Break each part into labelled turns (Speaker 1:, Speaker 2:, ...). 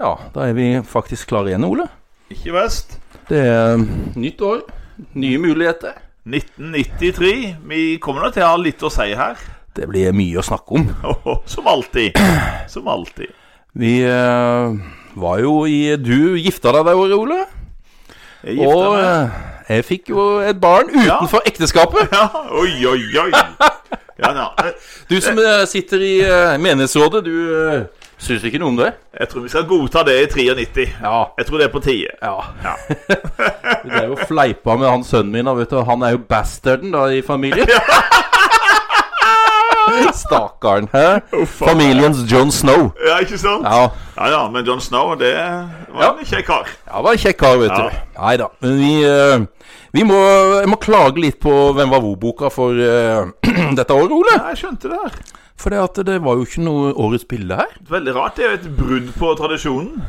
Speaker 1: Ja, da er vi faktisk klare igjen, Ole.
Speaker 2: Ikke verst.
Speaker 1: Det er eh, nytt år, nye muligheter.
Speaker 2: 1993. Vi kommer nå til å ha litt å si her.
Speaker 1: Det blir mye å snakke om.
Speaker 2: Som alltid. Som alltid.
Speaker 1: Vi eh, var jo i Du gifta deg det året, Ole.
Speaker 2: Jeg
Speaker 1: Og
Speaker 2: gifter meg.
Speaker 1: eh, jeg fikk jo et barn utenfor ekteskapet.
Speaker 2: Ja, oi, oi, oi. Ja, ja.
Speaker 1: Du som eh, sitter i eh, menighetsrådet, du uh, syns ikke noe om det?
Speaker 2: Jeg tror vi skal godta det i 93.
Speaker 1: Ja.
Speaker 2: Jeg tror det er på tide.
Speaker 1: Ja. Vi drev og fleipa med han sønnen min. da, Vet du. Han er jo bastarden da i familien. Stakkaren. Hæ?
Speaker 2: faen.
Speaker 1: Familiens John Snow.
Speaker 2: Ja, ikke sant?
Speaker 1: Ja,
Speaker 2: ja, ja, men John Snow, det var
Speaker 1: Ja.
Speaker 2: en kjekk kar.
Speaker 1: han var en kjekk kar, vet
Speaker 2: Ja.
Speaker 1: du. Nei da. Men vi, eh, vi må, jeg må klage litt på Hvem var hvor-boka for eh, dette året, Ole.
Speaker 2: Ja, jeg skjønte det her.
Speaker 1: For det, at det var jo ikke noe årets bilde her.
Speaker 2: Veldig rart. Det er jo et brudd på tradisjonen.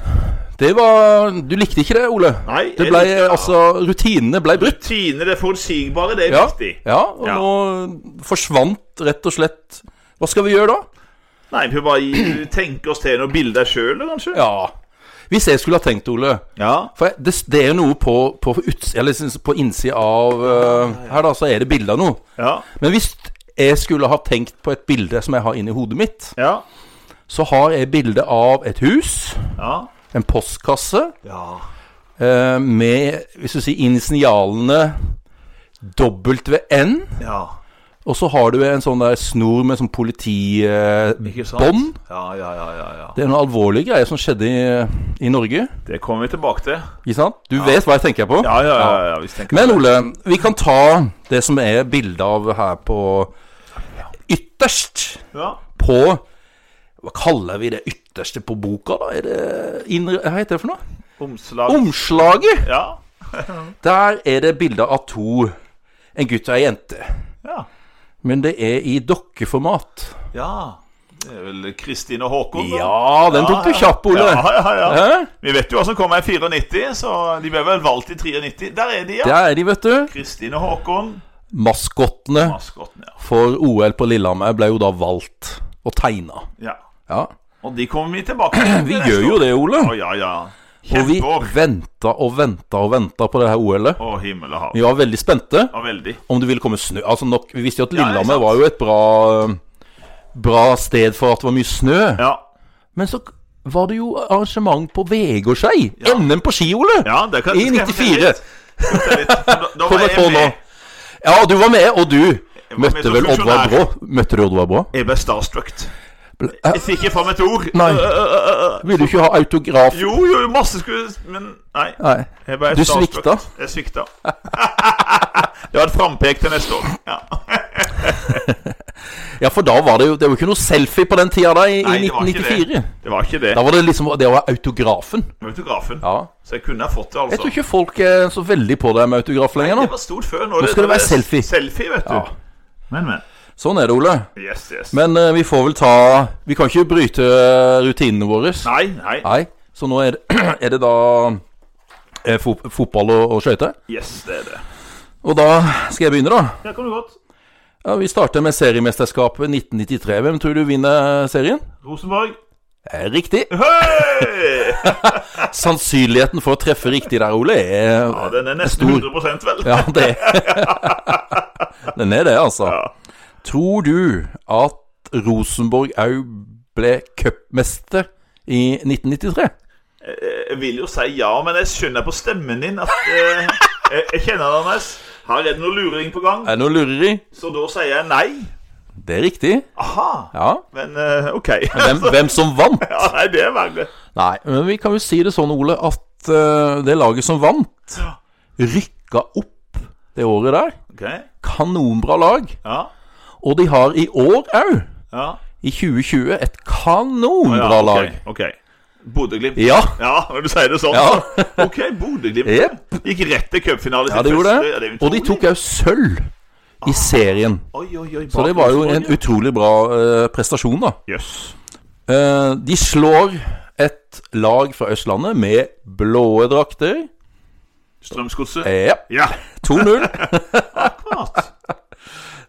Speaker 1: Det var Du likte ikke det, Ole?
Speaker 2: Nei,
Speaker 1: Det
Speaker 2: jeg
Speaker 1: ble,
Speaker 2: likte det.
Speaker 1: altså, Rutinene ble brutt.
Speaker 2: Rutine, det forutsigbare, det er
Speaker 1: Ja,
Speaker 2: viktig.
Speaker 1: ja, og
Speaker 2: Ja.
Speaker 1: nå forsvant rett og slett Hva skal vi gjøre da?
Speaker 2: Nei, vi får bare gi- tenke oss til noen bilder sjøl, kanskje.
Speaker 1: Ja. Hvis jeg skulle ha tenkt, Ole
Speaker 2: Ja.
Speaker 1: For jeg- det, det er jo noe på, på, uts, eller, syns- på innsida av eh, Her, da, så er det bilde av noe.
Speaker 2: Ja.
Speaker 1: Men hvis jeg skulle ha tenkt på et bilde som jeg har inni hodet mitt,
Speaker 2: Ja.
Speaker 1: så har jeg bilde av et hus,
Speaker 2: Ja.
Speaker 1: en postkasse,
Speaker 2: ja.
Speaker 1: eh, med hvis du sier initialene WN,
Speaker 2: ja.
Speaker 1: og så har du en sånn der snor med sånn
Speaker 2: Ikke sant?
Speaker 1: politibånd.
Speaker 2: Ja, ja, ja, ja, ja.
Speaker 1: det er noen alvorlige greier som skjedde i, i Norge.
Speaker 2: Det kommer vi tilbake til.
Speaker 1: Ikke sant? Du vet hva jeg tenker på?
Speaker 2: Ja, ja, ja. ja, hvis tenker
Speaker 1: Men
Speaker 2: på det.
Speaker 1: Ole, vi kan ta det som er bildet av her på Ytterst
Speaker 2: Ja.
Speaker 1: på Hva kaller vi det ytterste på boka, da? Er det innre, Hva heter det for noe?
Speaker 2: Omslag.
Speaker 1: Omslaget!
Speaker 2: Ja.
Speaker 1: Der er det bilder av to. En gutt og ei jente.
Speaker 2: Ja.
Speaker 1: Men det er i dokkeformat.
Speaker 2: ja. Det er vel Kristin og Håkon. da.
Speaker 1: Ja, den tok du kjapp, Ole.
Speaker 2: Ja, ja, ja.
Speaker 1: Hæ?
Speaker 2: Vi vet jo hva som kommer i 94, så de ble vel valgt i 93. Der er de, ja.
Speaker 1: Der er de, vet du.
Speaker 2: Kristin og Håkon.
Speaker 1: Maskottene
Speaker 2: Maskotten, ja.
Speaker 1: for OL på Lillehammer ble jo da valgt og tegna.
Speaker 2: ja.
Speaker 1: Ja.
Speaker 2: Og de kommer vi tilbake til.
Speaker 1: Vi gjør jo det, Ole.
Speaker 2: Å, ja, ja.
Speaker 1: Og vi
Speaker 2: Kjempeår.
Speaker 1: venta og venta og venta på det her OL-et.
Speaker 2: Å, himmel og hav.
Speaker 1: Vi var veldig spente
Speaker 2: Ja, veldig.
Speaker 1: om det ville komme snø. Altså nok, Vi visste jo at
Speaker 2: Ja, ikke
Speaker 1: Lillehammer
Speaker 2: sant?
Speaker 1: var jo et bra, bra sted for at det var mye snø.
Speaker 2: Ja.
Speaker 1: Men så var det jo arrangement på Vegårskei. NM på ski, Ole!
Speaker 2: ja det kan,
Speaker 1: I
Speaker 2: skal jeg fortelle
Speaker 1: 94.
Speaker 2: litt. Skal jeg fortelle litt? For Da, da
Speaker 1: Kom
Speaker 2: var
Speaker 1: jeg på
Speaker 2: jeg
Speaker 1: nå.
Speaker 2: med.
Speaker 1: Ja, du var med, og du
Speaker 2: var med
Speaker 1: møtte
Speaker 2: som
Speaker 1: vel Oddvar
Speaker 2: funksjonær.
Speaker 1: Brå. Møtte du Oddvar Brå?
Speaker 2: Jeg ble starstruck.
Speaker 1: Ble- eh,
Speaker 2: Jeg fikk ikke fram et ord.
Speaker 1: Nei.
Speaker 2: Øh, øh, øh, øh.
Speaker 1: Ville du ikke ha autograf?
Speaker 2: Jo, jo, masse skulle Men nei.
Speaker 1: Nei.
Speaker 2: Jeg ble
Speaker 1: Du
Speaker 2: starstruck.
Speaker 1: svikta.
Speaker 2: Jeg svikta. Det var et frampek til neste år. Ja.
Speaker 1: Ja, for da var det jo Det var jo ikke noe selfie på den tida da, i,
Speaker 2: Nei,
Speaker 1: i
Speaker 2: det var ikke
Speaker 1: 1994.
Speaker 2: det. Det var ikke det.
Speaker 1: Da var det liksom Det var autografen.
Speaker 2: Autografen.
Speaker 1: Ja.
Speaker 2: Så jeg kunne ha fått det, altså.
Speaker 1: Jeg tror ikke folk er så veldig på deg med autograf lenger nå.
Speaker 2: Det var stort før. Nå,
Speaker 1: skal det være
Speaker 2: er
Speaker 1: selfie.
Speaker 2: Selfie, vet du.
Speaker 1: Ja.
Speaker 2: Men, men.
Speaker 1: Sånn er det, Ole.
Speaker 2: Yes, yes.
Speaker 1: Men eh, vi får vel ta Vi kan ikke bryte eh, rutinene våre.
Speaker 2: Nei, nei.
Speaker 1: Nei. Så nå er det, er det da eh, fot, fotball og, og skøyter.
Speaker 2: Yes, det er det.
Speaker 1: Og da skal jeg begynne, da.
Speaker 2: Her kommer du godt.
Speaker 1: Ja, vi starter med seriemesterskapet 1993. Hvem tror du vinner serien?
Speaker 2: Rosenborg.
Speaker 1: Eh, Riktig.
Speaker 2: Hei!
Speaker 1: Sannsynligheten for å treffe riktig der, Ole, er
Speaker 2: Ja, den er nesten
Speaker 1: Stor.
Speaker 2: 100 vel.
Speaker 1: Ja, det Den er det, altså. Tror du at Rosenborg òg ble cupmester i 1993?
Speaker 2: Eh, Jeg vil jo si ja, men jeg skjønner på stemmen din at eh, jeg, jeg kjenner deg, Anders. Her er det noe luring på gang,
Speaker 1: Er det noe lureri?
Speaker 2: så da sier jeg nei.
Speaker 1: Det er riktig.
Speaker 2: Aha.
Speaker 1: Ja.
Speaker 2: Men eh, OK.
Speaker 1: Hvem, hvem som vant?
Speaker 2: Ja, nei, det er verre.
Speaker 1: Nei, men vi kan jo si det sånn, Ole, at eh, det laget som vant,
Speaker 2: Ja.
Speaker 1: rykka opp det året der.
Speaker 2: OK.
Speaker 1: Kanonbra lag.
Speaker 2: Ja.
Speaker 1: Og de har i år òg,
Speaker 2: Ja.
Speaker 1: i 2020, et
Speaker 2: ja
Speaker 1: kanonbra lag.
Speaker 2: OK. ok. Bodø-Glimt.
Speaker 1: Ja.
Speaker 2: Ja, når du sier det sånn.
Speaker 1: Ja.
Speaker 2: så. OK, Bodø-Glimt
Speaker 1: Jep.
Speaker 2: gikk rett til cupfinale.
Speaker 1: ja, det gjorde det.
Speaker 2: er
Speaker 1: Og de
Speaker 2: utrolig.
Speaker 1: tok òg sølv i serien.
Speaker 2: Oi, oi, oi.
Speaker 1: Så det var jo en utrolig bra eh, prestasjon, da.
Speaker 2: Jøss.
Speaker 1: Eh, de slår et lag fra Østlandet med blåe drakter.
Speaker 2: Strømsgodset.
Speaker 1: Ja,
Speaker 2: Ja,
Speaker 1: 2-0.
Speaker 2: akkurat.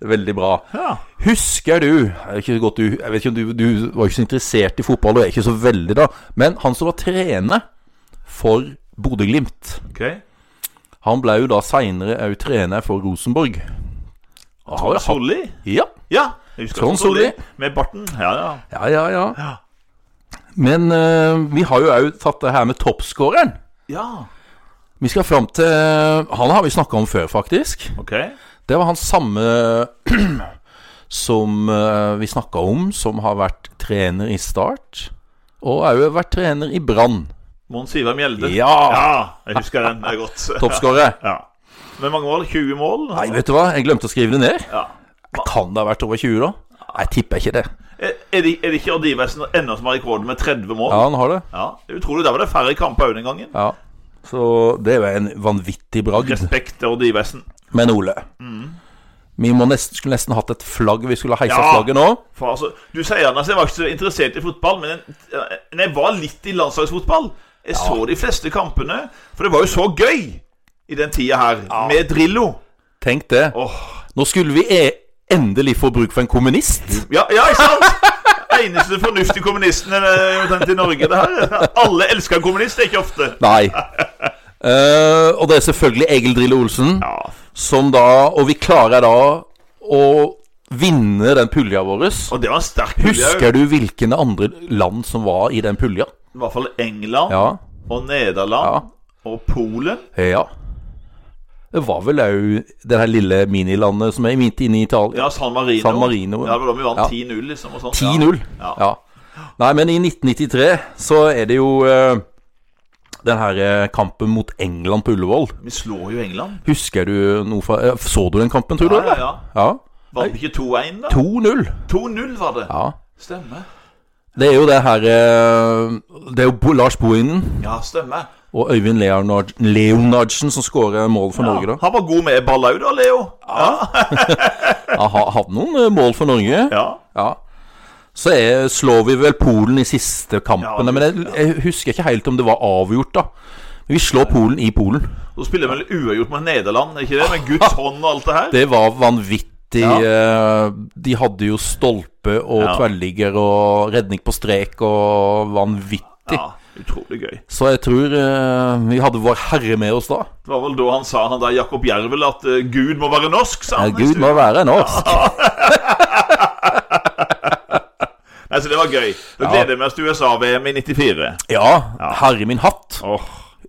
Speaker 1: Veldig bra.
Speaker 2: Ja.
Speaker 1: Husker du jeg vet ikke, så godt du, jeg vet ikke om du, du var ikke så interessert i fotball, og er ikke så veldig da, men han som var trener for Bodø-Glimt
Speaker 2: Ok.
Speaker 1: Han ble jo da seinere òg trener for Rosenborg. Og har jo hatt-
Speaker 2: Solli?
Speaker 1: Ja,
Speaker 2: Ja. jeg husker
Speaker 1: Trond
Speaker 2: Trond Solli.
Speaker 1: Solli.
Speaker 2: Med barten. Ja, ja.
Speaker 1: ja, ja. ja.
Speaker 2: Ja.
Speaker 1: Men eh, vi har jo òg tatt det her med toppskåreren.
Speaker 2: Ja,
Speaker 1: Vi skal fram til Han har vi snakka om før, faktisk.
Speaker 2: ok.
Speaker 1: Det var han samme som eh, vi snakka om, som har vært trener i Start. Og òg vært trener i Brann.
Speaker 2: Mons Ivar Mjelde.
Speaker 1: Ja!
Speaker 2: Ja, jeg husker den. Det er godt.
Speaker 1: Toppskårer.
Speaker 2: Ja. Med mange mål? 20 mål?
Speaker 1: Nei, vet du hva, jeg glemte å skrive det ned.
Speaker 2: Ja.
Speaker 1: Kan det ha vært over 20, da? Jeg tipper ikke det.
Speaker 2: Er, er, det, er det ikke Odd Iversen ennå som har rekorden med 30 mål?
Speaker 1: Ja, han har det.
Speaker 2: Ja, det er Utrolig. Der var det færre kamper òg den gangen.
Speaker 1: Ja. Så det er jo en vanvittig bragd.
Speaker 2: Respekt til Odd Iversen.
Speaker 1: Men Ole, vi må nesten, skulle nesten hatt et flagg. Vi skulle ha heisa
Speaker 2: Mm. Ja.
Speaker 1: flagget nå.
Speaker 2: For altså, Du sier Anders, jeg var ikke så interessert i fotball, men jeg, men jeg var litt i landslagsfotball. Jeg så de fleste kampene, for det var jo så gøy i den tida her, med Drillo.
Speaker 1: Tenk det.
Speaker 2: Åh,
Speaker 1: Nå skulle vi e endelig få bruk for en kommunist.
Speaker 2: ja, ja, ikke sant? Eneste fornuftige kommunisten eh, omtrent i Norge. det her Alle elsker en kommunist, det er ikke ofte.
Speaker 1: Nei. Eh, og det er selvfølgelig Egil Drillo Olsen,
Speaker 2: Ja,
Speaker 1: som da Og vi klarer da å vinne den pulja vår.
Speaker 2: Og det var en sterk pulje.
Speaker 1: Husker du hvilke andre land som var i den pulja?
Speaker 2: I hvert fall England
Speaker 1: Ja.
Speaker 2: og Nederland
Speaker 1: Ja.
Speaker 2: og Polen.
Speaker 1: ja. Det var vel òg det her lille minilandet som er midt inne i Italia.
Speaker 2: Ja, San Marino.
Speaker 1: San Marino, ja.
Speaker 2: ja. det var da vi vant
Speaker 1: Ja.
Speaker 2: 10-0, liksom. Og sånt.
Speaker 1: 10-0.
Speaker 2: Ja.
Speaker 1: Ja. Nei, men i 1993 så er det jo eh, den her eh, kampen mot England på Ullevål.
Speaker 2: Vi slår jo England.
Speaker 1: Husker du noe fra eh, Så du den kampen, tror du?
Speaker 2: Ja, ja,
Speaker 1: eller?
Speaker 2: ja.
Speaker 1: ja.
Speaker 2: Vant vi ikke 2-1, da?
Speaker 1: 2-0.
Speaker 2: 2-0 var det.
Speaker 1: Ja.
Speaker 2: Stemmer.
Speaker 1: Det er jo det her eh, Det er jo Bo- Lars Bohinen
Speaker 2: Ja, stemmer.
Speaker 1: og Øyvind Leonard, Leonardsen som skårer mål for
Speaker 2: Ja.
Speaker 1: Norge, da.
Speaker 2: Han var god med ball òg, da, Leo. Ja.
Speaker 1: Ja, ha- hadde noen eh, mål for Norge.
Speaker 2: ja.
Speaker 1: Ja. Så er, slår vi vel Polen i siste kampen,
Speaker 2: Ja,
Speaker 1: men jeg, jeg husker ikke helt om det var avgjort, da. Men vi slår Polen i Polen.
Speaker 2: Så spiller vi vel uavgjort med Nederland, er ikke det? Med Guds hånd og alt det her.
Speaker 1: Det var vanvittig. eh, De hadde jo stolpe og
Speaker 2: Ja.
Speaker 1: tverrligger og redning på strek og vanvittig.
Speaker 2: Ja, Utrolig gøy.
Speaker 1: Så jeg tror eh, vi hadde Vår Herre med oss da.
Speaker 2: Det var vel da han sa, han der Jakob Jervel, at eh, Gud må være norsk, sa
Speaker 1: Ja,
Speaker 2: han.
Speaker 1: Gud må være norsk.
Speaker 2: Nei, så det var gøy. Da gleder vi oss til USA-VM i 94.
Speaker 1: Ja, herre min hatt.
Speaker 2: Åh,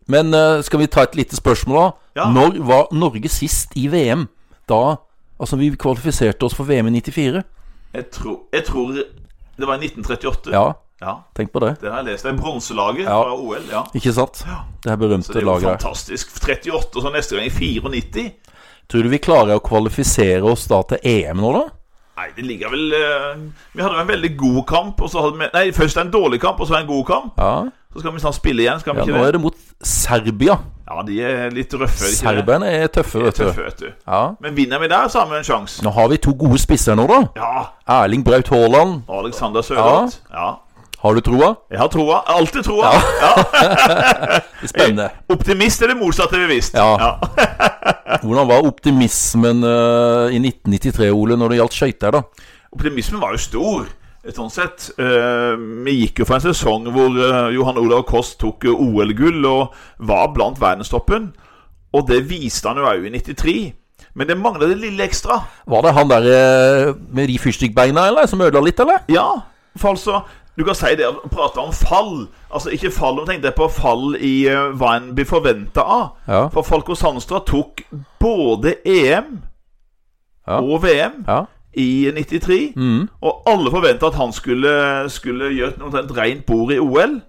Speaker 1: Men eh, skal vi ta et lite spørsmål, da?
Speaker 2: Ja.
Speaker 1: Når var Norge sist i VM? Da Altså, vi kvalifiserte oss for VM i 94.
Speaker 2: jeg, tror, jeg tror det var i 1938.
Speaker 1: Ja,
Speaker 2: Ja,
Speaker 1: tenk på det.
Speaker 2: det har jeg lest. Det er bronselaget
Speaker 1: Ja.
Speaker 2: fra OL. ja
Speaker 1: Ikke sant? Det her
Speaker 2: Så
Speaker 1: berømte
Speaker 2: det er jo
Speaker 1: laget der.
Speaker 2: fantastisk. 38, og så neste gang i 94.
Speaker 1: Tror du vi klarer å kvalifisere oss da til EM nå, da?
Speaker 2: Nei, det ligger vel eh, Vi hadde jo en veldig god kamp, og så hadde vi Nei, først en dårlig kamp, og så en god kamp.
Speaker 1: Ja,
Speaker 2: Så skal vi snart spille igjen, skal vi
Speaker 1: ja
Speaker 2: ikke
Speaker 1: Nå
Speaker 2: det?
Speaker 1: er det mot Serbia.
Speaker 2: Ja, de er litt røffe. er de ikke det?
Speaker 1: Serberne er tøffe, vet du.
Speaker 2: Tøffe, vet du.
Speaker 1: Ja.
Speaker 2: Men vinner vi der, så har vi en sjanse.
Speaker 1: Nå har vi to gode spisser nå, da.
Speaker 2: Ja.
Speaker 1: Erling Braut Haaland.
Speaker 2: Alexander Sørloth. Ja.
Speaker 1: Har du troa?
Speaker 2: Jeg har troa. Jeg har Alltid troa. Ja.
Speaker 1: Det er Spennende.
Speaker 2: Optimist er det motsatte, bevisst.
Speaker 1: Ja. Hvordan var optimismen eh, i 1993, Ole, når det gjaldt skøyter, da?
Speaker 2: Optimismen var jo stor. eh, Sånn sett. Eh, vi gikk jo fra en sesong hvor eh, Johan Olav Koss tok eh, OL-gull og var blant verdenstoppen. Og det viste han jo òg i 93. Men det mangla det lille ekstra.
Speaker 1: Var det han der eh, med de fyrstikkbeina, eller? Som ødela litt, eller?
Speaker 2: Ja, for altså Du kan si det å prate om fall. Altså Ikke fall, men tenk deg på fall i eh, hva en blir forventa av.
Speaker 1: Ja.
Speaker 2: For Falko Sandstad tok både EM
Speaker 1: Ja.
Speaker 2: og VM
Speaker 1: ja.
Speaker 2: i 93.
Speaker 1: Mm.
Speaker 2: Og alle forventa at han skulle, skulle gjøre omtrent rent bord i OL.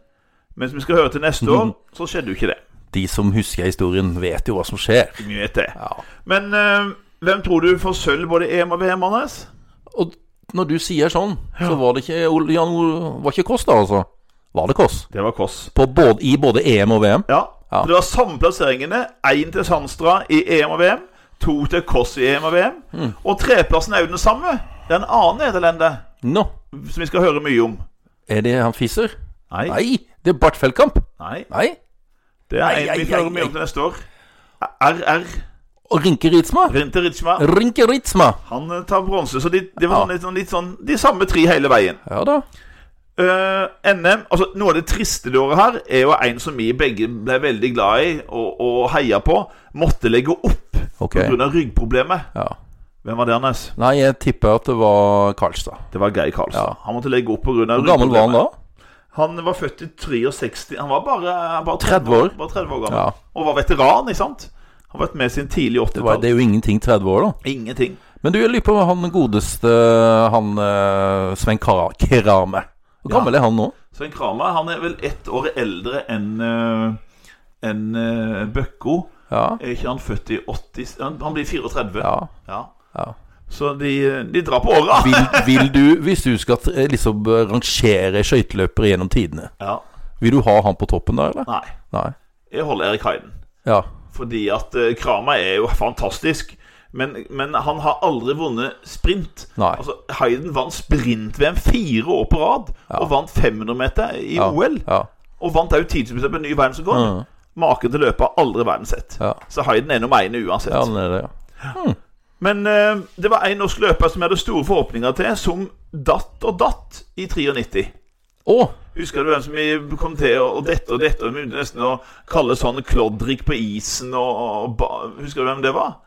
Speaker 2: Men som vi skal høre til neste år, så skjedde jo ikke det.
Speaker 1: De som husker historien, vet jo hva som skjer.
Speaker 2: Vi vet det.
Speaker 1: Ja.
Speaker 2: Men eh, hvem tror du får sølv både i EM og VM, Anders?
Speaker 1: Og når du sier sånn, så var det ikke Ole- Jan Ole Var ikke Kåss, da, altså? Var det Kåss?
Speaker 2: Det var Kåss.
Speaker 1: På både, I både EM og VM?
Speaker 2: Ja.
Speaker 1: Ja.
Speaker 2: For Det var samme plasseringene. Én til Sandstad i EM og VM. To til Kåss i EM og VM. Og treplassen er jo den samme. Det er en annen nederlender
Speaker 1: Nå
Speaker 2: som vi skal høre mye om.
Speaker 1: er det han fiser?
Speaker 2: Nei. Nei.
Speaker 1: Nei, det er Bart Feldkamp. Nei.
Speaker 2: Det er
Speaker 1: Nei,
Speaker 2: en vi
Speaker 1: ei,
Speaker 2: får
Speaker 1: ei,
Speaker 2: høre mye om
Speaker 1: ei.
Speaker 2: til neste år. RR.
Speaker 1: Og Rinke Ritsma.
Speaker 2: Rinte Ritschma,
Speaker 1: Rinke Ritsma.
Speaker 2: han eh, tar bronse. Så de, det var sånn litt, sånn, litt sånn de samme tre hele veien.
Speaker 1: Ja da.
Speaker 2: Eh, NM altså Noe av det triste det året her er jo en som vi begge ble veldig glad i og, og heia på, måtte legge opp
Speaker 1: Ok.
Speaker 2: pga. ryggproblemet.
Speaker 1: Ja.
Speaker 2: Hvem var det, Anders?
Speaker 1: Nei, jeg tipper at det var Karlstad.
Speaker 2: Det var Geir Karlsen.
Speaker 1: Ja.
Speaker 2: Han måtte legge opp pga.
Speaker 1: Hvor gammel var han da?
Speaker 2: Han var født i 63 Han var bare, bare
Speaker 1: 30 år.
Speaker 2: Bare 30 år gammel.
Speaker 1: Ja.
Speaker 2: Og var veteran, ikke sant? Han har vært med siden tidlig
Speaker 1: Det, var,
Speaker 2: 80-tall.
Speaker 1: det er jo ingenting 30 år, da.
Speaker 2: Ingenting.
Speaker 1: Men du, jeg lurer på hva han godeste han eh, Sven Kara- Kerame. Hvor
Speaker 2: Ja.
Speaker 1: gammel er han nå?
Speaker 2: Svein Kramer han er vel ett år eldre enn eh, enn eh, Bøkko.
Speaker 1: Ja.
Speaker 2: Er ikke han født i 80 Han, han blir 34.
Speaker 1: ja.
Speaker 2: Ja.
Speaker 1: Ja.
Speaker 2: Så de, de drar på åra.
Speaker 1: Vil, vil du, hvis du skal eh, liksom eh, rangere skøyteløpere gjennom tidene,
Speaker 2: Ja.
Speaker 1: vil du ha han på toppen der, eller?
Speaker 2: Nei.
Speaker 1: Nei.
Speaker 2: Jeg holder Erik Heiden.
Speaker 1: Ja.
Speaker 2: Fordi at eh, Kramer er jo fantastisk. Men, men han har aldri vunnet sprint.
Speaker 1: Nei.
Speaker 2: Altså, Hayden vant sprint-VM fire år på rad. Og vant 500-meter i
Speaker 1: ja.
Speaker 2: OL.
Speaker 1: Ja.
Speaker 2: Og vant òg tidsbestemt på ny verdensrekord.
Speaker 1: Mm.
Speaker 2: Maken til løpet har aldri verden sett.
Speaker 1: Ja.
Speaker 2: Så Hayden er nummer én uansett.
Speaker 1: ja, han er det, ja.
Speaker 2: Men eh, det var en norsk løper som jeg hadde store forhåpninger til, som datt og datt i 93.
Speaker 1: Å!
Speaker 2: Husker du hvem som vi kom til og dette og dette og vi begynte nesten å kalle sånn klodrik på isen og, og ba, Husker du hvem det var?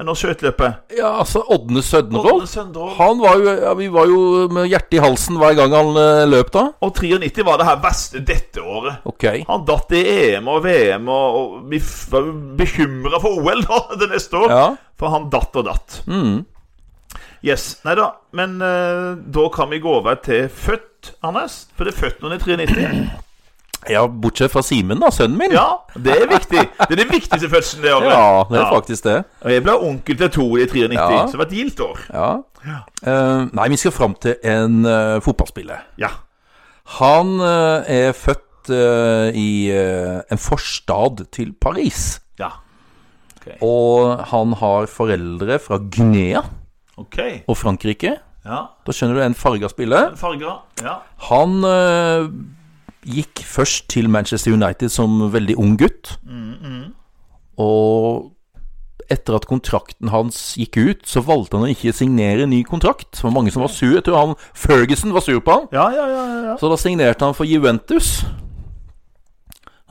Speaker 2: En norsk skøyteløper.
Speaker 1: Ja, altså, Ådne Sødnerål.
Speaker 2: Ådne Sønderål.
Speaker 1: Han var jo ja, Vi var jo med hjertet i halsen hver gang han eh, løp, da.
Speaker 2: Og 93 var det her verste dette året.
Speaker 1: Ok.
Speaker 2: Han datt i EM og VM, og, og vi f- var bekymra for OL da, det neste år.
Speaker 1: Ja.
Speaker 2: For han datt og datt.
Speaker 1: Mm.
Speaker 2: Yes. Nei da. Men eh, da kan vi gå over til født, Anders. For det er født noen i 93.
Speaker 1: Ja, bortsett fra Simen, da. Sønnen min.
Speaker 2: Ja, det er viktig. Det er den viktigste fødselen det året.
Speaker 1: Ja, det er
Speaker 2: Ja.
Speaker 1: faktisk det.
Speaker 2: Og jeg ble onkel til to i 93,
Speaker 1: Ja.
Speaker 2: så det var et gildt år.
Speaker 1: Ja. Eh, nei, vi skal fram til en eh, fotballspiller.
Speaker 2: Ja.
Speaker 1: Han eh, er født eh, i eh, en forstad til Paris.
Speaker 2: ja.
Speaker 1: Og han har foreldre fra Guinea
Speaker 2: Ok.
Speaker 1: og Frankrike.
Speaker 2: Ja.
Speaker 1: Da skjønner du en farge av spillet.
Speaker 2: Farger. Ja.
Speaker 1: Han eh, gikk først til Manchester United som veldig ung gutt.
Speaker 2: Mm,
Speaker 1: Og etter at kontrakten hans gikk ut, så valgte han å ikke signere ny kontrakt. Det var mange som var sur. Jeg tror han Ferguson var sur på han.
Speaker 2: Ja, ja, ja, ja.
Speaker 1: Så da signerte han for Juventus.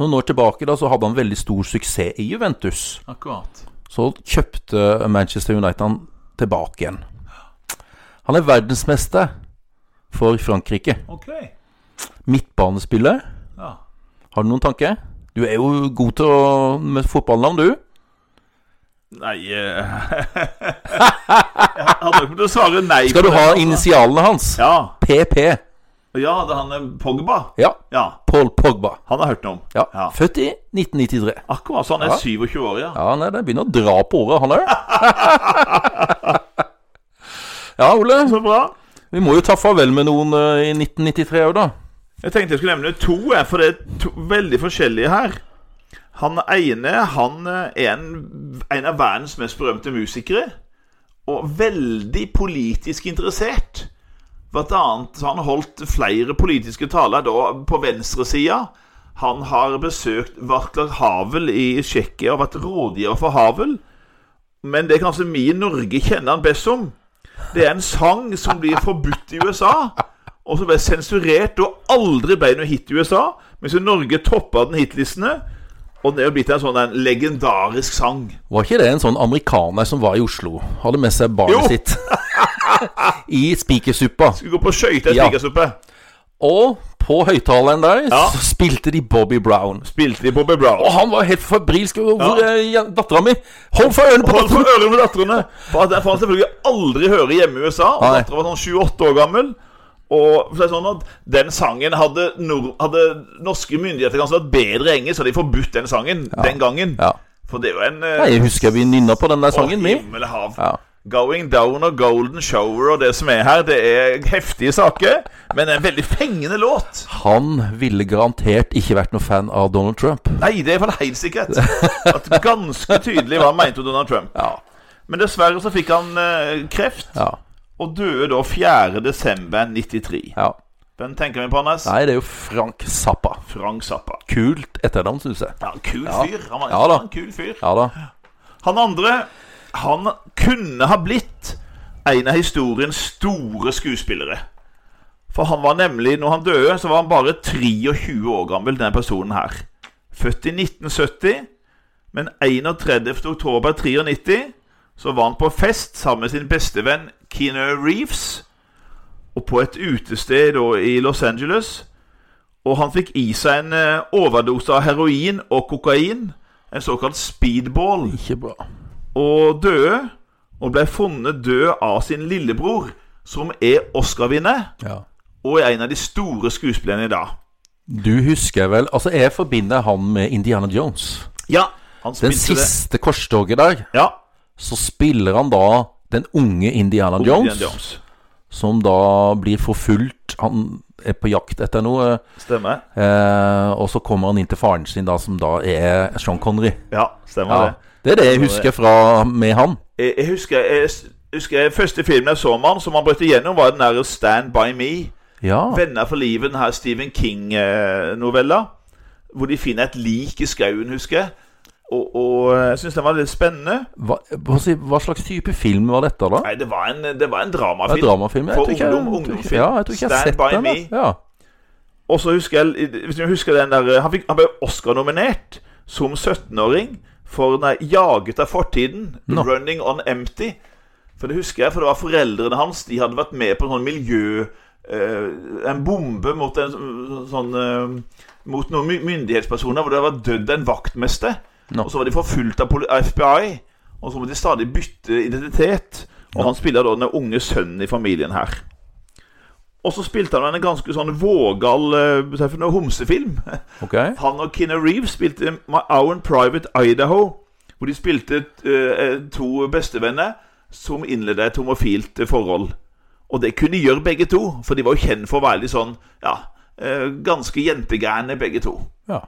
Speaker 1: Noen år tilbake da så hadde han veldig stor suksess i Juventus.
Speaker 2: Akkurat.
Speaker 1: Så kjøpte Manchester United han tilbake igjen. Han er verdensmester for Frankrike.
Speaker 2: Ok.
Speaker 1: Midtbanespiller.
Speaker 2: Ja.
Speaker 1: Har du noen tanke? Du er jo god til å med fotballnavn, du.
Speaker 2: Nei eh, Jeg hadde ikke kommet til å svare nei.
Speaker 1: Skal
Speaker 2: på
Speaker 1: du
Speaker 2: det,
Speaker 1: ha
Speaker 2: altså.
Speaker 1: initialene hans?
Speaker 2: Ja.
Speaker 1: PP.
Speaker 2: Ja, det er han eh, Pogba.
Speaker 1: Ja.
Speaker 2: Ja.
Speaker 1: Paul Pogba.
Speaker 2: Han har hørt noe om.
Speaker 1: Ja.
Speaker 2: Ja.
Speaker 1: Født i 1993.
Speaker 2: Akkurat så han er
Speaker 1: Ja.
Speaker 2: 27 år, ja.
Speaker 1: Ja, nei, det begynner å dra på året, han òg. ja, Ole.
Speaker 2: Så bra.
Speaker 1: Vi må jo ta farvel med noen eh, i 1993 òg, da.
Speaker 2: Jeg tenkte jeg skulle nevne to, jeg, for det er to veldig forskjellige her. Han ene han eh, er en, en av verdens mest berømte musikere. Og veldig politisk interessert. Blant annet så har han holdt flere politiske taler da på venstresida. Han har besøkt Varklar Havel i Tsjekkia og vært rådgiver for Havel. Men det er kanskje vi i Norge kjenner han best som. Det er en sang som blir forbudt i USA, og som ble sensurert og aldri ble noe hit i USA, mens i Norge toppa den hitlistene. Og det er jo blitt en sånn en legendarisk sang.
Speaker 1: Var ikke det en sånn amerikaner som var i Oslo? Hadde med seg barnet
Speaker 2: Jo.
Speaker 1: sitt i spikersuppa.
Speaker 2: Skal vi gå på skøyter
Speaker 1: Ja.
Speaker 2: ja. spikersuppa?
Speaker 1: Og på høyttaleren der
Speaker 2: Ja.
Speaker 1: så spilte de Bobby Brown.
Speaker 2: Spilte de Bobby Brown.
Speaker 1: Og han var helt febrilsk. Hvor hvor er ja. dattera mi? Hold for ørene på
Speaker 2: Hold
Speaker 1: dattera
Speaker 2: for ørene med datterne! For at- For han selvfølgelig aldri hører hjemme i USA. Og
Speaker 1: Nei.
Speaker 2: dattera var sånn 7-8 år gammel. Og for å si det sånn at Den sangen hadde, nor hadde norske myndigheter kanskje vært bedre i engelsk, så hadde de forbudt den sangen den gangen.
Speaker 1: Ja.
Speaker 2: For det er jo en eh,
Speaker 1: Nei, Jeg husker vi nynna på den der sangen,
Speaker 2: Å,
Speaker 1: vi.
Speaker 2: himmel og hav.
Speaker 1: Ja.
Speaker 2: Going down og Golden Shower og det som er her, det er heftige saker. Men en veldig fengende låt.
Speaker 1: Han ville garantert ikke vært noen fan av Donald Trump.
Speaker 2: Nei, det er for helt sikkert. At ganske tydelig hva han mente om Donald Trump.
Speaker 1: Ja.
Speaker 2: Men dessverre så fikk han eh, kreft,
Speaker 1: Ja.
Speaker 2: og døde da 4. desember 93.
Speaker 1: ja.
Speaker 2: Hvem tenker vi på, Anders?
Speaker 1: Nei, det er jo Frank Zappa.
Speaker 2: Frank Zappa.
Speaker 1: Kult etternavn, syns jeg.
Speaker 2: Ja, kul fyr. Han var
Speaker 1: Ja da.
Speaker 2: en kul fyr.
Speaker 1: Ja da.
Speaker 2: Han andre Han kunne ha blitt en av historiens store skuespillere. For han var nemlig, når han døde, så var han bare 23 år gammel, denne personen her. Født i 1970, men 31. oktober 93 så var han på fest sammen med sin bestevenn Keanu Reeves. Og på et utested da, i Los Angeles. Og han fikk i seg en eh, overdose av heroin og kokain. En såkalt speedball
Speaker 1: Ikke bra.
Speaker 2: og døde, og ble funnet død av sin lillebror, som er Oscar-vinner,
Speaker 1: Ja.
Speaker 2: og er en av de store skuespillerne i dag.
Speaker 1: Du husker vel Altså, jeg forbinder han med Indiana Jones.
Speaker 2: Ja, han
Speaker 1: Den
Speaker 2: spilte det.
Speaker 1: siste korstoget der,
Speaker 2: Ja,
Speaker 1: så spiller han da den unge Indiana Jones,
Speaker 2: Indiana Jones.
Speaker 1: som da blir forfulgt. Han er på jakt etter noe,
Speaker 2: Stemmer.
Speaker 1: eh, og så kommer han inn til faren sin, da, som da er Sean Connery.
Speaker 2: Ja, stemmer
Speaker 1: Ja,
Speaker 2: det.
Speaker 1: det er det jeg husker fra med han.
Speaker 2: Jeg, jeg husker, jeg, husker jeg, første filmen jeg så med han, som han brøt igjennom, var den der Stand By Me.
Speaker 1: Ja,
Speaker 2: Venner for livet, den her Stephen King-novella. eh, Hvor de finner et lik i skauen, husker jeg. Og, og eh, jeg syns den var litt spennende.
Speaker 1: hva, hva si- hva slags type film var dette, da?
Speaker 2: Nei, det var en, det var en
Speaker 1: Det er
Speaker 2: dramafilm.
Speaker 1: dramafilm. Jeg
Speaker 2: For
Speaker 1: tror ikke, jeg-
Speaker 2: ungdom-
Speaker 1: jeg tror ikke-
Speaker 2: ungdomsfilm.
Speaker 1: ja, jeg tror ikke jeg har
Speaker 2: Stand
Speaker 1: sett
Speaker 2: by
Speaker 1: den. altså.
Speaker 2: me.
Speaker 1: da. Ja.
Speaker 2: Og så husker jeg Hvis du husker den der eh, Han, fikk, han ble Oscar-nominert som 17-åring for den der 'Jaget av fortiden',
Speaker 1: Nå.
Speaker 2: 'Running on Empty'. For det husker jeg, for det var foreldrene hans. De hadde vært med på en sånn miljø... eh, en bombe mot en sånn eh, Mot noen my- myndighetspersoner hvor det var dødd en vaktmester.
Speaker 1: Nå.
Speaker 2: Og så var de forfulgt av poli- av FBI. Og så måtte de stadig bytte identitet. Og
Speaker 1: Ja.
Speaker 2: han spiller da den unge sønnen i familien her. Og så spilte han en ganske sånn vågal eh, hva heter det, homsefilm.
Speaker 1: Ok.
Speaker 2: Han og Keanu Reeves spilte My Own Private Idaho, hvor de spilte eh, to bestevenner som innledet et homofilt eh, forhold. Og det kunne de gjøre begge to, for de var jo kjent for å være litt sånn, ja, eh, ganske jentegærne begge to.
Speaker 1: Ja.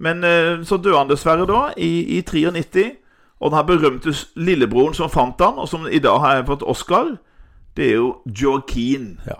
Speaker 2: Men eh, så døde han dessverre da, i, i 93. Og den her berømte s- lillebroren som fant han, og som i dag har fått Oscar, det er jo Joaquin
Speaker 1: ja.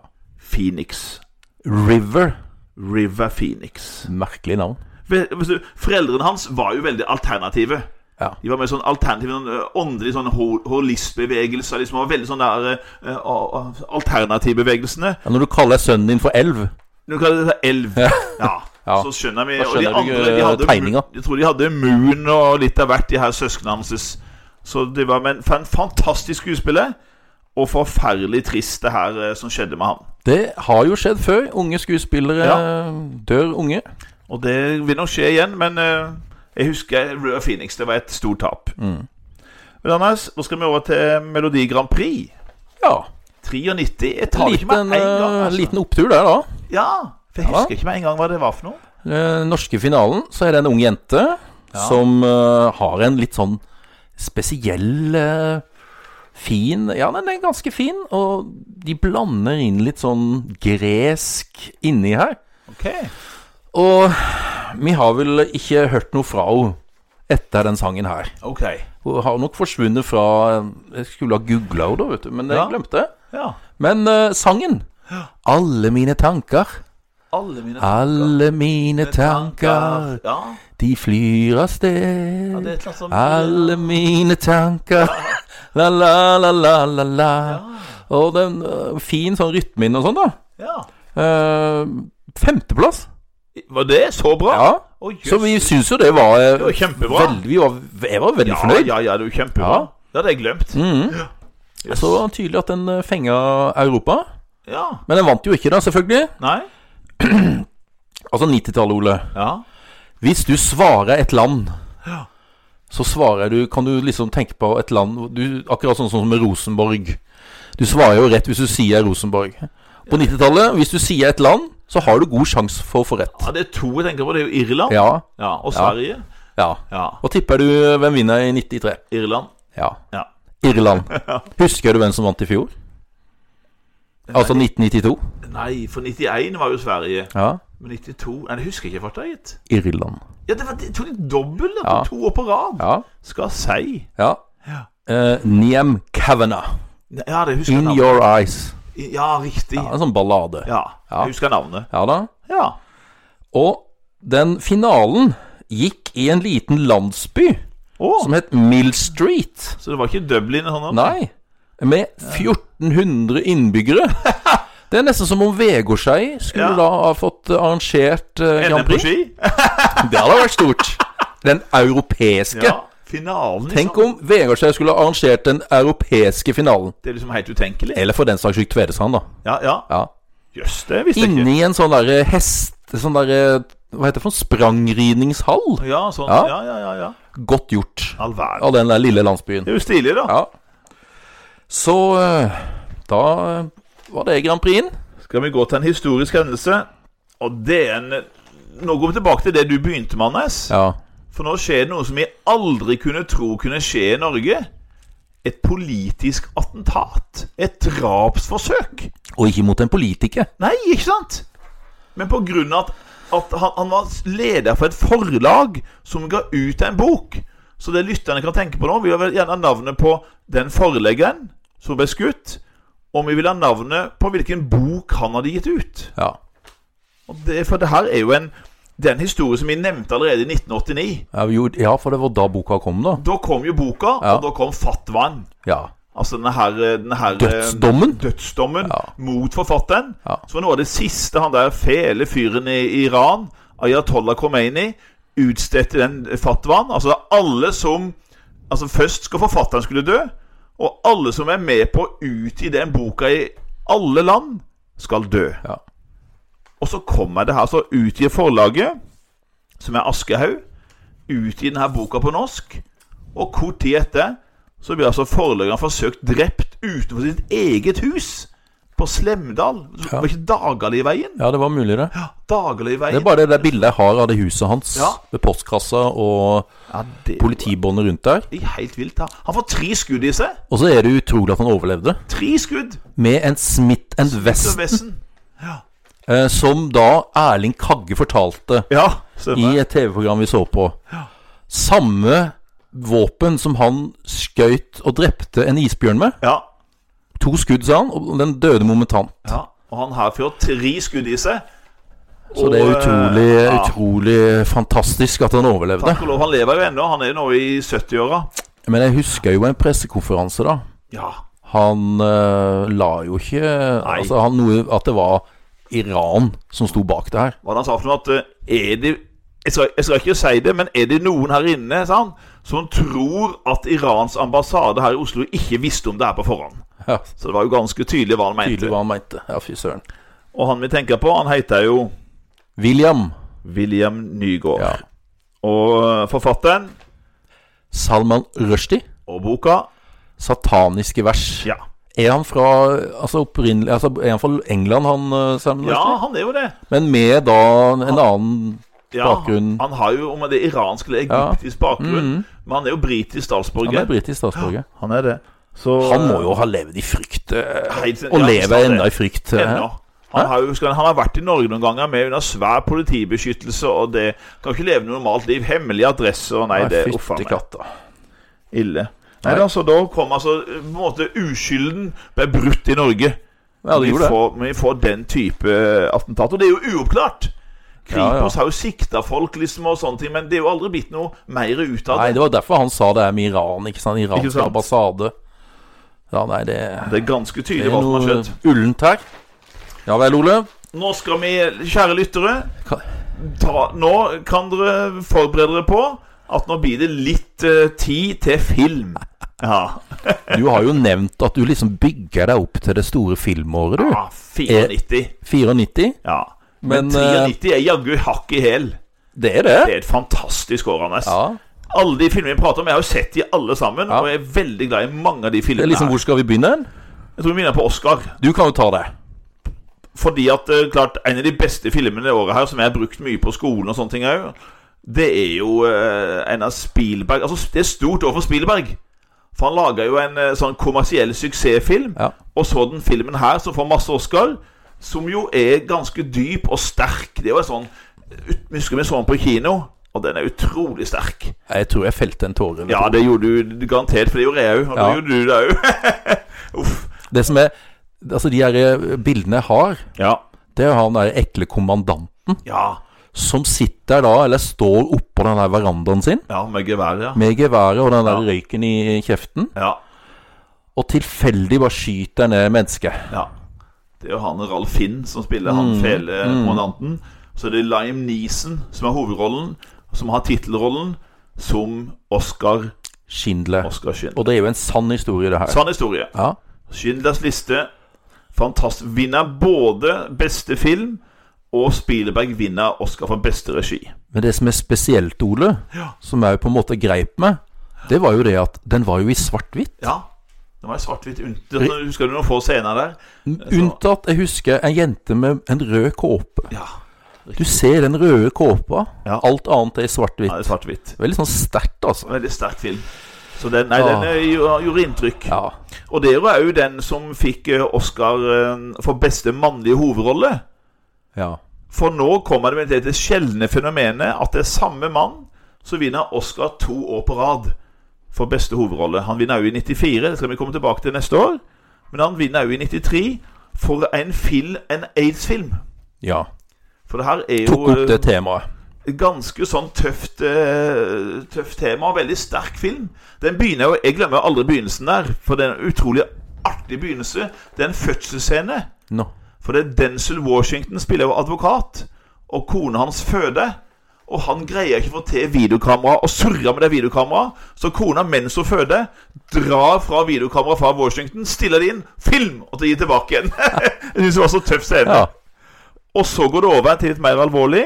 Speaker 2: Phoenix.
Speaker 1: River.
Speaker 2: River Phoenix.
Speaker 1: Merkelig navn.
Speaker 2: Ve- hvis du- Foreldrene hans var jo veldig alternative.
Speaker 1: Ja.
Speaker 2: De var med sånn alternativ, sånn eh, åndelig sånn ho- holistbevegelser. Liksom, og veldig sånn der eh, eh, a- a- alternativbevegelsene.
Speaker 1: Ja, når du kaller sønnen din for elv
Speaker 2: Du kaller det elv.
Speaker 1: Ja.
Speaker 2: Ja.
Speaker 1: Ja.
Speaker 2: Så skjønner vi
Speaker 1: Da
Speaker 2: og de
Speaker 1: skjønner du,
Speaker 2: andre, de
Speaker 1: eh,
Speaker 2: hadde,
Speaker 1: tegninga.
Speaker 2: Jeg tror de hadde Moon og litt av hvert, de her søsknene hans. Så det var men, fa- en fantastisk skuespiller, og forferdelig trist det her eh, som skjedde med han.
Speaker 1: Det har jo skjedd før. Unge skuespillere dør unge.
Speaker 2: Og det vil nok skje igjen, men eh, jeg husker Røa Phoenix. Det var et stort tap.
Speaker 1: Mm.
Speaker 2: Men Anders, nå skal vi over til Melodi Grand Prix.
Speaker 1: Ja.
Speaker 2: 93. Jeg tar det ikke
Speaker 1: Liten,
Speaker 2: med en gang.
Speaker 1: eh,
Speaker 2: Altså.
Speaker 1: liten opptur der, da.
Speaker 2: Ja, for jeg
Speaker 1: Ja.
Speaker 2: husker ikke med en gang hva det var for noe.
Speaker 1: Den Eh, norske finalen så er det en ung jente
Speaker 2: Ja.
Speaker 1: som eh, har en litt sånn spesiell eh, Fin Ja, den er ganske fin, og de blander inn litt sånn gresk inni her.
Speaker 2: Ok,
Speaker 1: Og vi har vel ikke hørt noe fra henne etter den sangen her.
Speaker 2: ok
Speaker 1: Hun har nok forsvunnet fra Jeg skulle ha googla henne, da, vet du, men jeg
Speaker 2: Ja.
Speaker 1: glemte.
Speaker 2: Ja.
Speaker 1: Men eh, sangen Alle mine tanker,
Speaker 2: Alle mine
Speaker 1: alle mine tanker,
Speaker 2: Ja,
Speaker 1: de flyr av sted.
Speaker 2: ja, det er et eller annet sånt
Speaker 1: Alle mine tanker La, la, la, la, la, la. Og den eh, fin sånn rytmen og sånn, da.
Speaker 2: Ja.
Speaker 1: Eh, femteplass.
Speaker 2: Var det så bra?
Speaker 1: Ja.
Speaker 2: Å, jøss.
Speaker 1: Så vi syns jo det var, eh,
Speaker 2: Det var kjempebra.
Speaker 1: Veldig, vi var, jeg var veldig
Speaker 2: ja,
Speaker 1: fornøyd.
Speaker 2: Ja, ja, det er jo kjempebra.
Speaker 1: Ja.
Speaker 2: Det hadde jeg glemt.
Speaker 1: Mhm.
Speaker 2: Yes.
Speaker 1: Så det var tydelig at den eh, fenga Europa.
Speaker 2: Ja.
Speaker 1: Men den vant jo ikke, da, selvfølgelig.
Speaker 2: Nei?
Speaker 1: Altså 90-tallet, Ole.
Speaker 2: Ja.
Speaker 1: Hvis du svarer et land,
Speaker 2: Ja.
Speaker 1: så svarer du Kan du liksom tenke på et land hvor du, Akkurat sånn som med Rosenborg. Du svarer jo rett hvis du sier Rosenborg. På 90-tallet, hvis du sier et land, så har du god sjanse for å få rett.
Speaker 2: ja. Det er to jeg tenker på. Det er jo Irland
Speaker 1: Ja.
Speaker 2: Ja, og Sverige.
Speaker 1: ja.
Speaker 2: Ja.
Speaker 1: Og tipper du hvem vinner i 93?
Speaker 2: Irland.
Speaker 1: Ja.
Speaker 2: Ja.
Speaker 1: Irland. Husker du hvem som vant i fjor? Altså 1992?
Speaker 2: Nei, for 91 var jo Sverige.
Speaker 1: Ja.
Speaker 2: Men 92 Nei, det husker jeg ikke, farta, gitt.
Speaker 1: Irland.
Speaker 2: Ja, det var det tok litt dobbelt da, på
Speaker 1: Ja.
Speaker 2: to år på rad.
Speaker 1: Ja.
Speaker 2: Skal si.
Speaker 1: ja. Eh, Niam Kavanagh.
Speaker 2: Ja, det husker jeg
Speaker 1: In
Speaker 2: navnet.
Speaker 1: Your Eyes.
Speaker 2: Ja, riktig.
Speaker 1: Ja, en sånn ballade.
Speaker 2: Ja,
Speaker 1: Ja.
Speaker 2: jeg husker navnet.
Speaker 1: Ja da.
Speaker 2: Ja.
Speaker 1: Og den finalen gikk i en liten landsby
Speaker 2: Å Å.
Speaker 1: som het Mill Street.
Speaker 2: Så det var ikke Dublin? sånn, Han,
Speaker 1: Nei. Med 1400 innbyggere. Det er nesten som om Vegårshei skulle
Speaker 2: Ja.
Speaker 1: da ha fått eh, arrangert eh,
Speaker 2: NM
Speaker 1: Grand
Speaker 2: på
Speaker 1: Prix.
Speaker 2: ski?
Speaker 1: Det hadde vært stort. Den europeiske.
Speaker 2: Ja. Finalen, liksom.
Speaker 1: Tenk om Vegårshei skulle ha arrangert den europeiske finalen.
Speaker 2: Det er liksom helt utenkelig.
Speaker 1: Eller for den saks skyld Tvedestrand, da.
Speaker 2: Ja, ja.
Speaker 1: Ja.
Speaker 2: Jøss, det visste jeg ikke.
Speaker 1: Inni en sånn derre hest... Sånn derre Hva heter det for noe? Sprangridningshall?
Speaker 2: Ja, sånn.
Speaker 1: Ja.
Speaker 2: Ja, ja, ja. ja.
Speaker 1: Godt gjort
Speaker 2: All verden.
Speaker 1: av den der lille landsbyen.
Speaker 2: Det er jo stilig, da.
Speaker 1: Ja. Så eh, da eh, var det Grand Prix-en.
Speaker 2: Skal vi gå til en historisk hendelse? Og det er en Nå går vi tilbake til det du begynte med, Anders.
Speaker 1: Ja.
Speaker 2: For nå skjer det noe som vi aldri kunne tro kunne skje i Norge. Et politisk attentat. Et drapsforsøk.
Speaker 1: Og ikke mot en politiker.
Speaker 2: Nei, ikke sant? Men på grunn av at, at han, han var leder for et forlag som ga ut en bok. Så det lytterne kan tenke på nå, vil vel gjerne ha navnet på den forleggeren som ble skutt. Og vi vil ha navnet på hvilken bok han hadde gitt ut.
Speaker 1: Ja.
Speaker 2: Og det, for det her er jo en Det er en historie som vi nevnte allerede i 1989.
Speaker 1: Ja, vi gjorde- ja, for det var da boka kom, da.
Speaker 2: Da kom jo boka,
Speaker 1: Ja.
Speaker 2: og da kom fatwaen.
Speaker 1: Ja.
Speaker 2: Altså denne her, denne her
Speaker 1: Dødsdommen?
Speaker 2: dødsdommen
Speaker 1: Ja.
Speaker 2: mot forfatteren.
Speaker 1: Ja.
Speaker 2: Som var noe av det siste han der fele fyren i Iran, Ayatollah Khomeini, utstedte den fatwaen. Altså alle som Altså Først skal forfatteren skulle dø, og alle som er med på å utgi den boka i alle land, skal dø.
Speaker 1: Ja.
Speaker 2: Og så kommer det her, så utgir forlaget, som er Aschehoug, utgir denne boka på norsk. Og kort tid etter så blir altså forleggeren forsøkt drept utenfor sitt eget hus. På Slemdal. Det var ikke Dagaliveien?
Speaker 1: ja, det var mulig, det. Det er
Speaker 2: Dagaliveien.
Speaker 1: bare det der bildet jeg har av det huset hans.
Speaker 2: Ja.
Speaker 1: Med postkassa og
Speaker 2: Ja, det
Speaker 1: politibåndet rundt der.
Speaker 2: er helt vilt. da. Han får tre skudd i seg.
Speaker 1: Og så er det utrolig at han overlevde.
Speaker 2: Tre skudd
Speaker 1: Med en Smith
Speaker 2: til
Speaker 1: Wesson,
Speaker 2: Vessen.
Speaker 1: eh, som da Erling Kagge fortalte
Speaker 2: Ja,
Speaker 1: i
Speaker 2: stemmer.
Speaker 1: et TV-program vi så på. Samme våpen som han skøyt og drepte en isbjørn med.
Speaker 2: Ja.
Speaker 1: To skudd, sa han, og den døde momentant.
Speaker 2: ja. Og han her får tre skudd i seg.
Speaker 1: Så det er
Speaker 2: Og, eh,
Speaker 1: utrolig,
Speaker 2: ja.
Speaker 1: utrolig fantastisk at han overlevde.
Speaker 2: Takk og lov, han lever jo ennå. Han er nå i 70-åra.
Speaker 1: Men jeg husker jo en pressekonferanse, da.
Speaker 2: Ja.
Speaker 1: Han eh, la jo ikke Altså, han noe at det var Iran som sto bak det her.
Speaker 2: Hva han sa for noe? At eh, er det jeg skal, jeg skal ikke si det, men er det noen her inne sa han, som tror at Irans ambassade her i Oslo ikke visste om det her på forhånd?
Speaker 1: Ja,
Speaker 2: Så det var jo ganske tydelig hva han mente.
Speaker 1: tydelig hva han mente. Ja, fy søren.
Speaker 2: Og han vi tenker på, han heter jo
Speaker 1: William
Speaker 2: William Nygaard.
Speaker 1: ja.
Speaker 2: Og eh, forfatteren
Speaker 1: Salman Rushdie.
Speaker 2: og boka
Speaker 1: Sataniske vers.
Speaker 2: Ja.
Speaker 1: Er han fra Altså opprinnelig altså, Er han fra England, han eh, Salman
Speaker 2: ja,
Speaker 1: Rushdie?
Speaker 2: han er jo det.
Speaker 1: Men med da en annen
Speaker 2: Ja,
Speaker 1: Bakgrunnen.
Speaker 2: Han har jo om det er iransk eller
Speaker 1: Ja. Mm.
Speaker 2: egyptisk bakgrunn, men han er jo britisk
Speaker 1: Han er
Speaker 2: statsborger.
Speaker 1: britisk statsborger.
Speaker 2: Han er det. Så
Speaker 1: Han må jo ha levd i frykt. eh,
Speaker 2: Helt sin-
Speaker 1: Og
Speaker 2: ja,
Speaker 1: lever
Speaker 2: sant det.
Speaker 1: enda i frykt. eh.
Speaker 2: Ennå. Han har, jo, skal- han har vært i Norge noen ganger med under svær politibeskyttelse, og det kan ikke leve noe normalt liv. Hemmelig adresse og nei,
Speaker 1: Nei,
Speaker 2: det uff a
Speaker 1: fytti
Speaker 2: meg.
Speaker 1: katta.
Speaker 2: Ille. Nei, da, så da kom altså på en måte uskylden ble brutt i Norge.
Speaker 1: Ja, det
Speaker 2: vi,
Speaker 1: gjorde det.
Speaker 2: får, vi får den type eh, attentat. Og det er jo uoppklart!
Speaker 1: Ja,
Speaker 2: Kripos har jo sikta folk, liksom, og sånne ting, men det er jo aldri blitt noe mer ut av det.
Speaker 1: Nei, det var derfor han sa det her med Iran. ikke sant? Iransk
Speaker 2: Ikke sant?
Speaker 1: ambassade. Ja, nei, det,
Speaker 2: Det er ganske
Speaker 1: det
Speaker 2: tydelig
Speaker 1: er
Speaker 2: hva som har
Speaker 1: noe
Speaker 2: skjedd.
Speaker 1: ullent her. Ja vel, Ole.
Speaker 2: Nå skal vi, kjære lyttere
Speaker 1: Ka-
Speaker 2: ta, Nå kan dere forberede dere på at nå blir det litt eh, tid til film. Ja.
Speaker 1: Du har jo nevnt at du liksom bygger deg opp til det store filmåret, du.
Speaker 2: ja 94.
Speaker 1: 94.
Speaker 2: Ja. Men,
Speaker 1: Men, eh,
Speaker 2: 93 er jaggu hakk i hæl.
Speaker 1: Det er det.
Speaker 2: Det er et fantastisk år, Anders.
Speaker 1: Ja.
Speaker 2: Alle de filmene vi prater om, jeg har jo sett de alle sammen.
Speaker 1: Ja.
Speaker 2: Og jeg er veldig glad i mange av de
Speaker 1: Det
Speaker 2: filmene.
Speaker 1: er liksom,
Speaker 2: her.
Speaker 1: Hvor skal vi begynne? hen?
Speaker 2: Jeg tror vi minner på Oscar.
Speaker 1: Du kan jo ta det.
Speaker 2: Fordi at eh, klart, en av de beste filmene det året her, som jeg har brukt mye på skolen og sånne ting òg, det er jo eh, en av Spielberg Altså, det er stort år for Spielberg. For han laga jo en eh, sånn kommersiell suksessfilm,
Speaker 1: Ja.
Speaker 2: og så den filmen her, som får masse Oscar, som jo er ganske dyp og sterk. Det er jo en sånn ut- Husker vi så den på kino, og den er utrolig sterk.
Speaker 1: Jeg tror jeg felte en tåre. eller
Speaker 2: Ja, det gjorde du garantert, for det gjorde jeg òg. Og det
Speaker 1: Ja.
Speaker 2: gjorde du det òg.
Speaker 1: to.
Speaker 2: Uff.
Speaker 1: Det som er Altså, de her eh, bildene jeg har,
Speaker 2: Ja.
Speaker 1: det er jo han der ekle kommandanten
Speaker 2: ja.
Speaker 1: som sitter da, eller står oppå den der verandaen sin
Speaker 2: Ja, med gevær, ja.
Speaker 1: med geværet og den der
Speaker 2: Ja.
Speaker 1: røyken i kjeften,
Speaker 2: ja.
Speaker 1: og tilfeldig bare skyter ned mennesket.
Speaker 2: Ja. Det er jo han Ralf Finn som spiller han felekommandanten. Så det er Liam Neeson som er hovedrollen, som har tittelrollen som Oscar
Speaker 1: Schindler.
Speaker 2: Oscar Schindler.
Speaker 1: Og det er jo en sann historie, det her.
Speaker 2: Sann historie.
Speaker 1: Ja.
Speaker 2: Schindlers liste Fantastisk. Vinner både beste film, og Spielberg vinner Oscar for beste regi.
Speaker 1: Men det som er spesielt, Ole, som jeg på en måte greip med, det var jo det at den var jo i svart-hvitt.
Speaker 2: Ja. Det var svart-hvitt unntatt. Husker du noen få scener der?
Speaker 1: Unntatt, jeg husker, en jente med en rød kåpe.
Speaker 2: Ja.
Speaker 1: Du ser den røde kåpa.
Speaker 2: Ja.
Speaker 1: Alt annet er i
Speaker 2: ja
Speaker 1: svart-hvitt.
Speaker 2: det er svart-hvitt.
Speaker 1: Veldig sånn sterkt, altså.
Speaker 2: Veldig sterk film. Så den, nei,
Speaker 1: Ah.
Speaker 2: den eh, gjorde gjorde inntrykk.
Speaker 1: Ja.
Speaker 2: Og det var jo den som fikk eh, Oscar eh, for beste mannlige hovedrolle.
Speaker 1: ja.
Speaker 2: For nå kommer det med dette sjeldne fenomenet at det er samme mann som vinner Oscar to år på rad for beste hovedrolle. Han vinner jo i 94, det skal vi komme tilbake til neste år. Men han vinner jo i 93 for en, film- en aids-film.
Speaker 1: ja.
Speaker 2: For det her er
Speaker 1: Tok
Speaker 2: jo
Speaker 1: opp det temaet.
Speaker 2: eh, ganske sånn tøft, eh, tøft tema og veldig sterk film. Den begynner jo Jeg glemmer aldri begynnelsen der, for det er en utrolig artig begynnelse. Det er en fødselsscene.
Speaker 1: Nå.
Speaker 2: For det er Denzil Washington spiller jo advokat, og kona hans føder. Og han greier ikke å få til videokamera og surrer med det videokameraet. Så kona, mens hun føder, drar fra videokameraet fra Washington, stiller det inn, film, og gir tilbake igjen. Jeg syns det var så tøff scene.
Speaker 1: Ja.
Speaker 2: Og så går det over til litt mer alvorlig.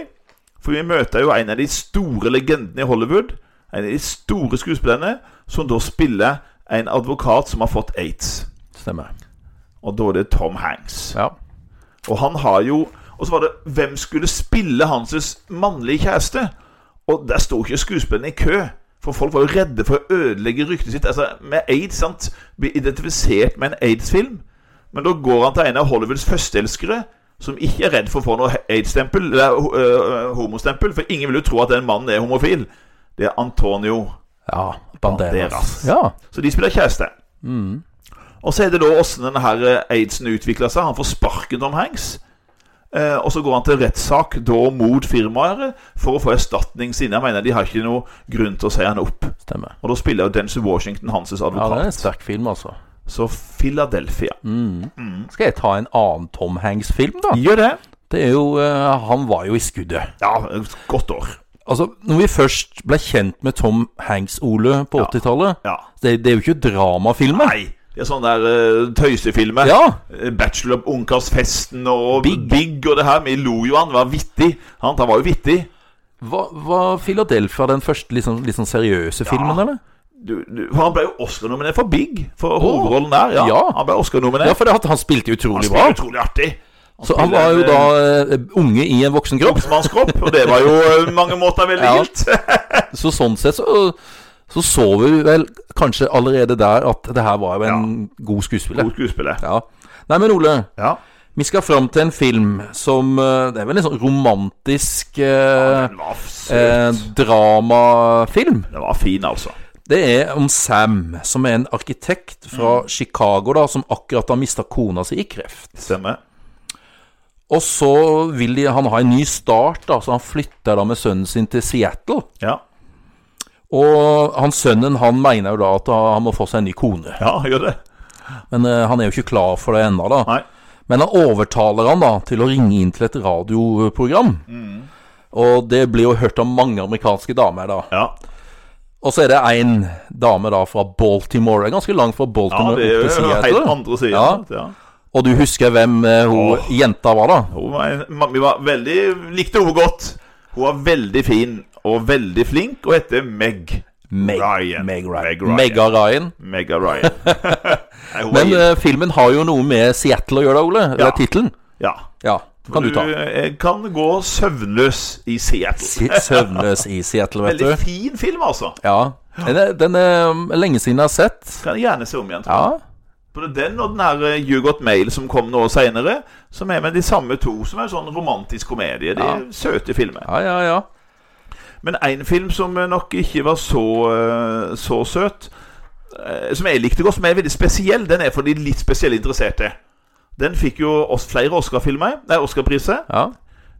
Speaker 2: For vi møter jo en av de store legendene i Hollywood. En av de store skuespillerne som da spiller en advokat som har fått aids.
Speaker 1: Stemmer.
Speaker 2: Og da er det Tom Hanks.
Speaker 1: Ja.
Speaker 2: Og han har jo Og så var det Hvem skulle spille hans mannlige kjæreste? Og der sto ikke skuespillerne i kø. For folk var jo redde for å ødelegge ryktet sitt. Altså, med aids, sant? Bli identifisert med en aids-film. Men da går han til en av Hollywoods førsteelskere, som ikke er redd for å få noe aids-stempel, eller øh, homostempel, for ingen vil jo tro at den mannen er homofil. Det er Antonio.
Speaker 1: ja. Banderas.
Speaker 2: Banderas.
Speaker 1: Ja.
Speaker 2: Så de spiller kjæreste. Og så er det da åssen denne her eh, aidsen utvikler seg. Han får sparken Tom Hanks. Eh, og så går han til rettssak da mot firmaer for å få erstatning, siden jeg mener de har ikke noe grunn til å si han opp.
Speaker 1: Stemmer.
Speaker 2: Og da spiller jo Denzil Washington hans
Speaker 1: Ja, det
Speaker 2: advokat.
Speaker 1: er en sterk film, altså.
Speaker 2: så Philadelphia.
Speaker 1: Skal jeg ta en annen Tom Hanks-film, da?
Speaker 2: Gjør det.
Speaker 1: Det er jo eh, Han var jo i skuddet.
Speaker 2: Ja, et godt år.
Speaker 1: Altså, når vi først ble kjent med Tom Hanks, Ole, på 80-tallet
Speaker 2: Ja.
Speaker 1: det, det er jo ikke dramafilmer.
Speaker 2: Nei, det er sånne der eh, tøysefilmer.
Speaker 1: Ja.
Speaker 2: Eh, Bachelor Ungkarsfesten og
Speaker 1: Big.
Speaker 2: Big. og det her. Vi lo jo han var vittig. Han, han var jo vittig.
Speaker 1: Var, var Philadelphia den første litt sånn- litt sånn seriøse filmen, eller?
Speaker 2: du, du, for han ble jo Oscar-nominert for Big, for hovedrollen der. Ja,
Speaker 1: ja.
Speaker 2: Han ble
Speaker 1: Ja,
Speaker 2: Oscar-nominert.
Speaker 1: for det, at han spilte
Speaker 2: han
Speaker 1: utrolig bra.
Speaker 2: spilte utrolig artig.
Speaker 1: Så han var jo da eh, unge i en voksen kropp.
Speaker 2: Oppmannskropp, eh, og det var jo eh, mange måter veldig
Speaker 1: Ja.
Speaker 2: gildt.
Speaker 1: Så sånn sett så så så vi vel kanskje allerede der at det her var jo en god skuespiller.
Speaker 2: God skuespiller.
Speaker 1: Ja. Nei, men Ole.
Speaker 2: Ja.
Speaker 1: Vi skal fram til en film som eh, Det er vel en sånn romantisk eh,
Speaker 2: Den var
Speaker 1: eh,
Speaker 2: søt.
Speaker 1: dramafilm.
Speaker 2: Den var fin, altså.
Speaker 1: Det er om Sam, som er en arkitekt fra
Speaker 2: Mm.
Speaker 1: Chicago, da, som akkurat har mista kona si i kreft.
Speaker 2: Stemmer.
Speaker 1: Og så vil de, han ha en ny start, da, så han flytter da med sønnen sin til Seattle.
Speaker 2: Ja,
Speaker 1: Og han sønnen han mener jo da at han må få seg en ny kone,
Speaker 2: ja gjør det.
Speaker 1: men eh, han er jo ikke klar for det ennå, da.
Speaker 2: Nei.
Speaker 1: Men han overtaler han da til å ringe inn til et radioprogram.
Speaker 2: Mm.
Speaker 1: Og det blir jo hørt av mange amerikanske damer, da.
Speaker 2: Ja.
Speaker 1: Og så er det én dame da fra Baltimore. Det er ganske langt fra
Speaker 2: ja,
Speaker 1: Baltimore
Speaker 2: det er
Speaker 1: opp til
Speaker 2: jo helt
Speaker 1: Seattle.
Speaker 2: andre siden.
Speaker 1: Ja.
Speaker 2: sant? Ja.
Speaker 1: Og du husker hvem eh, hun
Speaker 2: Åh.
Speaker 1: jenta var, da?
Speaker 2: Hun var, en- ma- vi var veldig, likte henne godt. Hun var veldig fin og veldig flink, og heter Meg.
Speaker 1: Meg
Speaker 2: Ryan.
Speaker 1: Meg Ryan.
Speaker 2: Meg
Speaker 1: Mega
Speaker 2: Ryan.
Speaker 1: Ryan.
Speaker 2: Mega Ryan. Nei, hun var
Speaker 1: Men
Speaker 2: gild.
Speaker 1: eh, filmen har jo noe med Seattle å gjøre, da, Ole. Det
Speaker 2: Ja.
Speaker 1: er tittelen.
Speaker 2: ja.
Speaker 1: Ja, kan du ta.
Speaker 2: eh, kan gå søvnløs i Seattle.
Speaker 1: Si- Søvnløs i Seattle, vet du.
Speaker 2: Veldig fin film, altså.
Speaker 1: Ja. Den er, den er um, lenge siden jeg har sett.
Speaker 2: Kan jeg gjerne se om igjen.
Speaker 1: Ja.
Speaker 2: Både den og den her eh, You Got Mail som kom noe seinere, som er med de samme to, som er sånn romantisk komedie. De
Speaker 1: Ja.
Speaker 2: er søte filmer.
Speaker 1: Ja, ja, ja.
Speaker 2: Men én film som eh, nok ikke var så, eh, så søt, eh, som jeg likte godt, som er veldig spesiell, den er for de litt spesielle interesserte. Den fikk jo oss flere Oscar-filmer, nei, Oscar-priser.
Speaker 1: ja.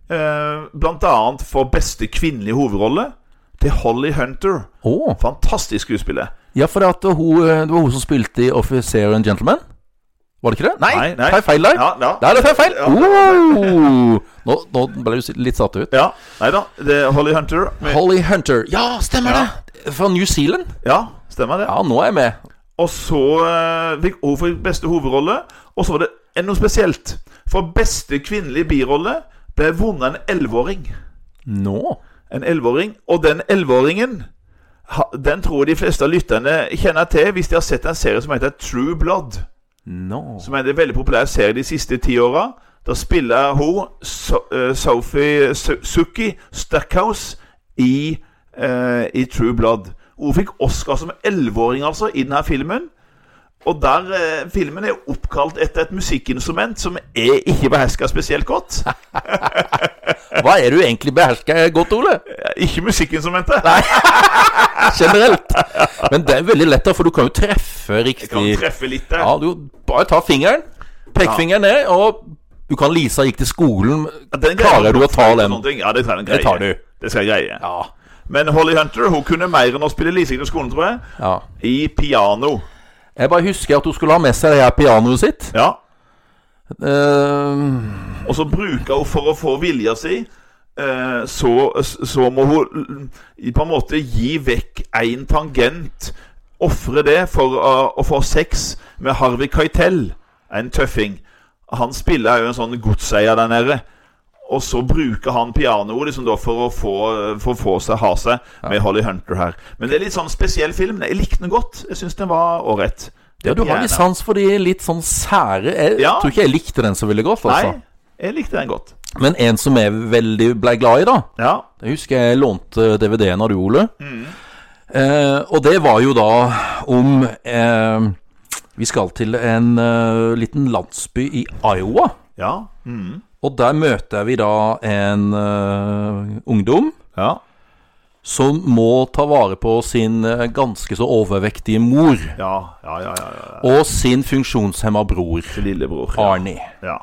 Speaker 2: eh, blant annet for beste kvinnelige hovedrolle til Holly Hunter.
Speaker 1: Å!
Speaker 2: Fantastisk skuespiller.
Speaker 1: Ja, for det, at hun, eh, det var hun som spilte i Officer and Gentleman. Var det ikke det? Nei,
Speaker 2: Nei, nei.
Speaker 1: tar jeg feil der?
Speaker 2: Ja, ja.
Speaker 1: Der er det feil! feil.
Speaker 2: Ja.
Speaker 1: Oh! Nå, nå ble du litt satt ut.
Speaker 2: Ja, nei da. Det er Holly Hunter. Med,
Speaker 1: Holly Hunter. Ja, stemmer
Speaker 2: Ja.
Speaker 1: det! Fra New Zealand.
Speaker 2: ja, stemmer det.
Speaker 1: Ja, nå er jeg med.
Speaker 2: Og så eh, fikk hun for beste hovedrolle. Og så var det en- noe spesielt. For beste kvinnelige birolle ble vunnet en elleveåring.
Speaker 1: Nå?
Speaker 2: En elleveåring. Og den elleveåringen ha- den tror jeg de fleste av lytterne kjenner til hvis de har sett en serie som heter True Blood.
Speaker 1: Nå
Speaker 2: Som er en veldig populær serie de siste ti åra. Da spiller hun so eh, Sophie Su- Suki Stackhouse i, eh, i True Blood. Hun fikk Oscar som elleveåring, altså, i denne filmen. Og der eh, filmen er oppkalt etter et musikkinstrument som jeg ikke behersker spesielt godt.
Speaker 1: Hva er det du egentlig behersker godt, Ole?
Speaker 2: Ikke musikkinstrumentet.
Speaker 1: Generelt. Men det er veldig lett, da, for du kan jo treffe riktig.
Speaker 2: Jeg kan treffe litt der.
Speaker 1: Ja, du bare ta fingeren. Pekefingeren ned, og du kan Lisa gikk til skolen.
Speaker 2: Den greia-
Speaker 1: Klarer du å ta den?
Speaker 2: Sånne ting. Ja, det tar, den
Speaker 1: Det tar du.
Speaker 2: Det skal jeg greie.
Speaker 1: Ja.
Speaker 2: Men Holly Hunter hun kunne mer enn å spille Lising til skolen, tror jeg.
Speaker 1: ja.
Speaker 2: I piano.
Speaker 1: Jeg bare husker at hun skulle ha med seg det her pianoet sitt.
Speaker 2: Ja.
Speaker 1: Eh,
Speaker 2: Og så bruker hun for å få vilja si eh, så, så må hun l- i- på en måte gi vekk én tangent. Ofre det for å, å få sex med Harvey Keitel, en tøffing. Han spiller jo en sånn godseier der nede. Og så bruker han pianoet liksom da for å få, for å få seg ha seg med Holly Hunter her. Men det er litt sånn spesiell film. Jeg likte den godt. Jeg syns den var ålreit.
Speaker 1: ja, du har litt sans for de litt sånn sære Jeg
Speaker 2: Ja.
Speaker 1: tror ikke jeg likte den så veldig godt,
Speaker 2: Nei,
Speaker 1: altså.
Speaker 2: jeg likte den godt.
Speaker 1: Men en som jeg veldig blei glad i, da.
Speaker 2: Ja.
Speaker 1: Jeg husker jeg lånte DVD-en av du, Ole.
Speaker 2: Mm.
Speaker 1: Eh, og det var jo da om eh, Vi skal til en eh, liten landsby i Iowa.
Speaker 2: Ja. Mm.
Speaker 1: Og der møter vi da en eh, ungdom
Speaker 2: ja.
Speaker 1: som må ta vare på sin eh, ganske så overvektige mor
Speaker 2: Ja, ja, ja, ja, ja.
Speaker 1: og sin funksjonshemma bror,
Speaker 2: Til lillebror. Ja.
Speaker 1: Arnie.
Speaker 2: ja.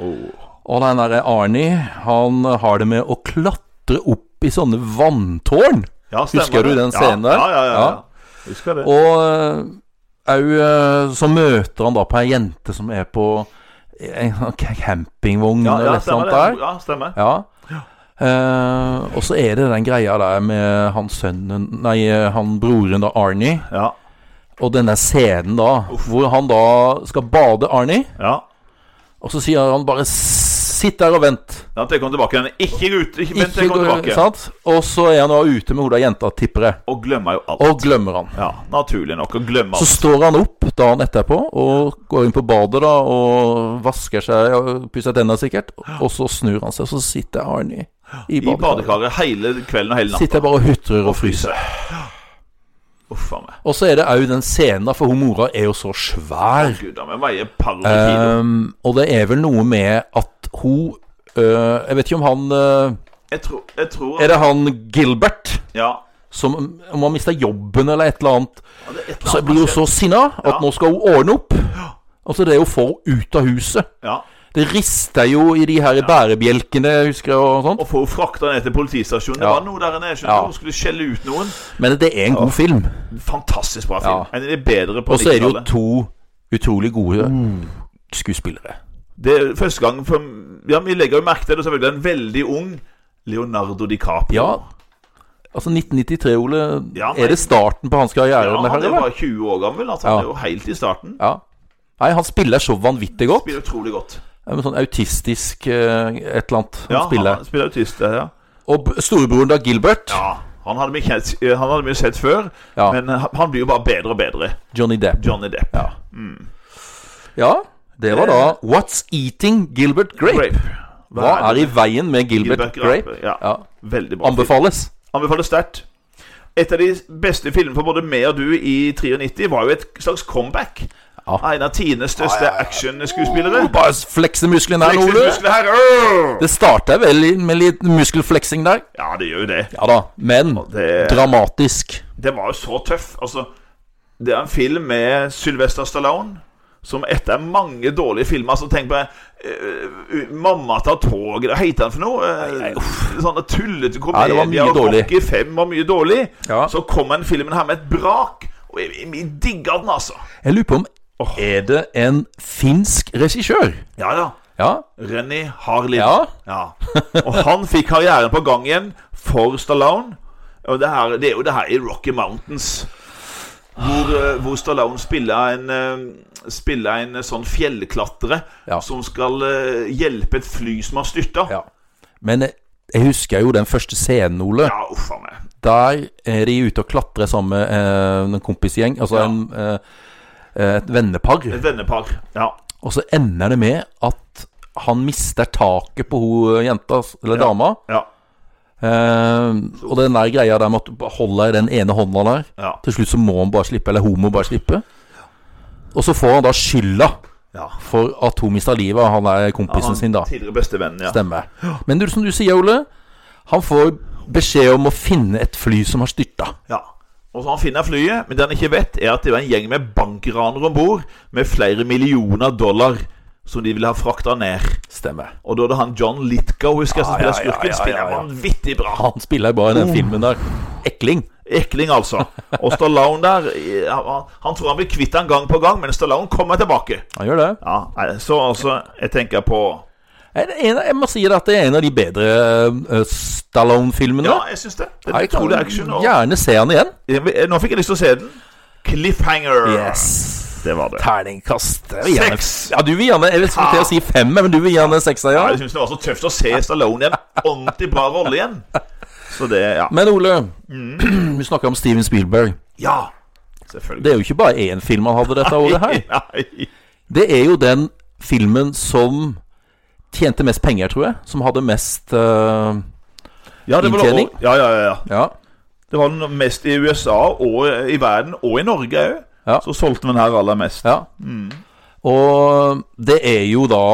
Speaker 2: Oh.
Speaker 1: Og den derre Arnie, han har det med å klatre opp i sånne vanntårn.
Speaker 2: Ja, stemmer
Speaker 1: Husker du
Speaker 2: det.
Speaker 1: den scenen
Speaker 2: ja,
Speaker 1: der?
Speaker 2: Ja, ja, ja.
Speaker 1: Ja.
Speaker 2: ja. Husker det.
Speaker 1: Og òg så møter han da på ei jente som er på en sånn ca- campingvogn
Speaker 2: ja,
Speaker 1: eller et
Speaker 2: ja,
Speaker 1: eller annet
Speaker 2: stemmer
Speaker 1: der.
Speaker 2: det. Ja, stemmer.
Speaker 1: Ja. Eh, og så er det den greia der med han sønnen Nei, eh, han broren, da, Arnie.
Speaker 2: Ja,
Speaker 1: Og denne scenen, da, hvor han da skal bade Arnie.
Speaker 2: ja.
Speaker 1: Og så sier han bare 'sitt der og vent'.
Speaker 2: Ja, at jeg kom tilbake igjen. Ikke ut, ikke, vent, jeg kom
Speaker 1: gå-
Speaker 2: tilbake.
Speaker 1: sant? Og så er han da ute med hodet av jenta, tipper jeg.
Speaker 2: Og glemmer jo alt.
Speaker 1: Og glemmer han.
Speaker 2: Ja, naturlig nok. Og glemmer
Speaker 1: Så
Speaker 2: alt.
Speaker 1: står han opp dagen etterpå og går inn på badet da og vasker seg og pusser tenna sikkert. Og så snur han seg, så sitter Arnie i
Speaker 2: I
Speaker 1: badekaret.
Speaker 2: badekaret hele kvelden og hele natta.
Speaker 1: Sitter bare og hutrer og fryser.
Speaker 2: Uff a meg.
Speaker 1: Og så er det òg den scenen, da, for hun mora er jo så svær.
Speaker 2: Gud a meg, veier et par hundre kilo.
Speaker 1: Ehm, og det er vel noe med at hun øh, Jeg vet ikke om han øh,
Speaker 2: Jeg tror, jeg tror
Speaker 1: Er det han Gilbert
Speaker 2: Ja.
Speaker 1: som om han mista jobben eller et eller annet?
Speaker 2: Ja, det er et eller
Speaker 1: Så
Speaker 2: annet
Speaker 1: blir hun
Speaker 2: som
Speaker 1: så sinna at
Speaker 2: Ja.
Speaker 1: nå skal hun ordne opp. Altså, det er jo for ut av huset.
Speaker 2: skjer. Ja.
Speaker 1: Det rister jo i de her bærebjelkene, husker jeg, og sånt.
Speaker 2: Og få henne frakta ned til politistasjonen.
Speaker 1: Ja.
Speaker 2: Det var noe der nede. jeg skjønner.
Speaker 1: Ja.
Speaker 2: Hun skulle skjelle ut noen.
Speaker 1: Men det er en god film.
Speaker 2: Fantastisk bra film.
Speaker 1: Ja.
Speaker 2: En av de bedre på
Speaker 1: Og så er det jo
Speaker 2: 90-tallet.
Speaker 1: to utrolig gode skuespillere.
Speaker 2: Det er første gang for, Ja, vi legger jo merke til det selvfølgelig En veldig ung Leonardo DiCaprio
Speaker 1: Ja. Altså, 1993, Ole,
Speaker 2: Ja,
Speaker 1: er
Speaker 2: nei.
Speaker 1: det starten på hans
Speaker 2: Ja,
Speaker 1: karriere? det her,
Speaker 2: han er jo
Speaker 1: eller?
Speaker 2: bare 20 år gammel altså, Han
Speaker 1: Ja.
Speaker 2: er jo helt i starten
Speaker 1: Ja. Nei, han spiller så vanvittig godt.
Speaker 2: Spiller utrolig godt
Speaker 1: En sånn autistisk eh, et eller annet. Han
Speaker 2: Ja,
Speaker 1: spiller.
Speaker 2: han spiller autist ja.
Speaker 1: Og b- storebroren da, Gilbert,
Speaker 2: ja, han hadde vi kjent, eh, han hadde vi sett før
Speaker 1: Ja.
Speaker 2: Men han han blir jo bare bedre og bedre
Speaker 1: Johnny Depp.
Speaker 2: Johnny Depp
Speaker 1: Ja. ja, det var
Speaker 2: Eh.
Speaker 1: da What's Eating Gilbert Grape? Hva er i veien med Gilbert Grape?
Speaker 2: Ja.
Speaker 1: Ja.
Speaker 2: Veldig bra film.
Speaker 1: Anbefales.
Speaker 2: Anbefaler sterkt Et av de beste filmene for både meg og du i 93 Var jo et slags comeback
Speaker 1: Ja.
Speaker 2: En av tidenes største actionskuespillere
Speaker 1: Oh, bare flekse musklene her,
Speaker 2: Flekser
Speaker 1: Ole.
Speaker 2: Eh. musklene her Åh!
Speaker 1: Det starta vel i- med litt muskelfleksing der.
Speaker 2: Ja, det gjør jo det.
Speaker 1: Ja da, men
Speaker 2: det-
Speaker 1: dramatisk.
Speaker 2: Det var jo så tøff. Altså, det er en film med Sylvester Stallone, Som etter mange dårlige filmer Så tenk på eh, Mamma tar toget Hva heter den for noe? Eh, Sånne tullete
Speaker 1: Ja, det var mye
Speaker 2: komedier og
Speaker 1: dårlig.
Speaker 2: Rocky 5 var mye dårlig
Speaker 1: Ja.
Speaker 2: Så kom den filmen her med et brak Og jeg, jeg digger den altså
Speaker 1: Jeg lurer på om Er det en finsk regissør?
Speaker 2: Ja, ja
Speaker 1: Ja.
Speaker 2: Renny Harlin
Speaker 1: Ja.
Speaker 2: Og han fikk karrieren på gang igjen For Stallone Og det, her, det er jo det her i Rocky Mountains hvor, eh, hvor Stallone spiller en, eh, spiller en sånn fjellklatre
Speaker 1: Ja.
Speaker 2: som skal eh, hjelpe et fly som har styrta.
Speaker 1: ja. Men jeg, jeg husker jo den første scenen, Ole.
Speaker 2: Ja, uff a meg.
Speaker 1: Der er de ute og klatrer sammen med eh, en kompisgjeng. Altså
Speaker 2: Ja.
Speaker 1: en, eh, et vennepar.
Speaker 2: Et vennepar. Ja.
Speaker 1: Og så ender det med at han mister taket på hun jenta, eller dama.
Speaker 2: ja,
Speaker 1: Eh, og den der greia der med at du bare holder i den ene hånda der.
Speaker 2: ja,
Speaker 1: Til slutt så må han bare slippe, eller hun må bare slippe. Og så får han da skylda
Speaker 2: ja.
Speaker 1: for at hun mista livet av han der kompisen sin, da.
Speaker 2: Tidligere bestevennen, ja.
Speaker 1: Stemmer. Men du, som du sier, Ole, han får beskjed om å finne et fly som har styrta.
Speaker 2: ja. Og så Han finner flyet, men det han ikke vet, er at det var en gjeng med bankranere om bord med flere millioner dollar som de ville ha frakta ned.
Speaker 1: Stemmer.
Speaker 2: Og da er det han John Litkow, husker jeg, som
Speaker 1: Ja, ja,
Speaker 2: spiller
Speaker 1: ja, ja,
Speaker 2: skurken.
Speaker 1: ja,
Speaker 2: Spiller
Speaker 1: ja.
Speaker 2: vanvittig bra.
Speaker 1: Han spiller bare i
Speaker 2: Oh.
Speaker 1: den filmen der. Ekling.
Speaker 2: Ekling, altså. Og Stallone der eh, Han, han tror han blir kvitt han gang på gang, men Stallone kommer tilbake.
Speaker 1: Han gjør det.
Speaker 2: Ja, nei, Så altså, jeg tenker på
Speaker 1: Er det en, jeg må si det at det er en av de bedre eh, Stallone-filmene.
Speaker 2: Ja, jeg syns det. Det er utrolig action. Og,
Speaker 1: Gjerne se han igjen.
Speaker 2: Eh, Nå fikk jeg lyst til å se den. Cliffhanger. Det var det.
Speaker 1: Terningkast. Jeg vil gjerne-
Speaker 2: Seks.
Speaker 1: Ja, du vil gjerne Jeg vil skulle til å si fem, men du vil gjerne en sekser,
Speaker 2: Ja,
Speaker 1: ja.
Speaker 2: Jeg syns det var så tøft å se Stallone i en ordentlig bra rolle igjen. Så det Ja.
Speaker 1: Men Ole,
Speaker 2: Mm.
Speaker 1: vi snakker om Steven Spielberg.
Speaker 2: ja
Speaker 1: Det
Speaker 2: selvfølgelig.
Speaker 1: er jo ikke bare én film han hadde dette året her.
Speaker 2: Nei.
Speaker 1: Det er jo den filmen som tjente mest penger, tror jeg. Som hadde mest eh,
Speaker 2: Ja, det var det.
Speaker 1: Inntjening?
Speaker 2: også- Ja, ja, ja, ja.
Speaker 1: Ja.
Speaker 2: Det var den mest i USA og i verden, og i Norge òg.
Speaker 1: Ja.
Speaker 2: Så solgte den her aller mest.
Speaker 1: ja. Og det er jo da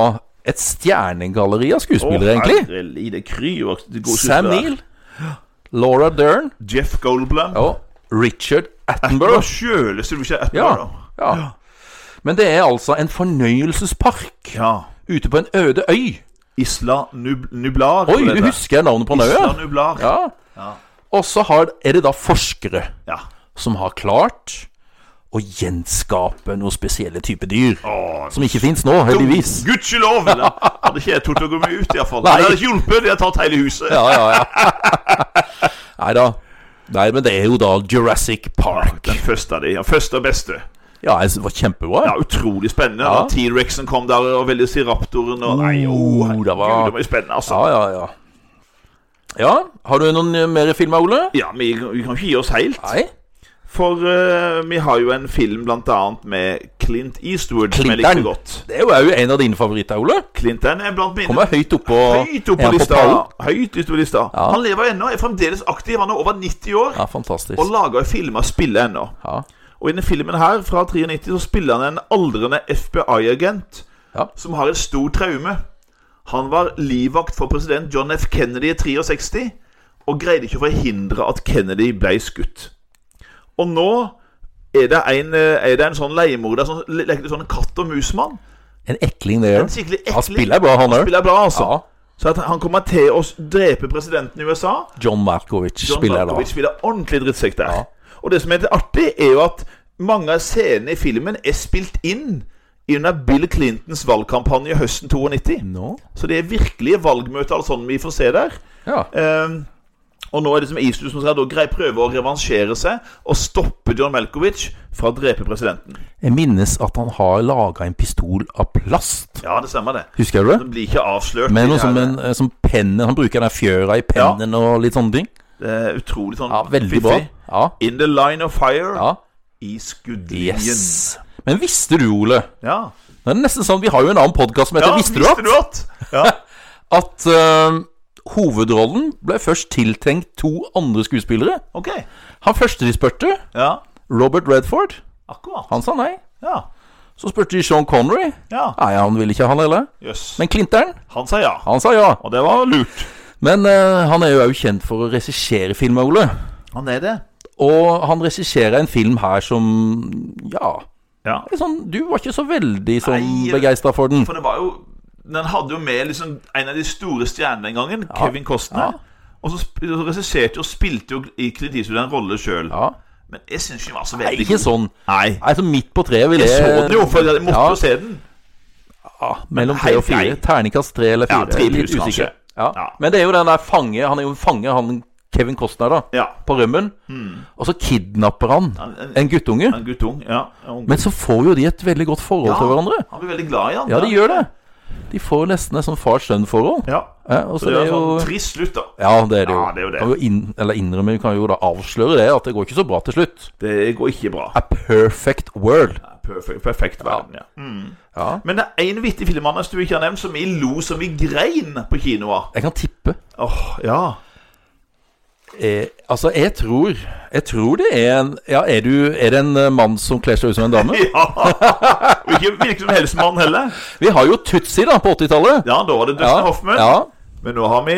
Speaker 1: et stjernegalleri av skuespillere, egentlig.
Speaker 2: egentlig. Det kryr jo av gode
Speaker 1: Sam
Speaker 2: skuespillere.
Speaker 1: Neill, Laura Dern
Speaker 2: Jeff Goldblum.
Speaker 1: og Richard
Speaker 2: Hva
Speaker 1: Attenborough.
Speaker 2: sjøleste du ikke
Speaker 1: Ja,
Speaker 2: Attenborough?
Speaker 1: ja. Men det er altså en fornøyelsespark
Speaker 2: Ja.
Speaker 1: ute på en øde øy.
Speaker 2: Isla Nub Nublar.
Speaker 1: Oi,
Speaker 2: heter
Speaker 1: du
Speaker 2: det.
Speaker 1: husker navnet på den
Speaker 2: Isla
Speaker 1: øya?
Speaker 2: Nublar.
Speaker 1: Ja.
Speaker 2: Ja.
Speaker 1: Og så har- er det da forskere
Speaker 2: Ja.
Speaker 1: som har klart å gjenskape noen spesielle typer dyr.
Speaker 2: Åh,
Speaker 1: Som ikke fins nå, heldigvis.
Speaker 2: Gudskjelov! eller? Hadde ikke jeg tort å gå meg ut, iallfall. Det
Speaker 1: Nei.
Speaker 2: hadde ikke hjulpet. De har tatt hele huset.
Speaker 1: Ja, ja, ja. Nei da. Nei, men det er jo da Jurassic Park.
Speaker 2: Den første av de. Ja, første og beste.
Speaker 1: Ja, jeg synes det var kjempebra.
Speaker 2: Ja, Utrolig spennende.
Speaker 1: Ja.
Speaker 2: Da T-rexen kom der, og velociraptoren og Nei,
Speaker 1: Oh,
Speaker 2: oh, herregud,
Speaker 1: det var-
Speaker 2: det var jo spennende, altså.
Speaker 1: Ja, ja, ja. Ja, Har du noen eh, mer filmer, Ole?
Speaker 2: Ja, vi, vi kan ikke gi oss helt.
Speaker 1: Nei.
Speaker 2: For eh, vi har jo en film blant annet med Clint Eastwood som jeg likte
Speaker 1: Clinton.
Speaker 2: godt.
Speaker 1: Det er jo- er jo en av dine favoritter, Ole.
Speaker 2: Clinton er blant mine
Speaker 1: Kommer høyt opp på,
Speaker 2: høyt opp
Speaker 1: er
Speaker 2: på
Speaker 1: han
Speaker 2: lista.
Speaker 1: pallen?
Speaker 2: Høyt ut på lista.
Speaker 1: Ja.
Speaker 2: Han lever ennå, er fremdeles aktiv. Han er over 90 år
Speaker 1: Ja, fantastisk.
Speaker 2: og lager filmer og spiller ennå.
Speaker 1: Ja.
Speaker 2: Og i denne filmen her fra 93 så spiller han en aldrende FBI-agent
Speaker 1: Ja.
Speaker 2: som har et stort traume. Han var livvakt for president John F. Kennedy i 63 og greide ikke å forhindre at Kennedy ble skutt. Og nå er det en, eh, er det en sånn leiemorder som leker litt sånn katt og mus-mann.
Speaker 1: En ekling, det
Speaker 2: En
Speaker 1: gjør.
Speaker 2: skikkelig ekling.
Speaker 1: Han spiller bra, han òg.
Speaker 2: Spiller bra, altså.
Speaker 1: Ja.
Speaker 2: Så at han kommer til å s- drepe presidenten i USA.
Speaker 1: John Markovic
Speaker 2: John
Speaker 1: spiller da.
Speaker 2: Malkovich spiller ordentlig drittsekk der.
Speaker 1: Ja.
Speaker 2: Og det som er litt artig, er jo at mange av scenene i filmen er spilt inn under Bill Clintons valgkampanje høsten 92.
Speaker 1: Nå?
Speaker 2: Så det er virkelige valgmøter og sånn vi får se der.
Speaker 1: Ja.
Speaker 2: Ehm, og nå er det som Eastwood som skal da grei prøve å revansjere seg og stoppe John Malkovich fra å drepe presidenten.
Speaker 1: Jeg minnes at han har laga en pistol av plast.
Speaker 2: Ja, det stemmer, det.
Speaker 1: Husker du det?
Speaker 2: Den blir ikke avslørt.
Speaker 1: Med noe
Speaker 2: Det er-
Speaker 1: som, en, eh, som pennen Han bruker den fjøra i pennen og litt sånne ting.
Speaker 2: Det er utrolig sånn
Speaker 1: Ja, Veldig bra.
Speaker 2: fiffig.
Speaker 1: Ja.
Speaker 2: In the line of fire.
Speaker 1: ja.
Speaker 2: I skuddlinjen.
Speaker 1: Yes. Men visste du, Ole
Speaker 2: Ja.
Speaker 1: Det er nesten sånn, Vi har jo en annen podkast som heter
Speaker 2: ja,
Speaker 1: Visste du at?
Speaker 2: at? Ja.
Speaker 1: At eh, hovedrollen ble først tiltenkt to andre skuespillere.
Speaker 2: Ok.
Speaker 1: Han første de spurte,
Speaker 2: Ja,
Speaker 1: Robert Redford,
Speaker 2: akkurat.
Speaker 1: han sa nei.
Speaker 2: Ja.
Speaker 1: Så spurte de Sean Connery.
Speaker 2: ja.
Speaker 1: Nei, han ville ikke, han heller.
Speaker 2: Jøss.
Speaker 1: Men Clinton,
Speaker 2: Han sa ja.
Speaker 1: han sa ja.
Speaker 2: Og det var lurt.
Speaker 1: Men eh, han er jo òg kjent for å regissere filmer, Ole.
Speaker 2: Han er det.
Speaker 1: Og han regisserer en film her som ja
Speaker 2: Ja.
Speaker 1: Litt Sånn, du var ikke så veldig sånn
Speaker 2: Nei,
Speaker 1: begeistra for den.
Speaker 2: For det var jo Den hadde jo med liksom en av de store stjernene den gangen, Kevin Costner. Og så sp- så regisserte jo og spilte jo i Clint Eastwood en rolle sjøl.
Speaker 1: Ja,
Speaker 2: Men jeg syns ikke den var så
Speaker 1: Nei,
Speaker 2: veldig
Speaker 1: ikke sånn.
Speaker 2: Nei.
Speaker 1: Nei, så midt på treet vil
Speaker 2: Jeg
Speaker 1: jeg
Speaker 2: så den jo, for jeg måtte
Speaker 1: Ja.
Speaker 2: jo se den.
Speaker 1: Ja, mellom tre
Speaker 2: helt
Speaker 1: og fire.
Speaker 2: grei.
Speaker 1: Terningkast tre eller
Speaker 2: Ja,
Speaker 1: fire.
Speaker 2: trehus,
Speaker 1: Litt usikker.
Speaker 2: kanskje.
Speaker 1: Ja.
Speaker 2: Ja.
Speaker 1: Men det er jo den der fange Han er jo fange, han Kevin Costner, da.
Speaker 2: Ja.
Speaker 1: På rømmen. Og så kidnapper han
Speaker 2: en-
Speaker 1: en guttunge.
Speaker 2: En guttung. Ja. En ung.
Speaker 1: Men så får jo de et veldig godt forhold
Speaker 2: Ja,
Speaker 1: til hverandre.
Speaker 2: Han blir veldig glad i han.
Speaker 1: Ja, de gjør det. De får nesten et sånn far-sønn-forhold.
Speaker 2: Ja.
Speaker 1: Ja, og
Speaker 2: Så
Speaker 1: så
Speaker 2: det er
Speaker 1: jo
Speaker 2: sånn trist slutt, da.
Speaker 1: Ja, det er det jo.
Speaker 2: Ja, det er jo det.
Speaker 1: Kan vi jo inn, eller innrømme, vi kan jo da avsløre det, at det går ikke så bra til slutt.
Speaker 2: Det går ikke bra.
Speaker 1: A perfect world.
Speaker 2: Perfekt, perfekt verden, ja. Mm.
Speaker 1: Ja.
Speaker 2: Men det er én vittig film Anders, du ikke har nevnt, som vi lo som vi grein på kinoa.
Speaker 1: Jeg kan tippe.
Speaker 2: Åh, ja.
Speaker 1: Eh, altså, jeg tror Jeg tror det er en Ja, er, du, er det en eh, mann som kler seg ut som en dame?
Speaker 2: ja. Og ikke hvilken som helst mann heller.
Speaker 1: Vi har jo Tutsi, da, på 80-tallet.
Speaker 2: Ja, da var det Dustin Hoffman.
Speaker 1: ja.
Speaker 2: Men nå har vi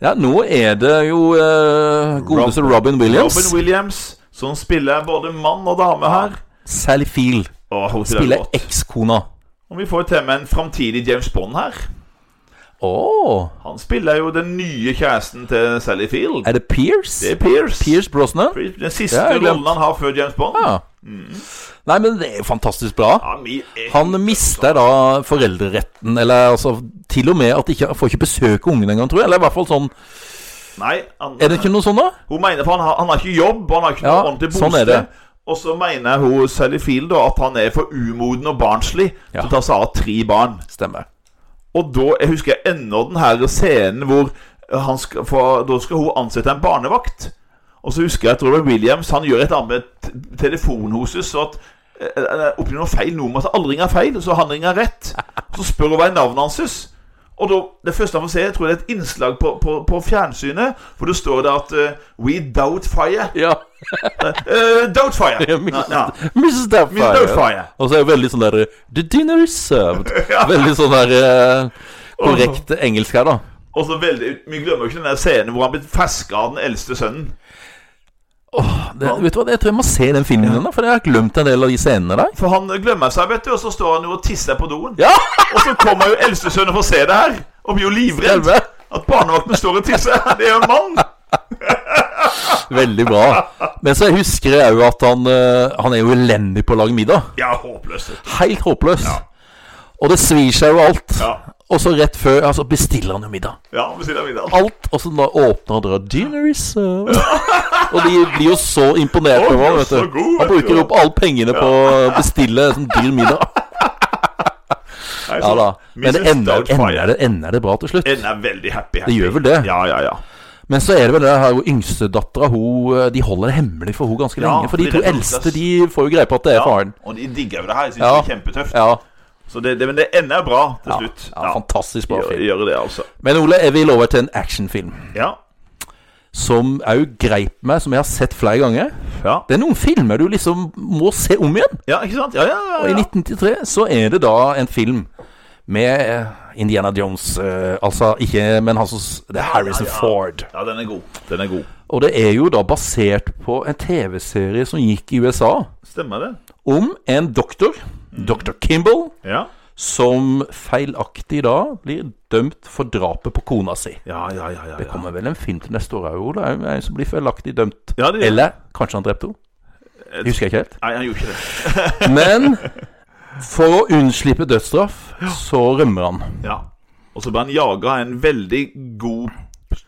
Speaker 1: ja, nå er det jo eh, godeste Robin Williams.
Speaker 2: Robin Williams, som spiller både mann og dame her.
Speaker 1: Sally Field
Speaker 2: Åh, hun spiller
Speaker 1: spiller
Speaker 2: godt.
Speaker 1: ekskona.
Speaker 2: Og vi får til med en framtidig James Bond her.
Speaker 1: Å!
Speaker 2: Han spiller jo den nye kjæresten til Sally Field.
Speaker 1: Er det Pierce?
Speaker 2: Det er Pierce.
Speaker 1: Pierce Mm. Brosnan?
Speaker 2: Den siste
Speaker 1: Ja, jeg har
Speaker 2: rollen
Speaker 1: glemt.
Speaker 2: han har før James Bond.
Speaker 1: Ja. Nei, men det er jo fantastisk bra.
Speaker 2: Ja, vi er-
Speaker 1: Han mister da foreldreretten, eller altså Til og med at de ikke får ikke besøke ungen engang, tror jeg. Eller i hvert fall sånn
Speaker 2: Nei, han,
Speaker 1: Er det ikke noe sånn, da?
Speaker 2: hun mener for han har, han har ikke jobb, han har ikke
Speaker 1: Ja,
Speaker 2: noe ordentlig
Speaker 1: sånn er
Speaker 2: bosted.
Speaker 1: det.
Speaker 2: og så mener hun Sally Field da, at han er for umoden og barnslig
Speaker 1: Ja.
Speaker 2: til å ta seg av tre barn.
Speaker 1: Stemmer.
Speaker 2: Og da jeg husker jeg ennå den her scenen hvor han skal, for, da skal hun ansette en barnevakt. Og så husker jeg at Robert Williams han gjør et eller annet med t- telefonen hos oss, så at eh, eh, oppgir noe feil nummer. Så alle ringer feil, så han ringer rett. Og så spør hun hva er navnet hans. er. Og da, Det første han får se, jeg tror det er et innslag på, på, på fjernsynet, hvor det står det at eh, We doubt fire.
Speaker 1: Ja.
Speaker 2: Eh, doubt fire!
Speaker 1: Ja, Mrs.
Speaker 2: Ja, ja.
Speaker 1: Mrs.
Speaker 2: We
Speaker 1: Doubtfire.
Speaker 2: doubt fire.
Speaker 1: Og så er det veldig sånn der The dinner is served. Veldig sånn der eh, korrekt engelsk her, da.
Speaker 2: Og så veldig, Vi glemmer jo ikke den der scenen hvor han blir ferska av den eldste sønnen.
Speaker 1: Det, vet du hva, Jeg tror jeg må se den filmen igjen, da, for jeg har glemt en del av de scenene der.
Speaker 2: For han glemmer seg, vet du, og så står han jo og tisser på doen.
Speaker 1: Ja!
Speaker 2: Og så kommer jo eldstesønnen for å se det her, og blir jo livredd.
Speaker 1: Stemmer.
Speaker 2: At barnevakten står og tisser. Det er jo en mann!
Speaker 1: Veldig bra. Men så husker jeg jo at han, eh, han er jo elendig på å lage middag.
Speaker 2: Ja, håpløst.
Speaker 1: Helt håpløs. Og det svir seg jo alt.
Speaker 2: Ja.
Speaker 1: Og så rett før altså bestiller han jo middag.
Speaker 2: Ja, ved siden av middagen.
Speaker 1: Alt. Og så da åpner han døra Dinner is served. Og de blir jo så imponert
Speaker 2: Oi,
Speaker 1: over ham.
Speaker 2: så
Speaker 1: vet du.
Speaker 2: god, vet
Speaker 1: Han
Speaker 2: du.
Speaker 1: bruker opp alle pengene på å bestille en sånn dyr middag.
Speaker 2: Nei,
Speaker 1: Ja
Speaker 2: så
Speaker 1: da. Men det
Speaker 2: Mrs.
Speaker 1: ender,
Speaker 2: Doubtfire
Speaker 1: ender, det, ender det bra til slutt.
Speaker 2: En er veldig happy. happy.
Speaker 1: Det gjør vel det.
Speaker 2: Eh, Ja, ja, ja.
Speaker 1: Men så er det vel det her hvor yngstedattera eh, De holder det hemmelig for hun ganske
Speaker 2: Ja,
Speaker 1: lenge. For de
Speaker 2: fordi
Speaker 1: to
Speaker 2: det er
Speaker 1: eldste
Speaker 2: fantastisk.
Speaker 1: de får jo greie på at det er
Speaker 2: ja.
Speaker 1: faren.
Speaker 2: Og de digger jo det her. Jeg synes
Speaker 1: Ja.
Speaker 2: det er kjempetøft.
Speaker 1: Ja,
Speaker 2: Så det, det, men det ender bra til
Speaker 1: ja,
Speaker 2: slutt.
Speaker 1: ja Fantastisk bra
Speaker 2: Gjør,
Speaker 1: film.
Speaker 2: gjør det, altså.
Speaker 1: Men Ole, jeg vil over til en actionfilm
Speaker 2: Ja.
Speaker 1: som òg greip meg, som jeg har sett flere ganger.
Speaker 2: Ja.
Speaker 1: Det er noen filmer du liksom må se om igjen.
Speaker 2: ja, ikke sant? Ja, ja, ja.
Speaker 1: Og i
Speaker 2: ja.
Speaker 1: 1993 så er det da en film med eh, Indiana Jones eh, Altså ikke Men han som s- Det er Harrison
Speaker 2: ja, ja.
Speaker 1: Ford.
Speaker 2: ja den er god. Den er god.
Speaker 1: Og det er jo da basert på en TV-serie som gikk i USA.
Speaker 2: Stemmer det?
Speaker 1: om en doktor,
Speaker 2: Mm.
Speaker 1: dr. Kimball,
Speaker 2: Ja.
Speaker 1: som feilaktig da blir dømt for drapet på kona si.
Speaker 2: Ja, ja, ja. ja,
Speaker 1: Det
Speaker 2: ja.
Speaker 1: kommer vel en film til neste år òg, Ole. En en som blir feilaktig dømt.
Speaker 2: Ja, det gjør
Speaker 1: Eller kanskje han drepte henne. Det Husker jeg ikke helt.
Speaker 2: Nei, han gjorde ikke det.
Speaker 1: Men for å unnslippe dødsstraff, så rømmer han.
Speaker 2: Ja. Og så ble han jaga av en veldig god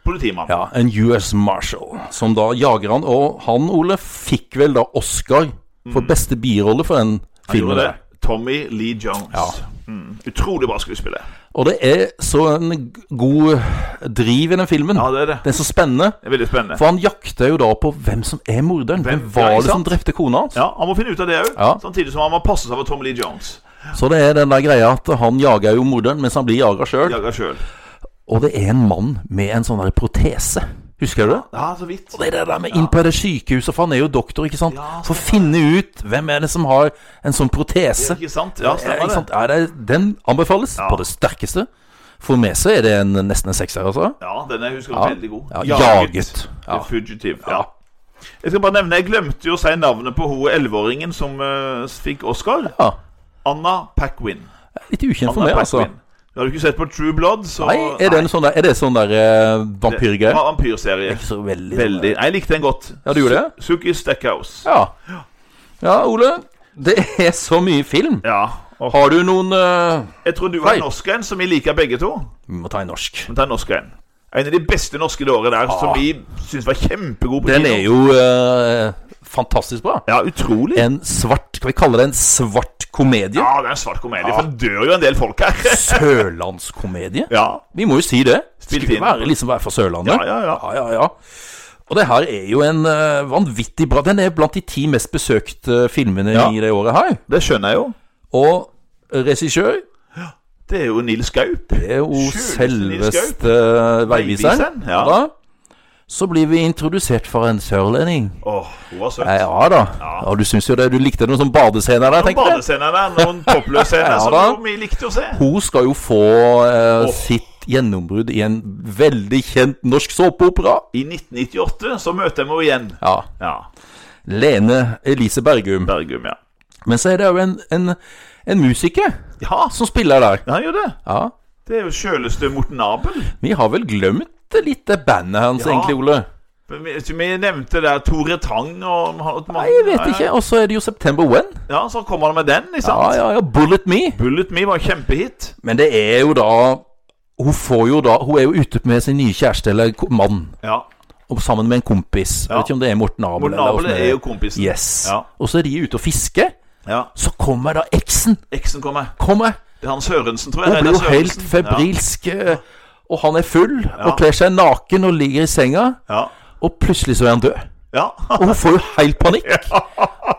Speaker 2: politimann.
Speaker 1: Ja, En US Marshal, som da jager han. Og han, Ole, fikk vel da Oscar for beste birolle for den filmen.
Speaker 2: Gjorde det.
Speaker 1: der.
Speaker 2: Tommy Lee Jones.
Speaker 1: Ja.
Speaker 2: Mm. Utrolig bra skuespiller.
Speaker 1: Og det er så en god driv i den filmen.
Speaker 2: Ja, det er det.
Speaker 1: Den er så spennende.
Speaker 2: Det er veldig spennende.
Speaker 1: For han jakter jo da på hvem som er morderen. Hvem,
Speaker 2: Hvem- ja,
Speaker 1: var
Speaker 2: ikke
Speaker 1: det som
Speaker 2: sant?
Speaker 1: drepte kona hans?
Speaker 2: Ja, Han må finne ut av det òg,
Speaker 1: Ja.
Speaker 2: samtidig som han må passe seg for Tommy Lee Jones.
Speaker 1: Så det er den der greia at han jager jo morderen mens han blir jaga sjøl.
Speaker 2: Jaga sjøl.
Speaker 1: Og det er en mann med en sånn der protese. Husker du det?
Speaker 2: Ja, så vidt.
Speaker 1: Det er det der med inn på det sykehuset, for han er jo doktor, ikke sant.
Speaker 2: Ja,
Speaker 1: For å finne ut hvem er det som har en sånn protese.
Speaker 2: Ikke sant? Ja,
Speaker 1: Eh,
Speaker 2: stemmer
Speaker 1: ikke sant?
Speaker 2: det.
Speaker 1: Er det, den anbefales
Speaker 2: Ja.
Speaker 1: på det sterkeste. For med seg er det en, nesten en sekser, altså.
Speaker 2: Ja, den er jeg husker
Speaker 1: Ja.
Speaker 2: veldig god.
Speaker 1: Ja, jaget.
Speaker 2: Ja.
Speaker 1: Ja.
Speaker 2: Fugitive. Ja. Jeg skal bare nevne, jeg glemte jo å si navnet på hun 11-åringen som eh, fikk Oscar.
Speaker 1: Ja.
Speaker 2: Anna Paquin.
Speaker 1: Litt ukjent for
Speaker 2: Anna
Speaker 1: meg, altså.
Speaker 2: Paquin. Har du ikke sett på True Blood, så
Speaker 1: Nei, er det en sånn der, er det sånn der eh,
Speaker 2: Det
Speaker 1: vampyrgreie?
Speaker 2: var Vampyrserie.
Speaker 1: Ikke så veldig. sånn
Speaker 2: Veldig. Nei, jeg likte den godt.
Speaker 1: Ja, du gjorde det?
Speaker 2: Su- Suki Stackhouse.
Speaker 1: Ja. ja, Ole. Det er så mye film.
Speaker 2: Ja. Og
Speaker 1: Har du noen eh,
Speaker 2: jeg tror du har
Speaker 1: Nei.
Speaker 2: en norsk en som vi liker begge to.
Speaker 1: Vi må ta en norsk.
Speaker 2: Men ta en norsk en. En av de beste norske det året der, som
Speaker 1: Ja.
Speaker 2: vi syns var kjempegod på
Speaker 1: Ah. Den
Speaker 2: kino.
Speaker 1: er jo eh, fantastisk bra.
Speaker 2: Ja, utrolig.
Speaker 1: En svart Kan vi kalle det en svart komedie?
Speaker 2: Ja, det er en svart komedie, for det dør jo en del folk her.
Speaker 1: Sørlandskomedie?
Speaker 2: Ja,
Speaker 1: Vi må jo si det.
Speaker 2: Spilt
Speaker 1: Skulle
Speaker 2: inn.
Speaker 1: være, liksom være fra Sørlandet.
Speaker 2: ja, ja. ja.
Speaker 1: Ja, ja, ja. Og det her er jo en eh, vanvittig bra Den er blant de ti mest besøkte eh, filmene
Speaker 2: Ja.
Speaker 1: i det året her.
Speaker 2: Det skjønner jeg jo.
Speaker 1: Og regissør
Speaker 2: Det er jo Nils Gaup.
Speaker 1: det er jo
Speaker 2: Sjøleste Nils
Speaker 1: selveste veiviseren.
Speaker 2: Veiviseren, ja.
Speaker 1: Da, så blir vi introdusert for en sørlending.
Speaker 2: Åh, hun var søt.
Speaker 1: Ja, ja da. Ja, du syns jo det. Du likte noen sånn badescener der,
Speaker 2: Noen
Speaker 1: tenkte jeg.
Speaker 2: badescener der, noen toppløse scener
Speaker 1: Ja,
Speaker 2: som
Speaker 1: da.
Speaker 2: jo vi likte å se.
Speaker 1: Hun skal jo få eh,
Speaker 2: Åh.
Speaker 1: sitt gjennombrudd i en veldig kjent norsk såpeopera.
Speaker 2: I 1998 så møter jeg henne igjen.
Speaker 1: Ja.
Speaker 2: Ja,
Speaker 1: Lene Elise Bergum.
Speaker 2: Bergum, ja.
Speaker 1: Men så er det jo en, en, en musiker
Speaker 2: Ja,
Speaker 1: som spiller der.
Speaker 2: han gjør det.
Speaker 1: Ja.
Speaker 2: Det er jo sjøleste Morten Abel.
Speaker 1: Vi har vel glemt litt det bandet hans,
Speaker 2: Ja.
Speaker 1: egentlig, Ole.
Speaker 2: Men Vi vi nevnte der Tore Tang og og-
Speaker 1: Nei, jeg vet ikke. Og så er det jo September When.
Speaker 2: Ja, så kommer han med den, ikke
Speaker 1: Ja,
Speaker 2: sant?
Speaker 1: ja, ja. Bullet Me.
Speaker 2: Bullet Me var kjempehit.
Speaker 1: Men det er jo da Hun får jo da Hun er jo ute med sin nye kjæreste eller ko- mann.
Speaker 2: Ja.
Speaker 1: Og sammen med en kompis. Jeg
Speaker 2: Ja.
Speaker 1: vet ikke om det er Morten Abel.
Speaker 2: Morten
Speaker 1: eller
Speaker 2: Abel
Speaker 1: hvordan det
Speaker 2: er jo kompisen.
Speaker 1: Yes.
Speaker 2: Ja.
Speaker 1: Og så er de ute og fisker.
Speaker 2: Ja.
Speaker 1: Så kommer da eksen.
Speaker 2: Eksen kommer.
Speaker 1: Kommer.
Speaker 2: Det er han Sørensen, tror jeg.
Speaker 1: Hun blir
Speaker 2: Reidar
Speaker 1: jo helt
Speaker 2: Sørensen.
Speaker 1: febrilsk. eh, Og han er full
Speaker 2: Ja.
Speaker 1: og kler seg naken og ligger i senga.
Speaker 2: Ja.
Speaker 1: Og plutselig så er han død.
Speaker 2: ja. ja.
Speaker 1: Og hun får jo helt panikk.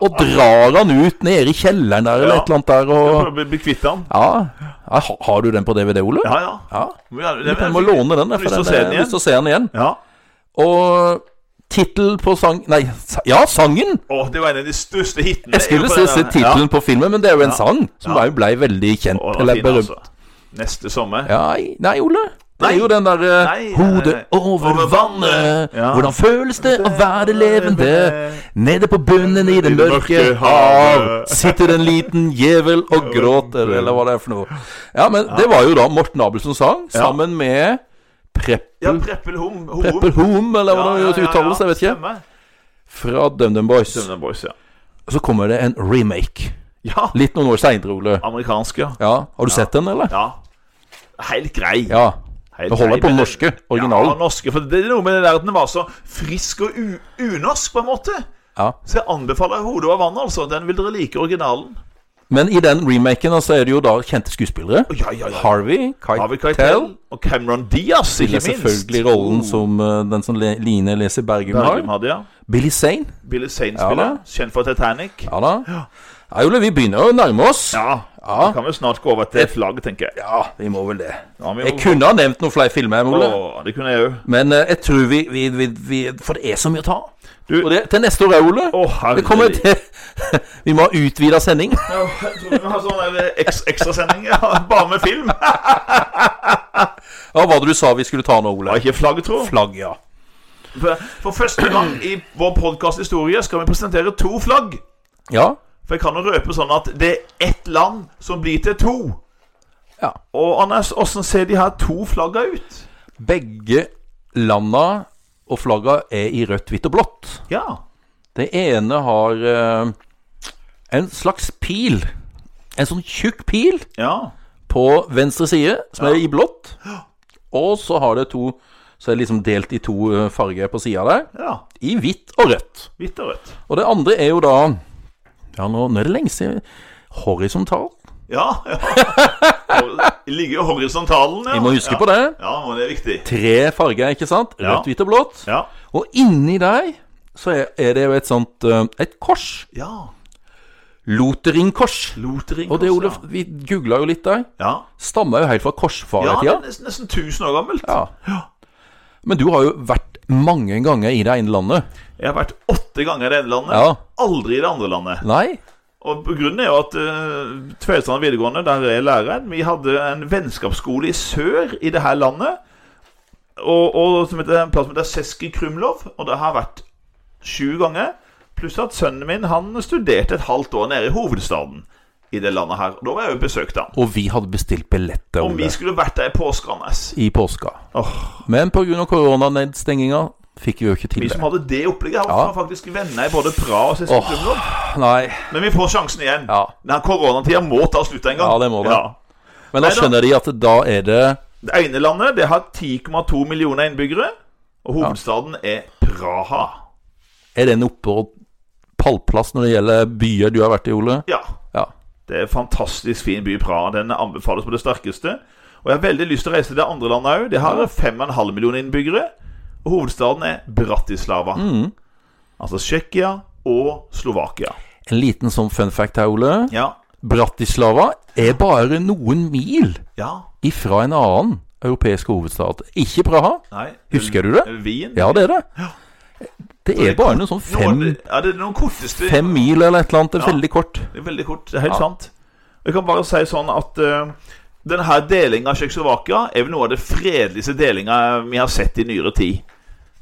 Speaker 1: Og drar han ut nede i kjelleren der eller
Speaker 2: Ja.
Speaker 1: et eller annet der og
Speaker 2: Prøver å bli- bli kvitt ham.
Speaker 1: Ja. ja ha- har du den på DVD, Ole?
Speaker 2: Ja, ja.
Speaker 1: ja.
Speaker 2: Men ja, det-
Speaker 1: Du må låne den, der, for
Speaker 2: Lyst til
Speaker 1: den
Speaker 2: å se
Speaker 1: er-
Speaker 2: den
Speaker 1: jeg har lyst
Speaker 2: igjen.
Speaker 1: til å se den igjen.
Speaker 2: Ja.
Speaker 1: Og tittel på sang... Nei, sa- ja, sangen!
Speaker 2: Å, det var en av de største hitene.
Speaker 1: Jeg skulle
Speaker 2: på
Speaker 1: se
Speaker 2: den
Speaker 1: se
Speaker 2: der.
Speaker 1: tittelen på filmen, men det er jo en
Speaker 2: Ja.
Speaker 1: sang som
Speaker 2: Ja.
Speaker 1: da blei veldig kjent.
Speaker 2: Å, den var
Speaker 1: eller
Speaker 2: fin,
Speaker 1: berømt.
Speaker 2: altså. Neste sommer.
Speaker 1: Nei, nei, Ole. Det
Speaker 2: Nei.
Speaker 1: er jo den derre
Speaker 2: Nei, nei,
Speaker 1: Hodet
Speaker 2: nei.
Speaker 1: over
Speaker 2: Over vannet.
Speaker 1: vannet.
Speaker 2: Ja.
Speaker 1: Hvordan føles det å være levende? Nede på bunnen i det
Speaker 2: I det
Speaker 1: mørke
Speaker 2: mørke
Speaker 1: hav
Speaker 2: havet.
Speaker 1: sitter en liten djevel og gråter, eller hva det er for noe. Ja, men det var jo da Morten Abelsen sang,
Speaker 2: Ja.
Speaker 1: sammen med
Speaker 2: Ja,
Speaker 1: Preppel
Speaker 2: Preppel Hom. Hom.
Speaker 1: Preppel Hom, eller hva det
Speaker 2: Ja, ja, ja,
Speaker 1: uttales, jeg vet ikke.
Speaker 2: Stemmer.
Speaker 1: Fra DumDum Boys.
Speaker 2: Stemmer, boys, ja.
Speaker 1: Så kommer det en remake.
Speaker 2: Ja,
Speaker 1: Litt noen år seinere, Ole.
Speaker 2: amerikansk, ja.
Speaker 1: Ja, Har du sett den, eller?
Speaker 2: ja. Helt grei.
Speaker 1: Ja.
Speaker 2: Helt
Speaker 1: Det holder
Speaker 2: grei,
Speaker 1: på den
Speaker 2: men-
Speaker 1: norske
Speaker 2: Ja,
Speaker 1: originalen.
Speaker 2: den norske, for det er noe med det der at den var så frisk og u unorsk, på en måte.
Speaker 1: Ja.
Speaker 2: Så jeg anbefaler 'Hodet over vannet', altså. Den vil dere like originalen.
Speaker 1: Men i den remaken da, så er det jo da kjente skuespillere.
Speaker 2: Å, Ja, ja, ja.
Speaker 1: Harvey
Speaker 2: Harvey
Speaker 1: Keitel
Speaker 2: Keitel og Cameron Diaz,
Speaker 1: spiller
Speaker 2: ikke minst. Oh.
Speaker 1: selvfølgelig rollen som eh, den som Le- Line leser Bergum
Speaker 2: Bergum
Speaker 1: har.
Speaker 2: hadde, ja.
Speaker 1: Billy Zane.
Speaker 2: Billy Zane
Speaker 1: Ja,
Speaker 2: spiller.
Speaker 1: da.
Speaker 2: Kjent for Titanic.
Speaker 1: Ja da. Ja, Jule, vi begynner å nærme oss.
Speaker 2: Ja.
Speaker 1: Ja.
Speaker 2: Da kan vi snart gå over til flagg, tenker jeg.
Speaker 1: Ja, vi må vel det.
Speaker 2: Ja, vi
Speaker 1: Jeg
Speaker 2: må-
Speaker 1: kunne ha nevnt noen flere filmer, Ole.
Speaker 2: Å, det kunne jeg òg.
Speaker 1: Men eh, jeg tror vi, vi, vi, vi For det er så mye å ta av.
Speaker 2: Du-
Speaker 1: Og det til neste år, Ole.
Speaker 2: Å, herregud.
Speaker 1: det kommer til Vi må ha utvida sending.
Speaker 2: Ja, jeg tror vi har sånn der eks ekstrasending, ja, bare med film. Det
Speaker 1: Hva var det du sa vi skulle ta nå, Ole?
Speaker 2: var ikke flagg, tro.
Speaker 1: Flagg, ja.
Speaker 2: For- For første gang i vår podkasthistorie skal vi presentere to flagg.
Speaker 1: Ja.
Speaker 2: For jeg kan jo røpe sånn at det er ett land som blir til to.
Speaker 1: ja.
Speaker 2: Og Anders, åssen ser de her to flagga ut?
Speaker 1: Begge landa og flagga er i rødt, hvitt og blått.
Speaker 2: Ja.
Speaker 1: Det ene har eh, en slags pil. En sånn tjukk pil
Speaker 2: Ja.
Speaker 1: på venstre side, som er i blått. Og så har det to Så er det liksom delt i to eh, farger på sida der.
Speaker 2: ja.
Speaker 1: I hvitt og rødt.
Speaker 2: Hvitt og rødt.
Speaker 1: Og det andre er jo da Ja, nå, nå er det lenge siden. Horisontal.
Speaker 2: Ja. ja. Og det Ligger jo horisontalen, ja.
Speaker 1: Vi må huske
Speaker 2: ja.
Speaker 1: på det.
Speaker 2: Ja, og det er viktig.
Speaker 1: Tre farger, ikke sant?
Speaker 2: Ja.
Speaker 1: Rødt, hvitt og blått.
Speaker 2: Ja.
Speaker 1: Og inni der så er, er det jo et sånt eh, Et kors.
Speaker 2: ja.
Speaker 1: Loteringkors.
Speaker 2: Lotering.
Speaker 1: Og det, Ole,
Speaker 2: også,
Speaker 1: vi googla jo litt der.
Speaker 2: Ja.
Speaker 1: Stammer jo helt fra
Speaker 2: ja. ja, det er
Speaker 1: korsfarertida.
Speaker 2: nesten, nesten 1000 år gammelt.
Speaker 1: Ja. Men du har jo vært mange ganger i det ene landet.
Speaker 2: Jeg har vært åtte ganger i det ene landet.
Speaker 1: Ja.
Speaker 2: Aldri i det andre landet.
Speaker 1: Nei?
Speaker 2: Og Grunnen er jo at uh, Tvedestrand videregående, der er læreren Vi hadde en vennskapsskole i sør i det her landet. Og, og som heter, en plass som heter Seski Krumlov. Og det har vært sju ganger. Pluss at sønnen min han studerte et halvt år nede i hovedstaden i det landet her. Og da var jeg jo besøkt han.
Speaker 1: Og vi hadde bestilt billetter
Speaker 2: Om vi
Speaker 1: Ole,
Speaker 2: skulle vært der i påskeandes.
Speaker 1: i påska.
Speaker 2: Åh,
Speaker 1: Men pga. koronanedstenginga fikk vi jo ikke til
Speaker 2: vi
Speaker 1: det.
Speaker 2: som hadde det opplegget, her,
Speaker 1: Ja.
Speaker 2: var faktisk venner i både Praha og Sesselklubben. vår.
Speaker 1: Nei,
Speaker 2: Men vi får sjansen igjen.
Speaker 1: ja.
Speaker 2: Den koronatida må ta slutt en gang.
Speaker 1: Ja, det må det.
Speaker 2: Ja.
Speaker 1: Men da
Speaker 2: Neida.
Speaker 1: skjønner de at da er det
Speaker 2: Det ene landet det har 10,2 millioner innbyggere, og hovedstaden er Praha.
Speaker 1: Er den oppe og pallplass når det gjelder byer du har vært i, Ole?
Speaker 2: Ja,
Speaker 1: Ja.
Speaker 2: det er en fantastisk fin by Praha. Den anbefales på det sterkeste. Og jeg har veldig lyst til å reise til det andre landet òg. Det har 5,5 millioner innbyggere, og hovedstaden er Bratislava.
Speaker 1: Mm.
Speaker 2: Altså Tsjekkia og Slovakia.
Speaker 1: En liten sånn fun fact her, Ole.
Speaker 2: Ja.
Speaker 1: Bratislava er bare noen mil
Speaker 2: Ja.
Speaker 1: ifra en annen europeisk hovedstad. Ikke Praha.
Speaker 2: Nei.
Speaker 1: Husker du det?
Speaker 2: Wien?
Speaker 1: Ja, det er det. Det er bare noe sånn fem,
Speaker 2: Noe, ja, det er noen korteste
Speaker 1: fem mil eller et eller annet. Det er
Speaker 2: Ja.
Speaker 1: veldig kort.
Speaker 2: Det er veldig kort. Det er helt
Speaker 1: Ja.
Speaker 2: sant. Jeg kan bare si sånn at eh, denne her delinga av Tsjekkoslovakia er vel noe av det fredeligste delinga vi har sett i nyere tid.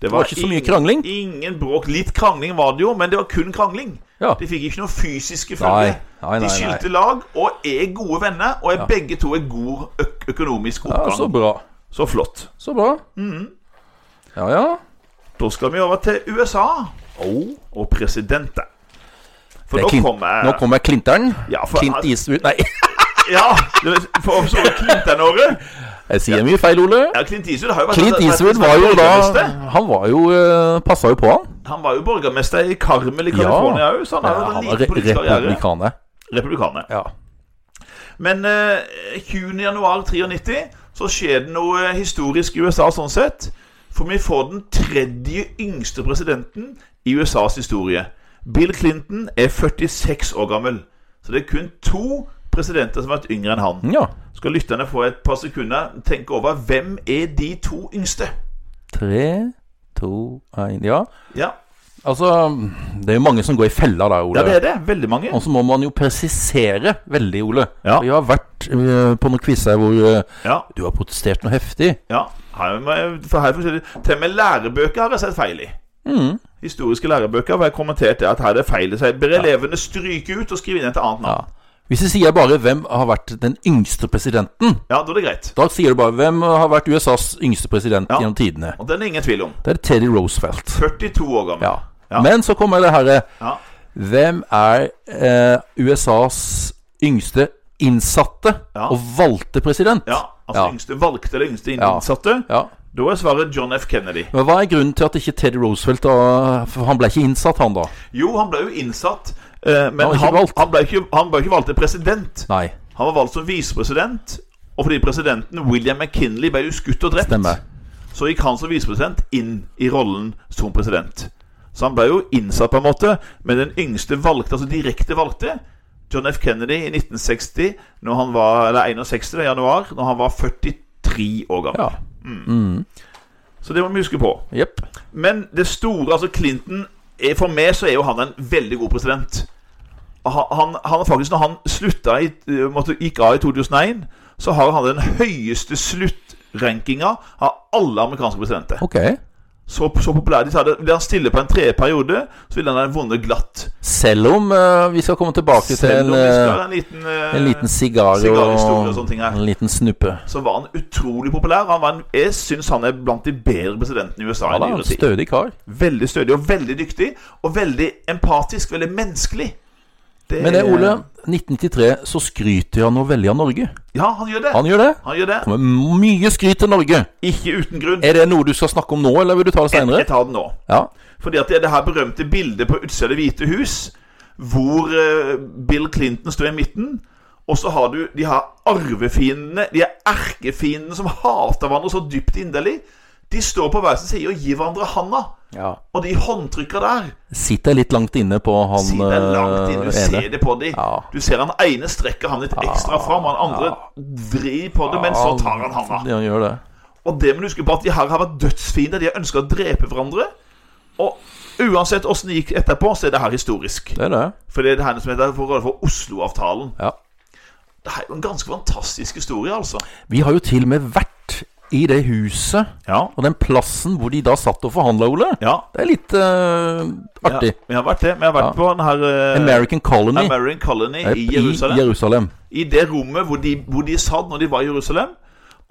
Speaker 1: Det var ikke så mye krangling.
Speaker 2: Ingen bråk. Litt krangling var det jo, men det var kun krangling.
Speaker 1: Ja.
Speaker 2: De fikk ikke noe fysiske
Speaker 1: Nei,
Speaker 2: følger.
Speaker 1: nei, nei.
Speaker 2: De
Speaker 1: nei.
Speaker 2: skilte lag og er gode venner, og er begge to i god øk økonomisk
Speaker 1: Ja,
Speaker 2: oppgang.
Speaker 1: så bra.
Speaker 2: så flott.
Speaker 1: Så bra.
Speaker 2: Mhm.
Speaker 1: Ja, ja.
Speaker 2: Da skal vi over til USA og presidenten.
Speaker 1: Oh. Det
Speaker 2: For
Speaker 1: er
Speaker 2: nå
Speaker 1: Clint-
Speaker 2: kommer
Speaker 1: Nå kommer Clinteren.
Speaker 2: Ja, for-
Speaker 1: Clint Eastwood Nei,
Speaker 2: Ja, for så vidt Clinton-året.
Speaker 1: jeg sier mye feil, Ole.
Speaker 2: Ja, Clint Eastwood har jo vært
Speaker 1: Clint
Speaker 2: vært-
Speaker 1: Eastwood
Speaker 2: vært-
Speaker 1: var jo da
Speaker 2: borgermester.
Speaker 1: Han var jo Passa jo på, han.
Speaker 2: Han var jo borgermester i Carmel i
Speaker 1: Ja.
Speaker 2: California òg, så han har
Speaker 1: Ja,
Speaker 2: jo en
Speaker 1: han var
Speaker 2: liten
Speaker 1: re-
Speaker 2: politisk karriere.
Speaker 1: republikaner.
Speaker 2: Republikaner.
Speaker 1: Ja.
Speaker 2: Men eh, 20. januar 93 så skjer det noe eh, historisk i USA sånn sett. For vi får den tredje yngste presidenten i USAs historie. Bill Clinton er 46 år gammel. Så det er kun to presidenter som har vært yngre enn han.
Speaker 1: ja.
Speaker 2: Skal lytterne få et par sekunder tenke over hvem er de to yngste?
Speaker 1: Tre, to, én Ja.
Speaker 2: Ja,
Speaker 1: Altså, det er jo mange som går i fella der, Ole.
Speaker 2: ja det er det. Veldig mange.
Speaker 1: Og så må man jo presisere veldig, Ole.
Speaker 2: Ja.
Speaker 1: Vi har vært eh, på noen quizer hvor eh,
Speaker 2: Ja,
Speaker 1: du har protestert noe heftig.
Speaker 2: ja. Her, må jeg- for her er forskjellig. Til og med lærebøker har jeg sett feil i.
Speaker 1: Mm.
Speaker 2: Historiske lærebøker har jeg kommentert det at her er det feil. Så jeg ber elevene stryke ut og skrive inn et annet
Speaker 1: Ja.
Speaker 2: navn.
Speaker 1: Hvis jeg sier bare 'Hvem har vært den yngste presidenten?'
Speaker 2: Ja, da er det greit.
Speaker 1: Da sier du bare 'Hvem har vært USAs yngste president
Speaker 2: Ja.
Speaker 1: gjennom tidene?'
Speaker 2: Og den er ingen tvil om.
Speaker 1: Det er Teddy Roosevelt.
Speaker 2: 42 år gammel.
Speaker 1: Ja.
Speaker 2: Ja.
Speaker 1: Men så kommer det herre
Speaker 2: Ja.
Speaker 1: Hvem er eh, USAs yngste innsatte
Speaker 2: Ja.
Speaker 1: og valgte president?
Speaker 2: Ja, altså
Speaker 1: Ja.
Speaker 2: yngste valgte eller yngste
Speaker 1: Ja.
Speaker 2: innsatte.
Speaker 1: Ja.
Speaker 2: Da er svaret John F. Kennedy.
Speaker 1: Men Hva er grunnen til at ikke Teddy Roosevelt da, For han ble ikke innsatt, han da?
Speaker 2: Jo, han ble jo innsatt, eh,
Speaker 1: Han
Speaker 2: men
Speaker 1: var
Speaker 2: han,
Speaker 1: ikke
Speaker 2: han,
Speaker 1: valgt.
Speaker 2: ble ikke, han ble ikke valgt til president.
Speaker 1: Nei.
Speaker 2: Han var valgt som visepresident, og fordi presidenten William McKinley ble jo skutt og drept
Speaker 1: Stemmer.
Speaker 2: så gikk han som visepresident inn i rollen som president. Så han ble jo innsatt på en måte, men den yngste valgte, altså direkte valgte, John F. Kennedy i 1960, når han var, eller 61. i januar, når han var 43 år gammel.
Speaker 1: Ja.
Speaker 2: Så det må vi huske på.
Speaker 1: Jepp.
Speaker 2: Men det store, altså Clinton er, For meg så er jo han en veldig god president. Og Han, han, han er faktisk, når han slutta i, eh, måtte, gikk av i 2001, så har han den høyeste sluttrankinga av alle amerikanske presidenter.
Speaker 1: Ok.
Speaker 2: så, så populær de sa det. Ville han stille på en tredjeperiode, så ville han ha vunnet glatt.
Speaker 1: Selv om eh, vi skal komme tilbake til
Speaker 2: Selv
Speaker 1: en,
Speaker 2: om vi skal
Speaker 1: eh,
Speaker 2: ha en liten, eh,
Speaker 1: en liten sigar
Speaker 2: sigarhistorie og sånne ting her.
Speaker 1: en liten snuppe.
Speaker 2: Så var han utrolig populær. Han var en, jeg syns han er blant de bedre presidentene i USA.
Speaker 1: Ja,
Speaker 2: i
Speaker 1: da,
Speaker 2: nyere
Speaker 1: en
Speaker 2: tid.
Speaker 1: stødig kar.
Speaker 2: Veldig stødig og veldig dyktig. Og veldig empatisk. Veldig menneskelig. Det-
Speaker 1: Men det, Ole, 1993 så skryter han noe veldig av Norge.
Speaker 2: Ja, han gjør det. Han,
Speaker 1: Han gjør det.
Speaker 2: gjør det.
Speaker 1: Kommer mye skryt til Norge.
Speaker 2: Ikke uten grunn.
Speaker 1: Er det noe du skal snakke om nå, eller vil du ta det
Speaker 2: Jeg
Speaker 1: seinere?
Speaker 2: tar den nå.
Speaker 1: Ja.
Speaker 2: Fordi at det er det her berømte bildet på utsida av Det hvite hus, hvor eh, Bill Clinton står i midten. Og så har du de her arvefiendene, de her erkefiendene som hater hverandre så dypt inderlig. De står på hver sin side og gir hverandre handa.
Speaker 1: ja.
Speaker 2: Og de håndtrykka der
Speaker 1: Sitter litt langt inne på han
Speaker 2: Siden er langt inn, du
Speaker 1: eh,
Speaker 2: ser det på dem.
Speaker 1: Ja.
Speaker 2: Du ser han ene strekker han litt ekstra fram, han andre vrir på det, men så tar han handa.
Speaker 1: Ja, han gjør det.
Speaker 2: Og det må du huske på at de her har vært dødsfiender. De har ønska å drepe hverandre. Og uansett åssen det gikk etterpå, så er det her historisk.
Speaker 1: Det er det.
Speaker 2: For det er det her som heter for, for Oslo-avtalen.
Speaker 1: Ja.
Speaker 2: Det er jo en ganske fantastisk historie, altså.
Speaker 1: Vi har jo til og med vært i det huset
Speaker 2: Ja,
Speaker 1: og den plassen hvor de da satt og forhandla, Ole.
Speaker 2: ja.
Speaker 1: Det er litt eh, artig.
Speaker 2: Ja, vi har vært det. Vi har vært
Speaker 1: Ja.
Speaker 2: på den her eh,
Speaker 1: American Colony
Speaker 2: American Colony
Speaker 1: eh,
Speaker 2: i Jerusalem.
Speaker 1: I Jerusalem.
Speaker 2: I det rommet hvor de, hvor de satt når de var i Jerusalem.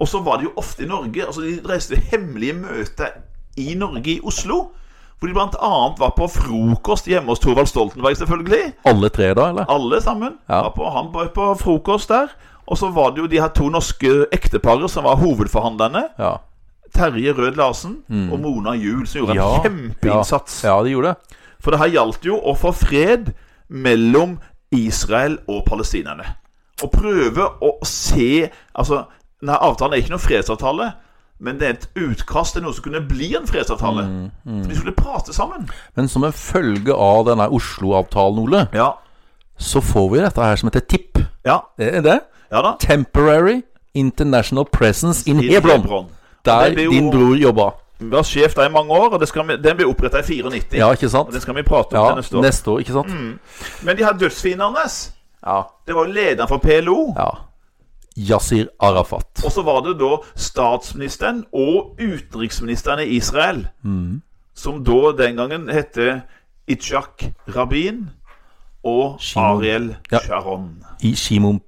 Speaker 2: Og så var de jo ofte i Norge. Altså De reiste hemmelige møter i Norge, i Oslo. Hvor de blant annet var på frokost hjemme hos Thorvald Stoltenberg, selvfølgelig.
Speaker 1: Alle tre da, eller?
Speaker 2: Alle sammen.
Speaker 1: Ja.
Speaker 2: Var på, han var på frokost der. Og så var det jo de her to norske ekteparet som var hovedforhandlerne.
Speaker 1: Ja.
Speaker 2: Terje Rød Larsen og Mona Juel, som gjorde
Speaker 1: Mm. Ja,
Speaker 2: en kjempeinnsats.
Speaker 1: Ja, de gjorde det.
Speaker 2: For det her gjaldt jo å få fred mellom Israel og palestinerne. Å prøve å se Altså, denne avtalen er ikke noen fredsavtale, men det er et utkast til noe som kunne bli en fredsavtale.
Speaker 1: Mm,
Speaker 2: De skulle prate sammen.
Speaker 1: Men som en følge av denne Oslo-avtalen, Ole,
Speaker 2: Ja.
Speaker 1: så får vi dette her som heter TIP.
Speaker 2: Ja,
Speaker 1: Det er det.
Speaker 2: ja da.
Speaker 1: Temporary International Presence in Hebron. Der
Speaker 2: Det blir jo-
Speaker 1: din bror jobba.
Speaker 2: Vi var sjef der i mange år, og det skal vi, den ble oppretta i 94.
Speaker 1: Ja, ikke sant?
Speaker 2: Og Den skal vi prate om
Speaker 1: Ja,
Speaker 2: til neste år. Mm.
Speaker 1: neste år, ikke sant?
Speaker 2: Men de her dødsfiendene hans,
Speaker 1: Ja.
Speaker 2: det var jo lederen for PLO.
Speaker 1: ja. Yasir Arafat.
Speaker 2: Og så var det da statsministeren og utenriksministeren i Israel, som da den gangen hette Itzhak Rabin og
Speaker 1: Shimon.
Speaker 2: Ariel
Speaker 1: Ja.
Speaker 2: Sharon.
Speaker 1: I Shimon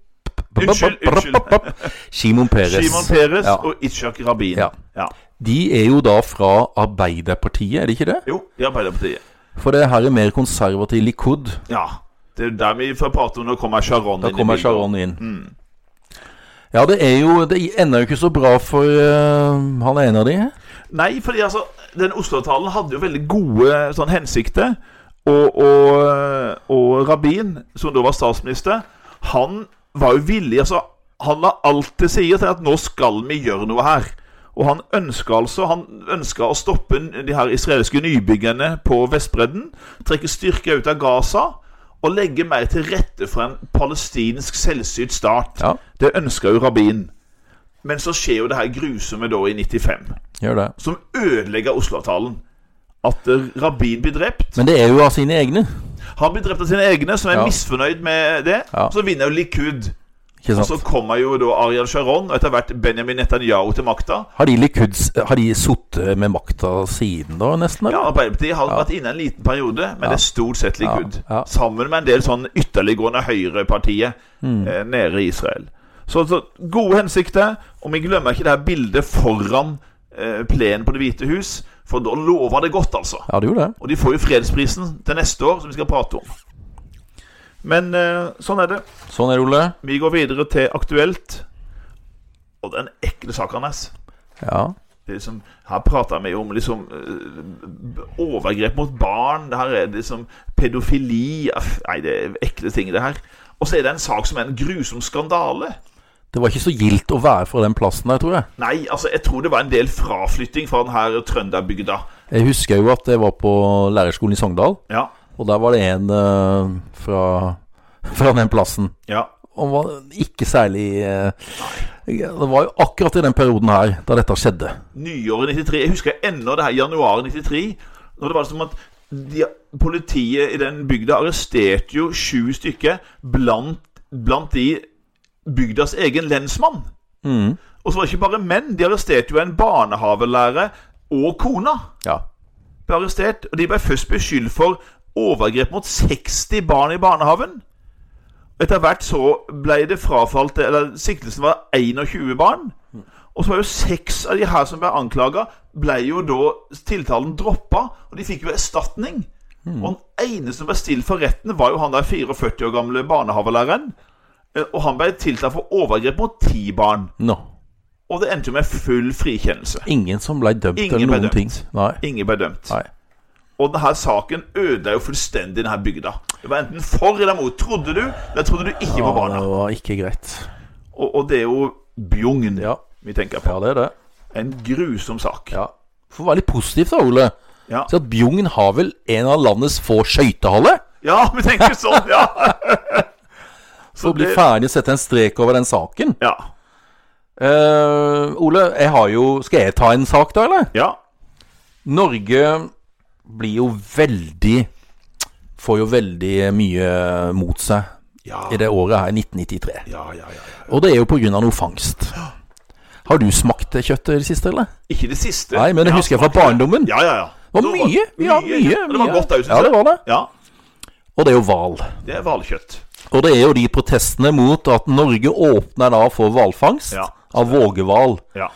Speaker 2: Unnskyld, unnskyld.
Speaker 1: Shimon Peres.
Speaker 2: Shimon Peres
Speaker 1: Ja.
Speaker 2: og Itzhak Rabin.
Speaker 1: Ja.
Speaker 2: Ja.
Speaker 1: De er jo da fra Arbeiderpartiet, er de ikke det?
Speaker 2: Jo, i Arbeiderpartiet.
Speaker 1: For det her er mer konservativ likud.
Speaker 2: Ja. Det er der vi får prate om når kommer Sharon
Speaker 1: Da
Speaker 2: inn i
Speaker 1: kommer
Speaker 2: bildet.
Speaker 1: Sharon inn. Ja, det er jo Det ender jo ikke så bra for eh, han ene av de.
Speaker 2: Nei, fordi altså, den Oslo-talen hadde jo veldig gode sånn hensikter. Og, og, og Rabin, som da var statsminister, han var jo villig altså, Han la alt til side til at nå skal vi gjøre noe her. Og han ønska altså Han ønska å stoppe de her israelske nybyggerne på Vestbredden. Trekke styrker ut av Gaza. Og legge mer til rette for en palestinsk selvstyrt stat.
Speaker 1: Ja.
Speaker 2: Det ønska jo Rabin. Men så skjer jo det her grusomme da i 95
Speaker 1: Gjør det.
Speaker 2: som ødelegger Oslo-avtalen. At eh, Rabin blir drept.
Speaker 1: Men det er jo av sine egne.
Speaker 2: Han blir drept av sine egne, som er
Speaker 1: Ja.
Speaker 2: misfornøyd med det.
Speaker 1: Ja.
Speaker 2: Så vinner jo Likud.
Speaker 1: Ikke
Speaker 2: Og så
Speaker 1: sant?
Speaker 2: kommer jo da Ariel Sharon og etter hvert Benjamin Netanyahu til makta.
Speaker 1: Har de likuds Har de sittet med makta siden da, nesten?
Speaker 2: Ja,
Speaker 1: Eller?
Speaker 2: Arbeiderpartiet har vært inne en liten periode, men det er stort sett Likud.
Speaker 1: Ja. Ja.
Speaker 2: Sammen med en del sånn ytterliggående høyrepartiet
Speaker 1: Mm.
Speaker 2: eh, nede i Israel. Så, så gode hensikter. Og vi glemmer ikke det her bildet foran eh, plenen på Det hvite hus, for da lover det godt, altså.
Speaker 1: Ja, det gjorde det.
Speaker 2: Og de får jo fredsprisen til neste år, som vi skal prate om. Men eh, sånn er det.
Speaker 1: Sånn er det, Ole.
Speaker 2: Vi går videre til aktuelt. Og den ekle saken hans.
Speaker 1: Ja.
Speaker 2: Det er liksom, her prater vi jo om liksom, eh, overgrep mot barn. Det her er liksom pedofili Aff, Nei, det er ekle ting, det her. Og så er det en sak som er en grusom skandale.
Speaker 1: Det var ikke så gildt å være fra den plassen der, tror jeg.
Speaker 2: Nei, altså, jeg tror det var en del fraflytting fra den her trønderbygda.
Speaker 1: Jeg husker jo at jeg var på lærerskolen i Sogndal,
Speaker 2: Ja,
Speaker 1: og der var det en eh, fra, fra den plassen.
Speaker 2: ja.
Speaker 1: Og var ikke særlig eh, Det var jo akkurat i den perioden her da dette skjedde.
Speaker 2: nyåret 93. Jeg husker ennå det her januar 93. Når det var som at de, politiet i den bygda arresterte jo sju stykker blant, blant de bygdas egen lensmann. Og så var det ikke bare menn. De arresterte jo en barnehavelærer og kona.
Speaker 1: Ja.
Speaker 2: Ble arrestert, og De ble først beskyldt for overgrep mot 60 barn i barnehaven. Etter hvert så ble det frafalt Eller siktelsen var 21 barn. Og så var jo seks av de her som ble anklaga, ble jo da tiltalen droppa. Og de fikk jo erstatning. Og den eneste som ble stilt for retten, var jo han der 44 år gamle barnehavelæreren. Eh, Og han ble tiltalt for overgrep mot ti barn.
Speaker 1: Nå.
Speaker 2: Og det endte jo med full frikjennelse.
Speaker 1: Ingen som ble dømt
Speaker 2: Ingen
Speaker 1: eller
Speaker 2: ble
Speaker 1: noen
Speaker 2: dømt.
Speaker 1: ting. Nei.
Speaker 2: Ingen ble dømt.
Speaker 1: Nei.
Speaker 2: Og denne saken ødela jo fullstendig denne bygda. Det var enten for eller mot. Trodde du, eller trodde du ikke på
Speaker 1: Ja,
Speaker 2: barna.
Speaker 1: det var ikke greit.
Speaker 2: Og, og det er jo Bjugn
Speaker 1: Ja.
Speaker 2: vi tenker
Speaker 1: ja,
Speaker 2: på.
Speaker 1: det er det.
Speaker 2: En grusom sak.
Speaker 1: Ja. For å være litt positiv, da, Ole.
Speaker 2: Ja.
Speaker 1: Så at Bjugn har vel en av landets få skøytehaller?
Speaker 2: ja, vi tenker sånn, ja!
Speaker 1: For å bli
Speaker 2: det-
Speaker 1: ferdig og sette en strek over den saken.
Speaker 2: Ja.
Speaker 1: Eh, Ole, jeg har jo Skal jeg ta en sak, da, eller?
Speaker 2: ja.
Speaker 1: Norge blir jo veldig Får jo veldig mye mot seg
Speaker 2: Ja,
Speaker 1: i det året her, 1993.
Speaker 2: ja, ja, ja.
Speaker 1: Og det er jo pga. noe fangst. Har du smakt det kjøttet i det siste, eller?
Speaker 2: Ikke det siste.
Speaker 1: Nei, men det
Speaker 2: har
Speaker 1: husker jeg fra
Speaker 2: smakt det.
Speaker 1: barndommen.
Speaker 2: Ja, ja, ja.
Speaker 1: Det var
Speaker 2: Så
Speaker 1: mye. Ja, mye.
Speaker 2: Og Det var
Speaker 1: mye.
Speaker 2: godt òg, syns
Speaker 1: Ja, det var det.
Speaker 2: Ja,
Speaker 1: Og det er jo hval.
Speaker 2: det er hvalkjøtt.
Speaker 1: Og det er jo de protestene mot at Norge åpner da for hvalfangst
Speaker 2: Ja.
Speaker 1: av vågehval.
Speaker 2: Ja.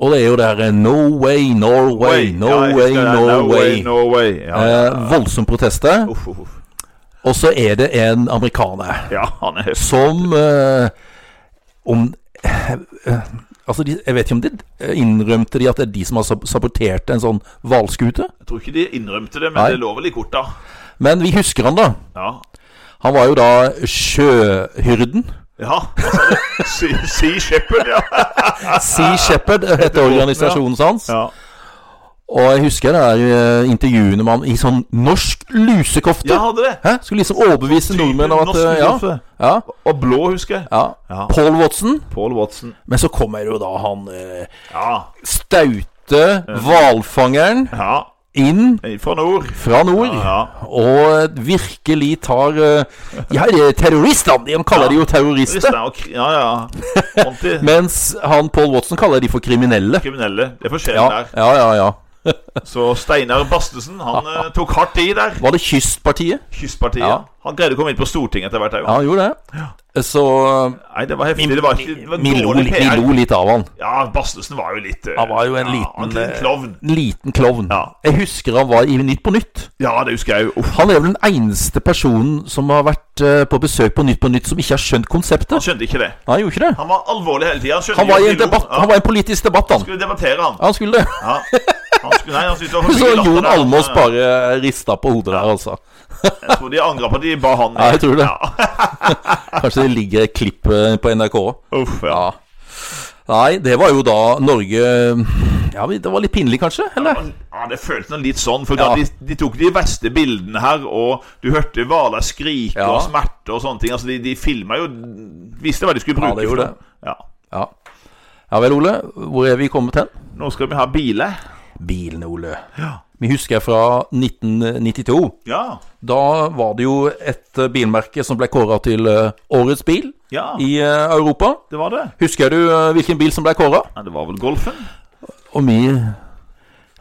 Speaker 1: Og det er jo det herre No way, Norway, no
Speaker 2: Ja, jeg
Speaker 1: way,
Speaker 2: husker det.
Speaker 1: no way.
Speaker 2: Norway. Ja, ja.
Speaker 1: Eh, voldsom protester.
Speaker 2: Uff, uff, uff.
Speaker 1: Og så er det en amerikaner
Speaker 2: ja, han er heftig.
Speaker 1: som eh, Om eh, Altså, de, jeg vet ikke om de innrømte de at det er de som har sab- sabotert en sånn hvalskute.
Speaker 2: Jeg tror ikke de innrømte det, men
Speaker 1: Nei.
Speaker 2: det lå vel i korta.
Speaker 1: Men vi husker han, da.
Speaker 2: Ja.
Speaker 1: Han var jo da sjøhyrden.
Speaker 2: ja. hva sa du? Sea- Sea Shepherd, ja.
Speaker 1: Sea Shepherd heter organisasjonen hans.
Speaker 2: ja.
Speaker 1: Og jeg husker det der eh, intervjuene med han i sånn norsk lusekofte.
Speaker 2: Jeg hadde det.
Speaker 1: Hæ? Skulle liksom overbevise
Speaker 2: Typen
Speaker 1: nordmenn om at
Speaker 2: norsk
Speaker 1: eh, ja,
Speaker 2: lusekofte.
Speaker 1: ja,
Speaker 2: Og blå, husker jeg.
Speaker 1: ja.
Speaker 2: Ja.
Speaker 1: Paul Watson.
Speaker 2: Paul Watson.
Speaker 1: Men så kommer jo da han eh,
Speaker 2: Ja.
Speaker 1: staute hvalfangeren
Speaker 2: ja.
Speaker 1: inn
Speaker 2: Fra nord.
Speaker 1: fra nord.
Speaker 2: Ja.
Speaker 1: Og virkelig tar eh, Ja, det er terroristene! De kaller de jo terrorister.
Speaker 2: Kristian og Kri- Ja, ja. Ordentlig
Speaker 1: Mens han Paul Watson kaller de for kriminelle.
Speaker 2: kriminelle. Det er forskjellen
Speaker 1: Ja,
Speaker 2: der.
Speaker 1: ja, ja, ja.
Speaker 2: Så Steinar Bastesen han eh, tok hardt i der.
Speaker 1: Var det Kystpartiet?
Speaker 2: Kystpartiet.
Speaker 1: Ja.
Speaker 2: Han greide å komme inn på Stortinget etter hvert òg.
Speaker 1: Ja, han gjorde det. Så
Speaker 2: Nei, det var heftig. Det var ikke det var
Speaker 1: vi lo,
Speaker 2: dårlig
Speaker 1: vi
Speaker 2: PR.
Speaker 1: lo litt av han.
Speaker 2: Ja, Bastesen var jo litt eh,
Speaker 1: Han var jo en
Speaker 2: ja,
Speaker 1: liten
Speaker 2: han var en
Speaker 1: eh,
Speaker 2: klovn.
Speaker 1: Liten klovn.
Speaker 2: Ja.
Speaker 1: Jeg husker han var i Nytt på Nytt.
Speaker 2: Ja, det husker jeg jo. Uff.
Speaker 1: Han er vel den eneste personen som har vært eh, på besøk på Nytt på Nytt som ikke har skjønt konseptet.
Speaker 2: Han skjønte ikke det.
Speaker 1: Nei, han gjorde ikke det.
Speaker 2: Han var alvorlig hele tida.
Speaker 1: Han var i en, debatt, han var i en politisk debatt, han.
Speaker 2: Skulle debattere, han.
Speaker 1: Ja, han skulle det.
Speaker 2: Ja. Han skulle, nei, han syntes det var
Speaker 1: Så
Speaker 2: for mye latter
Speaker 1: Jon
Speaker 2: der.
Speaker 1: Almås
Speaker 2: Ja,
Speaker 1: bare rista på hodet der, altså.
Speaker 2: Jeg tror de angra på at de ba han
Speaker 1: Ja, jeg tror det.
Speaker 2: Ja.
Speaker 1: Kanskje det ligger et klipp eh, på NRK.
Speaker 2: Uff, ja.
Speaker 1: Ja. Nei, det var jo da Norge Ja, vi- det var litt pinlig, kanskje? Eller?
Speaker 2: Ja, Det føltes noe litt sånn. For
Speaker 1: Ja.
Speaker 2: de, de tok de verste bildene her, og du hørte hvaler skrike
Speaker 1: Ja.
Speaker 2: og smerte og sånne ting. Altså, De, de filma jo Visste hva de skulle
Speaker 1: Ja,
Speaker 2: bruke.
Speaker 1: det gjorde
Speaker 2: for noe. Ja.
Speaker 1: Ja. ja vel, Ole. Hvor er vi kommet hen?
Speaker 2: Nå skal vi ha biler.
Speaker 1: Bilene, Ole.
Speaker 2: Ja.
Speaker 1: Vi husker fra 1992.
Speaker 2: Ja.
Speaker 1: Da var det jo et eh, bilmerke som ble kåra til eh, årets bil
Speaker 2: ja.
Speaker 1: i eh, Europa.
Speaker 2: Det var det.
Speaker 1: Husker du eh, hvilken bil som ble kåra?
Speaker 2: Ja, det var vel Golfen?
Speaker 1: Og vi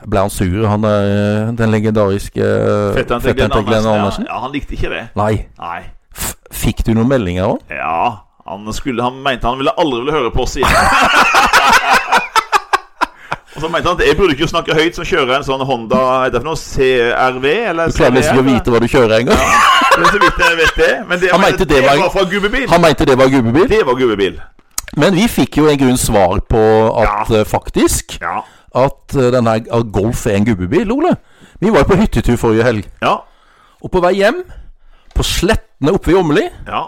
Speaker 1: ble han sur, han der eh, den legendariske eh,
Speaker 2: Fetteren til Glenn Andersen. Ja, ja, han likte ikke det.
Speaker 1: Nei.
Speaker 2: Nei.
Speaker 1: F fikk du noen meldinger òg?
Speaker 2: Ja, han, skulle, han mente han ville aldri ville høre på oss igjen. Og så mente han at jeg burde ikke snakke høyt som kjører en sånn Honda hva heter det for noe, CRV eller
Speaker 1: Du klarer nesten ikke å vite hva du kjører engang.
Speaker 2: Men så vidt jeg vet det. Men det,
Speaker 1: Han mente det var-
Speaker 2: fra gubbebil.
Speaker 1: Han mente det var gubbebil.
Speaker 2: Det var gubbebil.
Speaker 1: Men vi fikk jo en grunn svar på at eh, faktisk
Speaker 2: Ja.
Speaker 1: at eh, denne at Golf er en gubbebil, Ole. Vi var jo på hyttetur forrige helg.
Speaker 2: Ja.
Speaker 1: Og på vei hjem, på slettene oppe ved Åmli,
Speaker 2: ja.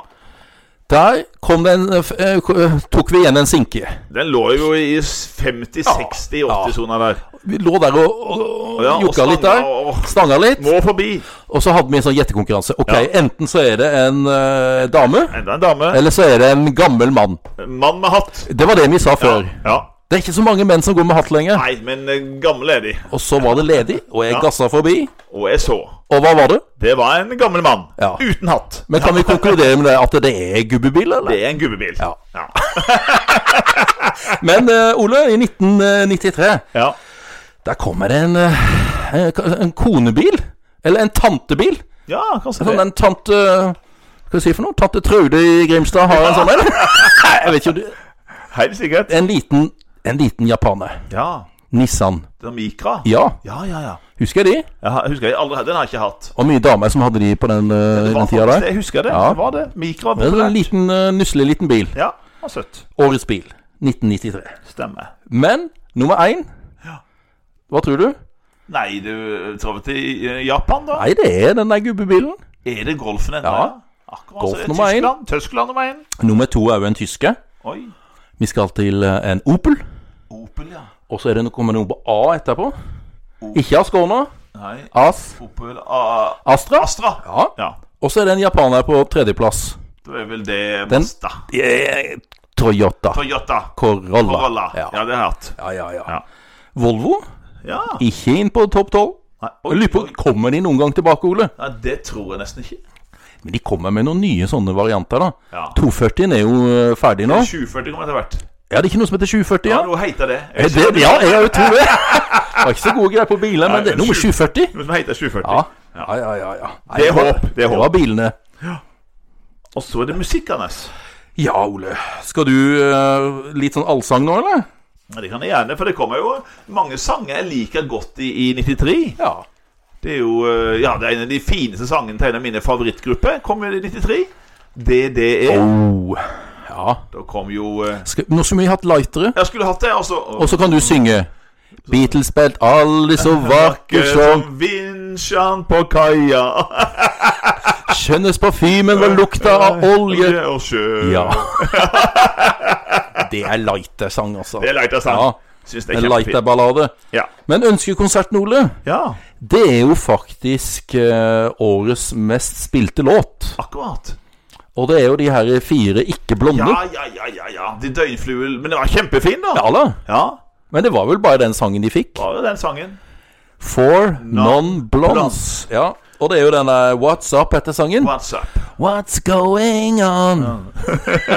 Speaker 1: der kom det en, eh, f- eh, k- eh, tok vi igjen en sinke.
Speaker 2: Den lå jo i 50-60-80-sona der.
Speaker 1: Vi lå der og, og, og
Speaker 2: Ja, og
Speaker 1: jukka litt der.
Speaker 2: stanga og-
Speaker 1: Stanga litt.
Speaker 2: Må forbi.
Speaker 1: Og så hadde vi en sånn gjettekonkurranse. Ok,
Speaker 2: Ja.
Speaker 1: Enten så er det en eh, dame,
Speaker 2: Enda en dame.
Speaker 1: eller så er det en gammel mann.
Speaker 2: Mann med hatt.
Speaker 1: Det var det vi sa før.
Speaker 2: Ja.
Speaker 1: Det er ikke så mange menn som går med hatt lenger.
Speaker 2: Nei, men eh, gamle er de.
Speaker 1: Og så var det ledig, og jeg
Speaker 2: Ja.
Speaker 1: gassa forbi.
Speaker 2: Og jeg så.
Speaker 1: Og hva var det?
Speaker 2: Det var en gammel mann.
Speaker 1: Ja.
Speaker 2: Uten hatt.
Speaker 1: Men kan vi konkludere med det at det er gubbebil, eller?
Speaker 2: Det er en gubbebil.
Speaker 1: Ja.
Speaker 2: Ja.
Speaker 1: Men eh, Ole, i 1993
Speaker 2: ja.
Speaker 1: Der kommer det en, eh, eh, en konebil. Eller en tantebil.
Speaker 2: ja kanskje
Speaker 1: Sånn
Speaker 2: det.
Speaker 1: den tante Hva skal jeg si for noe? Tante Trude i Grimstad har en sånn en. Jeg vet ikke om du-
Speaker 2: Helt sikkert.
Speaker 1: En liten, en liten japaner.
Speaker 2: Ja.
Speaker 1: Nissan.
Speaker 2: Det er Mikra.
Speaker 1: Ja,
Speaker 2: ja, ja. ja.
Speaker 1: husker jeg de?
Speaker 2: Jeg har- husker jeg aldri hadde den. har jeg ikke hatt.
Speaker 1: Og mye damer som hadde de på den, eh,
Speaker 2: Det
Speaker 1: den
Speaker 2: var
Speaker 1: tida
Speaker 2: faktisk
Speaker 1: der.
Speaker 2: det. Jeg husker det.
Speaker 1: Ja.
Speaker 2: Det var det. Mikra.
Speaker 1: Det er en
Speaker 2: populært.
Speaker 1: liten, eh, nusselig liten bil.
Speaker 2: Ja, det var søtt.
Speaker 1: Årets bil. 1993.
Speaker 2: Stemmer.
Speaker 1: Men nummer én Hva tror du?
Speaker 2: Nei, du travet til eh, Japan, da?
Speaker 1: Nei, det er den der gubbebilen.
Speaker 2: Er det golfen ennå?
Speaker 1: Ja.
Speaker 2: Akkurat,
Speaker 1: Golf
Speaker 2: så er det
Speaker 1: nummer én.
Speaker 2: Tyskland. Tyskland nummer én.
Speaker 1: Nummer to er jo en tysker.
Speaker 2: Oi.
Speaker 1: Vi skal til eh, en Opel.
Speaker 2: Opel, ja.
Speaker 1: Og så er det noe, kommer det noe på A etterpå. Ikke Ascona.
Speaker 2: Nei,
Speaker 1: As
Speaker 2: Opel A-
Speaker 1: Astra.
Speaker 2: Astra.
Speaker 1: Ja.
Speaker 2: Ja.
Speaker 1: Og så er det en japaner på tredjeplass.
Speaker 2: Da er vel det
Speaker 1: Den-
Speaker 2: Mazda.
Speaker 1: Eh, Toyota
Speaker 2: Toyota.
Speaker 1: Corolla.
Speaker 2: Corolla. Ja.
Speaker 1: Ja. Ja,
Speaker 2: det har jeg hatt.
Speaker 1: ja, ja.
Speaker 2: Ja.
Speaker 1: Volvo
Speaker 2: Ja.
Speaker 1: ikke inn på topp tolv.
Speaker 2: Nei, oi,
Speaker 1: Jeg lurer på,
Speaker 2: oi.
Speaker 1: Kommer de noen gang tilbake, Ole?
Speaker 2: Nei, det tror jeg nesten ikke.
Speaker 1: Men de kommer med noen nye sånne varianter, da.
Speaker 2: Ja.
Speaker 1: 240 er jo eh, ferdig nå.
Speaker 2: 2040 kommer etter hvert.
Speaker 1: Ja, det er ikke noe som heter 2040, ja.
Speaker 2: Ja, nå heter det.
Speaker 1: Eh, det ja, jeg har jo tro det. Det var ikke så gode greier på biler, men det, nummer 2040
Speaker 2: Noe som heter 740.
Speaker 1: Ja, ja, ja. ja, ja. Nei,
Speaker 2: Det er
Speaker 1: var-
Speaker 2: håp, det er håp.
Speaker 1: var bilene.
Speaker 2: Og så er det musikkernes.
Speaker 1: Ja, Ole. Skal du eh, litt sånn allsang nå, eller?
Speaker 2: Ja, Det kan jeg gjerne, for det kommer jo mange sanger jeg liker godt i, i 93.
Speaker 1: Ja.
Speaker 2: Det er jo eh, ja, det er en av de fineste sangene til en av mine favorittgrupper. Kom jo i 93. DDE.
Speaker 1: Oh. Ja.
Speaker 2: E. Da kom jo eh,
Speaker 1: Skal, nå som vi har hatt lightere,
Speaker 2: Jeg skulle hatt det, altså.
Speaker 1: og så kan du synge Beatles spilt aldri så vakker som
Speaker 2: som vinsjan på kaia.
Speaker 1: Skjønnes parfymen var lukta av olje
Speaker 2: og sjø.
Speaker 1: Ja. Det er lighter-sang, altså.
Speaker 2: Det er leit
Speaker 1: Ja,
Speaker 2: av sang. Syns det er
Speaker 1: en
Speaker 2: kjempefint.
Speaker 1: lighter-ballade.
Speaker 2: Ja.
Speaker 1: Men ønskekonserten, Ole,
Speaker 2: ja,
Speaker 1: det er jo faktisk eh, årets mest spilte låt.
Speaker 2: akkurat.
Speaker 1: Og det er jo de her fire ikke-blonde.
Speaker 2: Ja, ja, ja, ja, ja. De døgnfluer Men det var kjempefin, da.
Speaker 1: Ja da.
Speaker 2: Ja.
Speaker 1: Men det var vel bare den sangen de fikk.
Speaker 2: Var jo den sangen.
Speaker 1: For Non-Blondes. Ja. Og det er jo den der What's Up etter sangen.
Speaker 2: What's up?
Speaker 1: What's going on?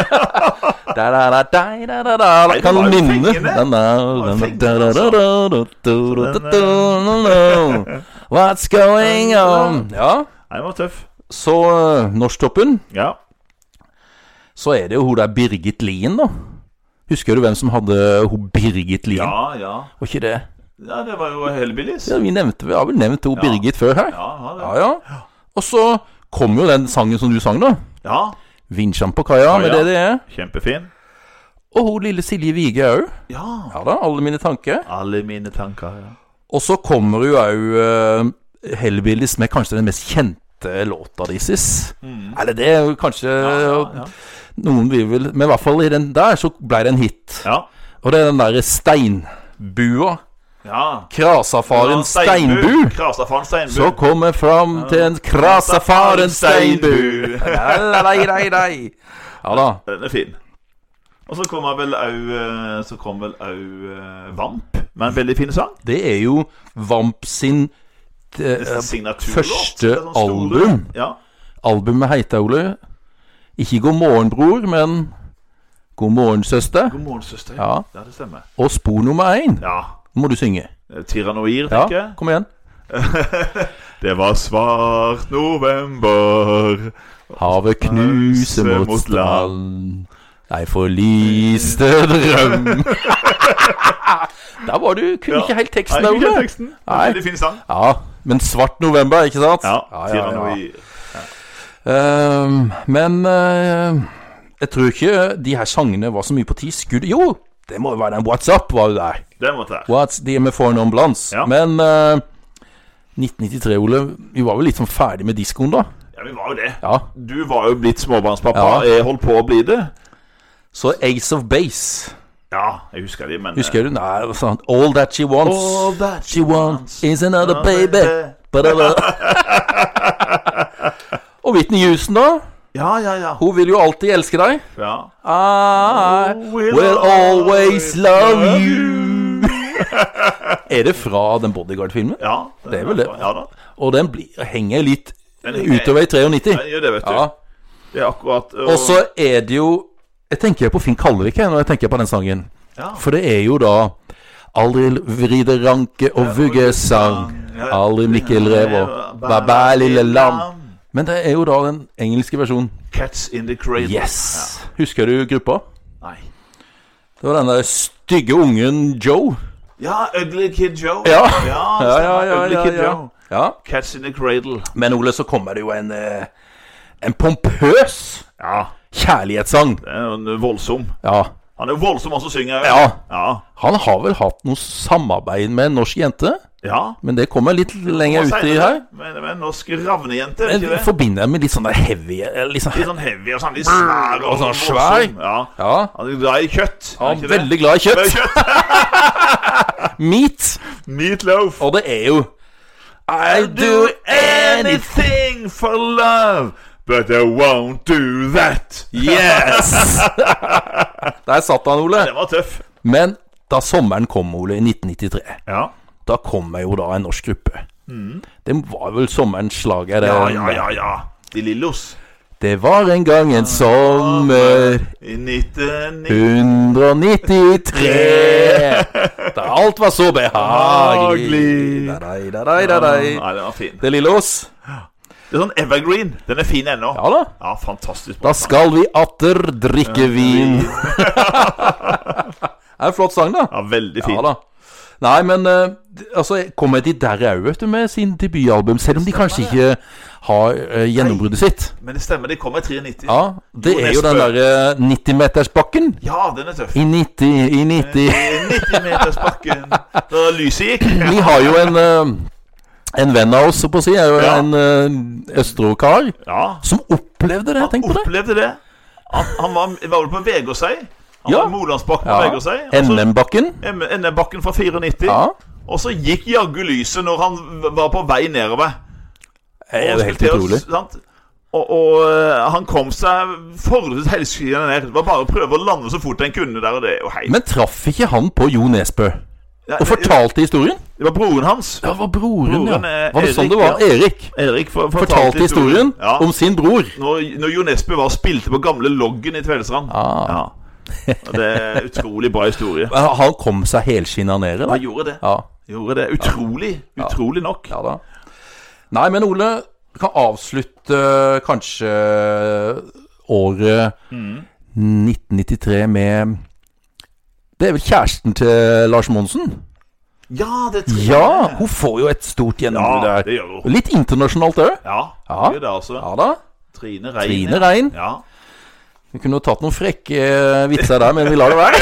Speaker 1: da, da, da, da, da, da, da. Jeg
Speaker 2: det var
Speaker 1: kan
Speaker 2: jo
Speaker 1: minne
Speaker 2: fengende.
Speaker 1: Den der, den der, da, da, da, da, da, da, da, da, da. What's going on? Ja,
Speaker 2: Nei, den var tøff.
Speaker 1: så eh, Norsktoppen,
Speaker 2: Ja.
Speaker 1: så er det jo hun der Birgit Lien, da. Husker du hvem som hadde hun Birgit Lien?
Speaker 2: ja, ja.
Speaker 1: Var ikke det?
Speaker 2: Ja, det var jo Hellbillies.
Speaker 1: Ja, vi, nevnte, vi har vel nevnt hun Birgit før her.
Speaker 2: Ja, ja, det.
Speaker 1: Ja, ja. Og så kom jo den sangen som du sang, da.
Speaker 2: ja.
Speaker 1: Vinsjan på kaia, med
Speaker 2: Kaia.
Speaker 1: det det er.
Speaker 2: Kjempefin.
Speaker 1: Og hun lille Silje Vige òg.
Speaker 2: Ja.
Speaker 1: Ja da, alle mine tanker.
Speaker 2: Alle mine tanker, ja.
Speaker 1: Og så kommer jo òg uh, Hellbillies med kanskje den mest kjente låta deres. Eller det er jo kanskje
Speaker 2: Mm. Ja, ja.
Speaker 1: noen vil vel Men i hvert fall i den der så ble det en hit.
Speaker 2: ja.
Speaker 1: Og det er den derre steinbua.
Speaker 2: ja.
Speaker 1: Krasafaren steinbu.
Speaker 2: Krasafaren steinbu.
Speaker 1: Så kommer fram til en krasafaren steinbu.
Speaker 2: Steinbu.
Speaker 1: Nei, nei, nei, nei. Ja da.
Speaker 2: Den er fin. Og så kommer vel au eh, Så kom vel au eh, Vamp med en veldig fin sang.
Speaker 1: Det er jo Vamp sin eh,
Speaker 2: Det er signaturlåt.
Speaker 1: første
Speaker 2: Det er sånn store-
Speaker 1: album.
Speaker 2: Ja.
Speaker 1: Albumet heter, Ole Ikke God morgen, bror, men God morgen, søster.
Speaker 2: God morgen, søster.
Speaker 1: Ja.
Speaker 2: ja, det stemmer.
Speaker 1: Og spor nummer én
Speaker 2: Ja.
Speaker 1: må du synge.
Speaker 2: Tyrannoir,
Speaker 1: Ja,
Speaker 2: Eh, tenker jeg.
Speaker 1: kom igjen.
Speaker 2: Det var svart november.
Speaker 1: Havet knuser
Speaker 2: Knuse
Speaker 1: mot
Speaker 2: mot
Speaker 1: land. Nei, forliste drøm. Der var du Kunne
Speaker 2: Ja.
Speaker 1: ikke helt teksten,
Speaker 2: Nei, ikke
Speaker 1: Ole.
Speaker 2: teksten. Det
Speaker 1: Nei.
Speaker 2: er en Veldig fin sang.
Speaker 1: Ja, men Svart november, ikke sant?
Speaker 2: Ja.
Speaker 1: ja, ja.
Speaker 2: Tyrannoir.
Speaker 1: Ehm, men eh, jeg tror ikke de her sangene var så mye på ti skudd. Jo, det må jo være den What's Up var jo der.
Speaker 2: Det måtte være.
Speaker 1: What's the med Foreign Ambulance.
Speaker 2: Ja.
Speaker 1: Men eh, 1993, Ole, vi var vel litt sånn ferdig med diskoen da?
Speaker 2: Ja, vi var jo det.
Speaker 1: Ja.
Speaker 2: Du var jo blitt småbarnspappa.
Speaker 1: Ja.
Speaker 2: Jeg holdt på å bli det.
Speaker 1: Så Ace of Base.
Speaker 2: Ja, jeg husker det, men eh,
Speaker 1: Husker du? Nei, det var sånn All that she wants.
Speaker 2: All that
Speaker 1: she wants is another
Speaker 2: Another
Speaker 1: baby.
Speaker 2: baby.
Speaker 1: Ba-da-ba. Og Whitney Houston, da?
Speaker 2: Ja, ja, ja.
Speaker 1: Hun vil jo alltid elske deg.
Speaker 2: ja.
Speaker 1: I will always love you. er det fra den Bodyguard-filmen?
Speaker 2: Ja,
Speaker 1: Det er vel det.
Speaker 2: Ja da.
Speaker 1: Og den blir, henger litt
Speaker 2: Den henger-
Speaker 1: utover i 93.
Speaker 2: Jeg gjør det, vet du.
Speaker 1: Ja.
Speaker 2: Det er akkurat
Speaker 1: Og så er det jo Jeg tenker på Finn Kalvik jeg, når jeg tenker på den sangen.
Speaker 2: Ja.
Speaker 1: For det er jo da Aldri vride ranke og vugge sang. Aldri Mikkel Rever. Bæ bæ, lille lam. Men det er jo da den engelske versjonen.
Speaker 2: Cats in the cradle.
Speaker 1: Yes! Husker du gruppa?
Speaker 2: Ja. Nei.
Speaker 1: Det var den der stygge ungen Joe.
Speaker 2: Ja, Ugly Kid Joe.
Speaker 1: Ja.
Speaker 2: ja,
Speaker 1: Ja, ja, ja,
Speaker 2: Ugly
Speaker 1: ja,
Speaker 2: Kid
Speaker 1: ja.
Speaker 2: Joe.
Speaker 1: ja.
Speaker 2: Cats in the cradle.
Speaker 1: Men Ole, så kommer det jo en eh, En pompøs
Speaker 2: Ja,
Speaker 1: kjærlighetssang.
Speaker 2: det er jo en voldsom.
Speaker 1: Ja.
Speaker 2: Han er jo voldsom, han som synger.
Speaker 1: ja.
Speaker 2: Ja.
Speaker 1: Han har vel hatt noe samarbeid med en norsk jente,
Speaker 2: ja.
Speaker 1: men det kommer litt lenger uti
Speaker 2: Senere,
Speaker 1: her.
Speaker 2: Men det var en norsk ravnejente, er det
Speaker 1: Men
Speaker 2: ikke
Speaker 1: vi
Speaker 2: det?
Speaker 1: forbinder jeg med litt sånn der heavy eh, litt sånn,
Speaker 2: Litt sånn heavy og sånn litt svær.
Speaker 1: Og sånn
Speaker 2: voldsom.
Speaker 1: svær.
Speaker 2: Ja.
Speaker 1: Ja.
Speaker 2: Han er glad i kjøtt. er
Speaker 1: Han
Speaker 2: ikke
Speaker 1: er
Speaker 2: det?
Speaker 1: veldig glad i
Speaker 2: Det er
Speaker 1: kjøtt.
Speaker 2: kjøtt.
Speaker 1: Meat.
Speaker 2: Meatloaf.
Speaker 1: Og det er jo I do
Speaker 2: do
Speaker 1: anything
Speaker 2: anything for love, but I won't do that.
Speaker 1: Yes! Der satt han, Ole.
Speaker 2: Den var tøff.
Speaker 1: Men da sommeren kom, Ole, i 1993
Speaker 2: Ja.
Speaker 1: da kommer jo da en norsk gruppe. Det var vel sommerens slager. det.
Speaker 2: ja, ja, ja, ja. De Lillos.
Speaker 1: Det var en gang en sommer
Speaker 2: I 1990
Speaker 1: 193 Da alt var så behagelig
Speaker 2: Behagelig.
Speaker 1: da, da, da, da, da, da.
Speaker 2: Nei, den var fin.
Speaker 1: Det er Lillås.
Speaker 2: Det er sånn evergreen. Den er fin ennå.
Speaker 1: Ja da.
Speaker 2: Ja, fantastisk.
Speaker 1: Da skal vi atter drikke vin. Det er en flott sang, da.
Speaker 2: Ja, veldig fin.
Speaker 1: Ja da. Nei, men eh, altså, kommer de der òg, vet du, med sin debutalbum? Selv om de kanskje ikke har eh, gjennombruddet sitt.
Speaker 2: Men det stemmer, det kommer i 93.
Speaker 1: Ja, Det
Speaker 2: Jo,
Speaker 1: er jo
Speaker 2: Nesbø.
Speaker 1: den derre 90-metersbakken.
Speaker 2: Ja, den er tøff.
Speaker 1: I 90, i 90
Speaker 2: 90-metersbakken. Da lyset gikk.
Speaker 1: Vi har jo en eh, En venn av oss, så på å si, er jo
Speaker 2: Ja.
Speaker 1: en eh, Østro-kar
Speaker 2: Ja,
Speaker 1: som opplevde det. Tenk på det.
Speaker 2: opplevde det. Han, han var, var vel på Vegårshei. Han
Speaker 1: Ja.
Speaker 2: var i Molandsbakken på
Speaker 1: Ja.
Speaker 2: Vegårshei. og så-
Speaker 1: NM-bakken.
Speaker 2: NM-bakken fra 94.
Speaker 1: Ja.
Speaker 2: Og så gikk jaggu lyset når han v- var på vei nedover.
Speaker 1: Det er
Speaker 2: Og
Speaker 1: jo
Speaker 2: skulle
Speaker 1: helt
Speaker 2: til å-
Speaker 1: utrolig.
Speaker 2: sant? Og, og eh, han kom seg forholdsvis helskinnet ned. Det var bare å prøve å lande så fort en kunne der og det. Og hei.
Speaker 1: Men traff ikke han på Jo Nesbø
Speaker 2: Ja,
Speaker 1: og fortalte historien?
Speaker 2: Det var broren hans.
Speaker 1: Ja, det var broren,
Speaker 2: Broren,
Speaker 1: ja.
Speaker 2: eh,
Speaker 1: Var det sånn
Speaker 2: Erik,
Speaker 1: det var?
Speaker 2: ja.
Speaker 1: Erik
Speaker 2: Erik for,
Speaker 1: fortalte historien
Speaker 2: Ja.
Speaker 1: om sin bror.
Speaker 2: Når, når Jo Nesbø var og spilte på gamle Loggen i Tvedestrand.
Speaker 1: Ah.
Speaker 2: Ja. Og Det er utrolig bra historie.
Speaker 1: Eh, Han kom seg helskinna ned,
Speaker 2: Han
Speaker 1: eller?
Speaker 2: gjorde det.
Speaker 1: Ja.
Speaker 2: Gjorde det. Utrolig. Utrolig nok.
Speaker 1: ja da. Nei, men Ole kan avslutte eh, kanskje året 1993 med Det er vel kjæresten til Lars Monsen?
Speaker 2: Ja, det tror jeg.
Speaker 1: Ja, hun får jo et stort gjennombrudd
Speaker 2: Ja,
Speaker 1: der.
Speaker 2: det gjør hun.
Speaker 1: Litt internasjonalt òg.
Speaker 2: Ja,
Speaker 1: Ja.
Speaker 2: det gjør det altså.
Speaker 1: Ja da.
Speaker 2: Trine Rein.
Speaker 1: Trine Rein.
Speaker 2: Ja.
Speaker 1: Vi kunne jo tatt noen frekke eh, vitser der, men vi lar det være.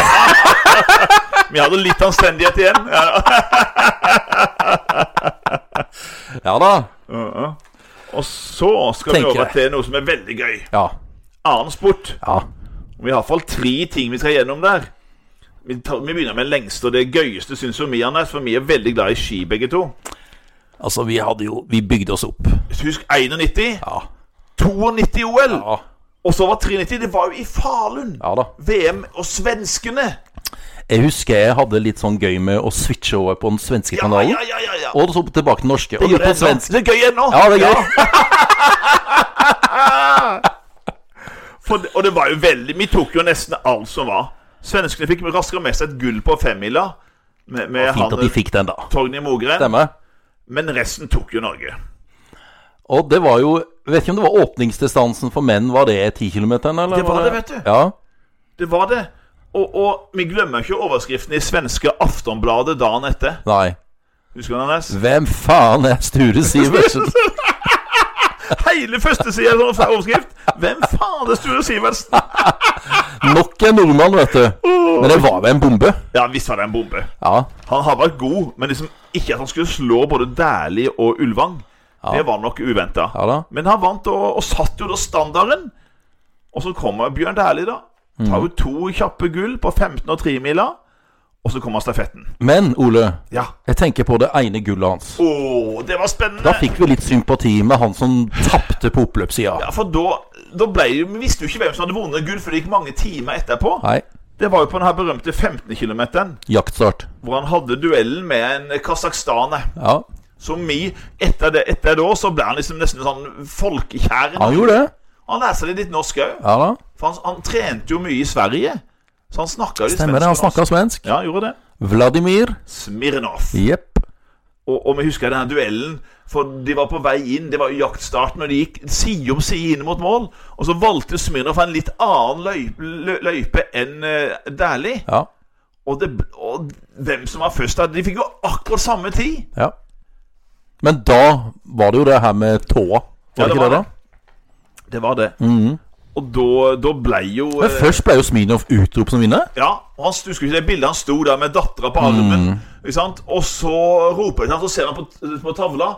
Speaker 2: Vi hadde litt anstendighet igjen. Ja, ja.
Speaker 1: Ja da.
Speaker 2: Ja, ja. Og så skal
Speaker 1: Tenker
Speaker 2: vi over
Speaker 1: jeg.
Speaker 2: til noe som er veldig gøy.
Speaker 1: Ja.
Speaker 2: Annen sport.
Speaker 1: ja.
Speaker 2: Vi har iallfall tre ting vi skal gjennom der. Vi, tar, vi begynner med den lengste og det gøyeste, syns jo vi, Anders. For vi er veldig glad i ski, begge to.
Speaker 1: Altså, vi hadde jo Vi bygde oss opp.
Speaker 2: Husk 91,
Speaker 1: Ja.
Speaker 2: 92 OL,
Speaker 1: Ja,
Speaker 2: og så var 93. Det var jo i Falun.
Speaker 1: ja da.
Speaker 2: VM og svenskene.
Speaker 1: Jeg husker jeg hadde litt sånn gøy med å switche over på den svenske
Speaker 2: Ja,
Speaker 1: kanalen.
Speaker 2: ja, ja. ja, ja.
Speaker 1: Og så tilbake til den norske. Og så
Speaker 2: Gjør det
Speaker 1: på
Speaker 2: ennå.
Speaker 1: svensk.
Speaker 2: Det er gøy ennå.
Speaker 1: Ja, det er gøy.
Speaker 2: For, det- og det var jo veldig Vi tok jo nesten alt som var. Svenskene fikk raskere med seg et gull på femmila. Med, med eh,
Speaker 1: Fint at de fikk den, da.
Speaker 2: Torgny Mogren.
Speaker 1: Stemmer.
Speaker 2: Men resten tok jo Norge.
Speaker 1: Og det var jo Vet ikke om det var åpningsdistansen for menn, var det 10 km, eller?
Speaker 2: Det var det, vet du.
Speaker 1: Ja.
Speaker 2: Det var det. Og, og vi glemmer ikke overskriften i svenske Aftonbladet dagen etter.
Speaker 1: Nei.
Speaker 2: Husker du den, Anders?
Speaker 1: Hvem faen er Sture Sivertsen?
Speaker 2: Hele førstesida er sånn overskrift! Hvem faen det er Sture Sivertsen?
Speaker 1: Nok en nordmann, vet du.
Speaker 2: Oh.
Speaker 1: Men det var vel en bombe?
Speaker 2: Ja, visst var det en bombe.
Speaker 1: Ja.
Speaker 2: Han har vært god, men liksom ikke at han skulle slå både Dæhlie og Ulvang. Det var nok uventa.
Speaker 1: Ja da.
Speaker 2: Men han vant og, og satt jo da standarden. Og så kommer Bjørn Dæhlie, da. Tar
Speaker 1: Mm.
Speaker 2: jo to kjappe gull på 15 og 3-mila. Og så kommer stafetten.
Speaker 1: Men, Ole,
Speaker 2: Ja.
Speaker 1: jeg tenker på det ene gullet hans.
Speaker 2: Å, det var spennende!
Speaker 1: Da fikk vi litt sympati med han som tapte på oppløpssida.
Speaker 2: Ja, for da, da ble jo, Vi visste jo ikke hvem som hadde vunnet gull, for det gikk mange timer etterpå.
Speaker 1: Nei.
Speaker 2: Det var jo på den her berømte 15 km,
Speaker 1: Jaktstart.
Speaker 2: hvor han hadde duellen med en eh, kasakhstaner.
Speaker 1: Ja,
Speaker 2: Som vi, etter det, etter det år, så ble han liksom nesten sånn folkekjær.
Speaker 1: han gjorde det.
Speaker 2: Han lærte seg litt norsk òg.
Speaker 1: Ja da.
Speaker 2: For han, han trente jo mye i Sverige. Så han snakka jo litt
Speaker 1: Stemmer det, han
Speaker 2: svensk
Speaker 1: snakka
Speaker 2: også.
Speaker 1: svensk.
Speaker 2: Ja, gjorde det.
Speaker 1: Vladimir.
Speaker 2: Smirnov.
Speaker 1: Jepp.
Speaker 2: Og, og vi husker denne duellen, for de var på vei inn. Det var jo jaktstart når de gikk side om side inn mot mål. Og så valgte Smirnov en litt annen løype, lø- løype enn uh, Dæhlie.
Speaker 1: Ja.
Speaker 2: Og, det- og hvem som var først der De fikk jo akkurat samme tid.
Speaker 1: ja. Men da var det jo det her med tåa. Var
Speaker 2: Ja,
Speaker 1: det
Speaker 2: det
Speaker 1: ikke
Speaker 2: var
Speaker 1: det, da?
Speaker 2: Det var det. Og da, da ble jo
Speaker 1: Mhm. Men
Speaker 2: eh,
Speaker 1: først ble jo Smirnov utropt som vinner.
Speaker 2: Ja, og han husker ikke det bildet han sto der med dattera på armen.
Speaker 1: Mm.
Speaker 2: Ikke sant? Og så roper han, så ser han på, på tavla,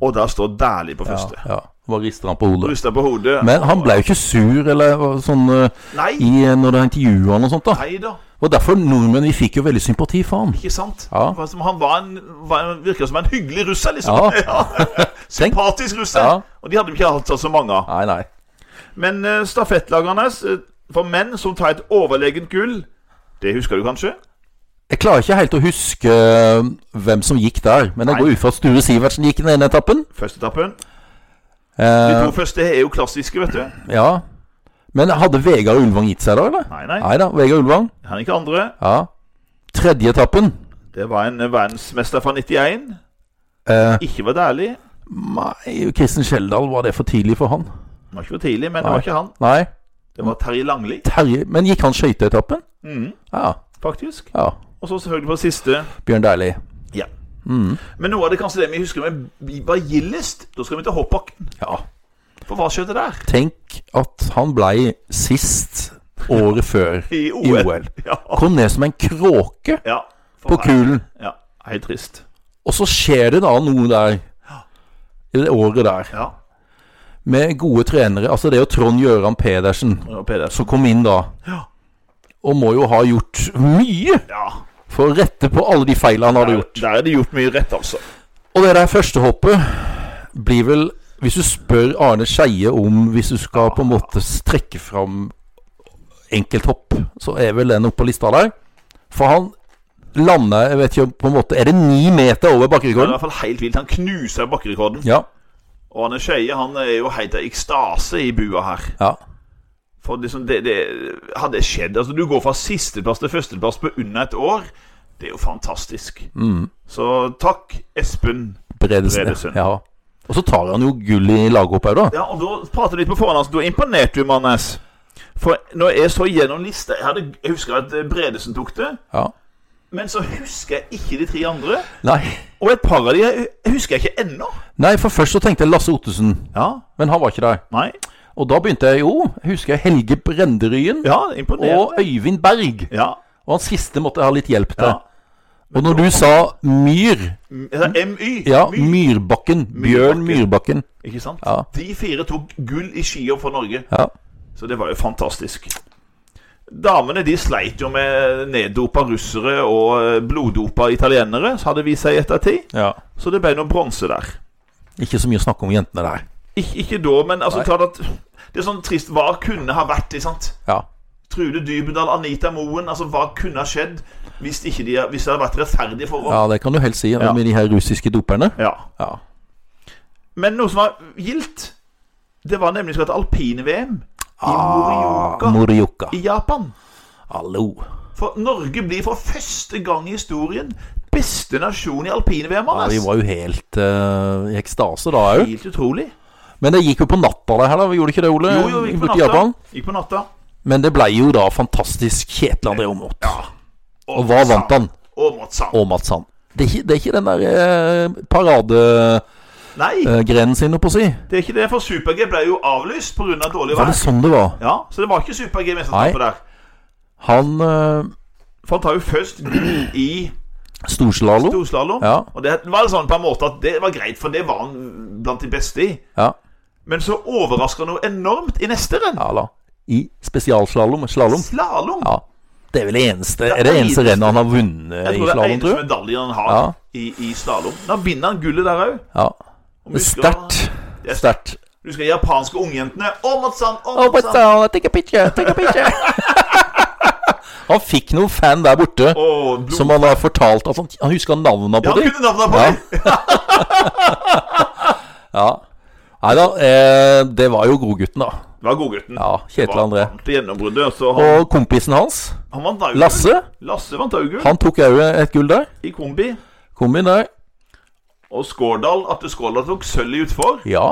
Speaker 2: og der står Dæhlie på første. Ja.
Speaker 1: Ja. Bare rister han på hodet.
Speaker 2: Rysta på hodet.
Speaker 1: Men han ble jo ikke sur eller sånn eh, i,
Speaker 2: Nei,
Speaker 1: når de intervjuet han og sånt. da
Speaker 2: nei da.
Speaker 1: Og derfor nordmenn vi fikk jo veldig sympati for han.
Speaker 2: Ikke sant?
Speaker 1: Ja.
Speaker 2: Det var som- Han var en, var en, virka som en hyggelig russer, liksom.
Speaker 1: Ja.
Speaker 2: Ja. Sympatisk russer.
Speaker 1: Ja.
Speaker 2: Og de hadde vi ikke hatt så mange av.
Speaker 1: Nei, nei.
Speaker 2: Men eh, stafettlagerne eh, for menn som tar et overlegent gull, det husker du kanskje?
Speaker 1: Jeg klarer ikke helt å huske eh, hvem som gikk der, men jeg
Speaker 2: Nei.
Speaker 1: går ut fra at Sture Sivertsen gikk i den ene etappen.
Speaker 2: Førsteetappen. De
Speaker 1: Eh,
Speaker 2: to første er jo klassiske, vet du.
Speaker 1: ja. Men hadde Vegard Ulvang gitt seg da, eller?
Speaker 2: Nei, nei.
Speaker 1: Nei da, Vegard Ulvang.
Speaker 2: Han er ikke andre.
Speaker 1: Ja. Tredje etappen.
Speaker 2: Det var en verdensmester fra 91.
Speaker 1: Eh,
Speaker 2: Ikke var dærlig.
Speaker 1: nei, Kristen Skjeldal, var det for tidlig for han?
Speaker 2: Det var ikke for tidlig, men det
Speaker 1: Nei.
Speaker 2: var ikke han.
Speaker 1: Nei.
Speaker 2: Det var Terje Langli,
Speaker 1: Terje Men gikk han skøyteetappen?
Speaker 2: Mhm,
Speaker 1: Ja.
Speaker 2: faktisk.
Speaker 1: ja.
Speaker 2: Og så selvfølgelig på siste.
Speaker 1: Bjørn Dæhlie.
Speaker 2: Ja.
Speaker 1: Mm.
Speaker 2: Men noe av det kanskje det vi husker med var gildest. Da skal vi til hoppbakken.
Speaker 1: Ja.
Speaker 2: For hva skjedde der?
Speaker 1: Tenk at han blei sist året før
Speaker 2: I OL.
Speaker 1: i OL.
Speaker 2: Ja.
Speaker 1: Kom ned som en kråke
Speaker 2: ja. For
Speaker 1: på
Speaker 2: her-
Speaker 1: kulen.
Speaker 2: Ja, Helt trist.
Speaker 1: Og så skjer det da noe der. I det året der.
Speaker 2: Ja.
Speaker 1: Med gode trenere. Altså det er jo Trond Gjøran Pedersen
Speaker 2: Og Pedersen.
Speaker 1: som kom inn da.
Speaker 2: Ja.
Speaker 1: Og må jo ha gjort mye
Speaker 2: Ja.
Speaker 1: for å rette på alle de feilene han hadde
Speaker 2: Der,
Speaker 1: gjort.
Speaker 2: der er det gjort mye rett, altså.
Speaker 1: Og det der første hoppet blir vel Hvis du spør Arne Skeie om Hvis du skal på en måte trekke fram enkelthopp, så er vel den oppe på lista der. For han lander jeg vet ikke om på en måte, Er det ni meter over
Speaker 2: Det er i
Speaker 1: bakkerekorden?
Speaker 2: hvert fall helt vilt. Han knuser bakkerekorden.
Speaker 1: Ja.
Speaker 2: Og Arne Skeie han er jo helt i ekstase i bua her.
Speaker 1: ja.
Speaker 2: For liksom det, det Har det skjedd? Altså, du går fra sisteplass til førsteplass på under et år. Det er jo fantastisk. Så takk, Espen.
Speaker 1: Bredesen.
Speaker 2: Bredesen.
Speaker 1: Ja. Og så tar han jo gull i laghopp òg, da.
Speaker 2: Ja, og da prater du litt på forhånd, altså. Da imponerte du, Mannes. For når jeg så gjennom lista jeg, hadde, jeg husker at eh, Bredesen tok det,
Speaker 1: Ja.
Speaker 2: men så husker jeg ikke de tre andre.
Speaker 1: Nei.
Speaker 2: Og et par av de jeg jeg husker jeg ikke ennå.
Speaker 1: Nei, for først så tenkte jeg Lasse Ottesen,
Speaker 2: Ja,
Speaker 1: men han var ikke der.
Speaker 2: nei.
Speaker 1: Og da begynte jeg jo, husker jeg Helge Brenderyen
Speaker 2: Ja,
Speaker 1: og
Speaker 2: imponerende.
Speaker 1: Øyvind Berg.
Speaker 2: Ja,
Speaker 1: Og han siste måtte jeg ha litt hjelp til.
Speaker 2: ja.
Speaker 1: Og når du sa myr
Speaker 2: Altså, MY.
Speaker 1: Ja,
Speaker 2: My,
Speaker 1: Myrbakken. Bjørn Myrbakken.
Speaker 2: ikke sant?
Speaker 1: Ja.
Speaker 2: De fire tok gull i skihopp for Norge.
Speaker 1: Ja.
Speaker 2: Så det var jo fantastisk. Damene de sleit jo med neddopa russere og eh, bloddopa italienere, så hadde vist seg i ettertid. Så det ble noe bronse der.
Speaker 1: Ikke så mye å snakke om jentene der.
Speaker 2: Ik ikke da, men altså, klart at det er sånn trist. Hva kunne ha vært? Ikke sant?
Speaker 1: Ja.
Speaker 2: Trude Dybendal, Anita Moen. Altså, hva kunne ha skjedd hvis, ikke de, hvis det hadde vært rettferdige forhold?
Speaker 1: ja, det kan du helt si
Speaker 2: Ja.
Speaker 1: med de her russiske doperne.
Speaker 2: Ja.
Speaker 1: Ja.
Speaker 2: Men noe som var gildt, det var nemlig at alpine-VM i
Speaker 1: Ah,
Speaker 2: Morioka
Speaker 1: Morioka.
Speaker 2: i Japan
Speaker 1: Hallo.
Speaker 2: For Norge blir for første gang i historien beste nasjon i alpin-VM.
Speaker 1: Ja, vi
Speaker 2: Anders.
Speaker 1: var jo helt eh, i ekstase da òg.
Speaker 2: Helt utrolig.
Speaker 1: Men det gikk jo på natta, det her. da, Vi gjorde ikke det, Ole?
Speaker 2: Jo, jo, gikk på
Speaker 1: Borte i
Speaker 2: natta.
Speaker 1: Japan.
Speaker 2: Gikk på natta.
Speaker 1: Men det ble jo da fantastisk Kjetil André Aamodt. Og hva
Speaker 2: Mats
Speaker 1: vant han?
Speaker 2: Sand. Og Mats Sand.
Speaker 1: Og Mats Sand. Det er ikke, det er ikke den der uh, paradegrenen
Speaker 2: Nei,
Speaker 1: Eh, sin, holdt på å si.
Speaker 2: det er ikke det, for Super-G ble jo avlyst pga. Av dårlig
Speaker 1: Var
Speaker 2: vær.
Speaker 1: det sånn det var?
Speaker 2: Ja, Så det var ikke Super-G-mesterskapet der.
Speaker 1: Han uh,
Speaker 2: For han tar jo først gull i
Speaker 1: Storslalåm.
Speaker 2: storslalåm.
Speaker 1: Ja.
Speaker 2: Og det var sånn på en måte at det var greit, for det var han blant de beste i.
Speaker 1: Ja.
Speaker 2: Men så overrasker han noe enormt i neste renn.
Speaker 1: Ja da. I spesialslalåm. Slalåm.
Speaker 2: Slalåm.
Speaker 1: Ja. Det er vel det eneste,
Speaker 2: Det
Speaker 1: er det eneste
Speaker 2: eneste.
Speaker 1: rennet han har vunnet
Speaker 2: Jeg
Speaker 1: i
Speaker 2: tror det er
Speaker 1: slalåm,
Speaker 2: eneste
Speaker 1: tror jeg.
Speaker 2: medaljen han har
Speaker 1: Ja.
Speaker 2: i, i slalåm. Da vinner han gullet der òg.
Speaker 1: Ja.
Speaker 2: Og
Speaker 1: Det er
Speaker 2: husker-
Speaker 1: Sterkt.
Speaker 2: Det er
Speaker 1: Sterkt.
Speaker 2: Du skal japanske ungjentene. Å, Matsan! Å,
Speaker 1: Oh, what's
Speaker 2: Matsan!
Speaker 1: on? Take a picture, take a picture. han fikk noen fan der borte
Speaker 2: Å, blod.
Speaker 1: som han har fortalt at han, han husker navnene
Speaker 2: Ja,
Speaker 1: på
Speaker 2: han
Speaker 1: dem.
Speaker 2: kunne navnet på
Speaker 1: Ja.
Speaker 2: det!
Speaker 1: Ja. Nei da, eh, det var jo godgutten, da.
Speaker 2: Det var godgutten.
Speaker 1: Ja, Kjetil André.
Speaker 2: Til gjennombruddet. Så han,
Speaker 1: Og kompisen hans,
Speaker 2: han vant da jo gull.
Speaker 1: Lasse,
Speaker 2: Lasse vant Augull
Speaker 1: han tok òg et gull der.
Speaker 2: i kombi.
Speaker 1: Kom inn der.
Speaker 2: Og Skårdal Atte Skårdal tok sølv i utfor.
Speaker 1: Ja.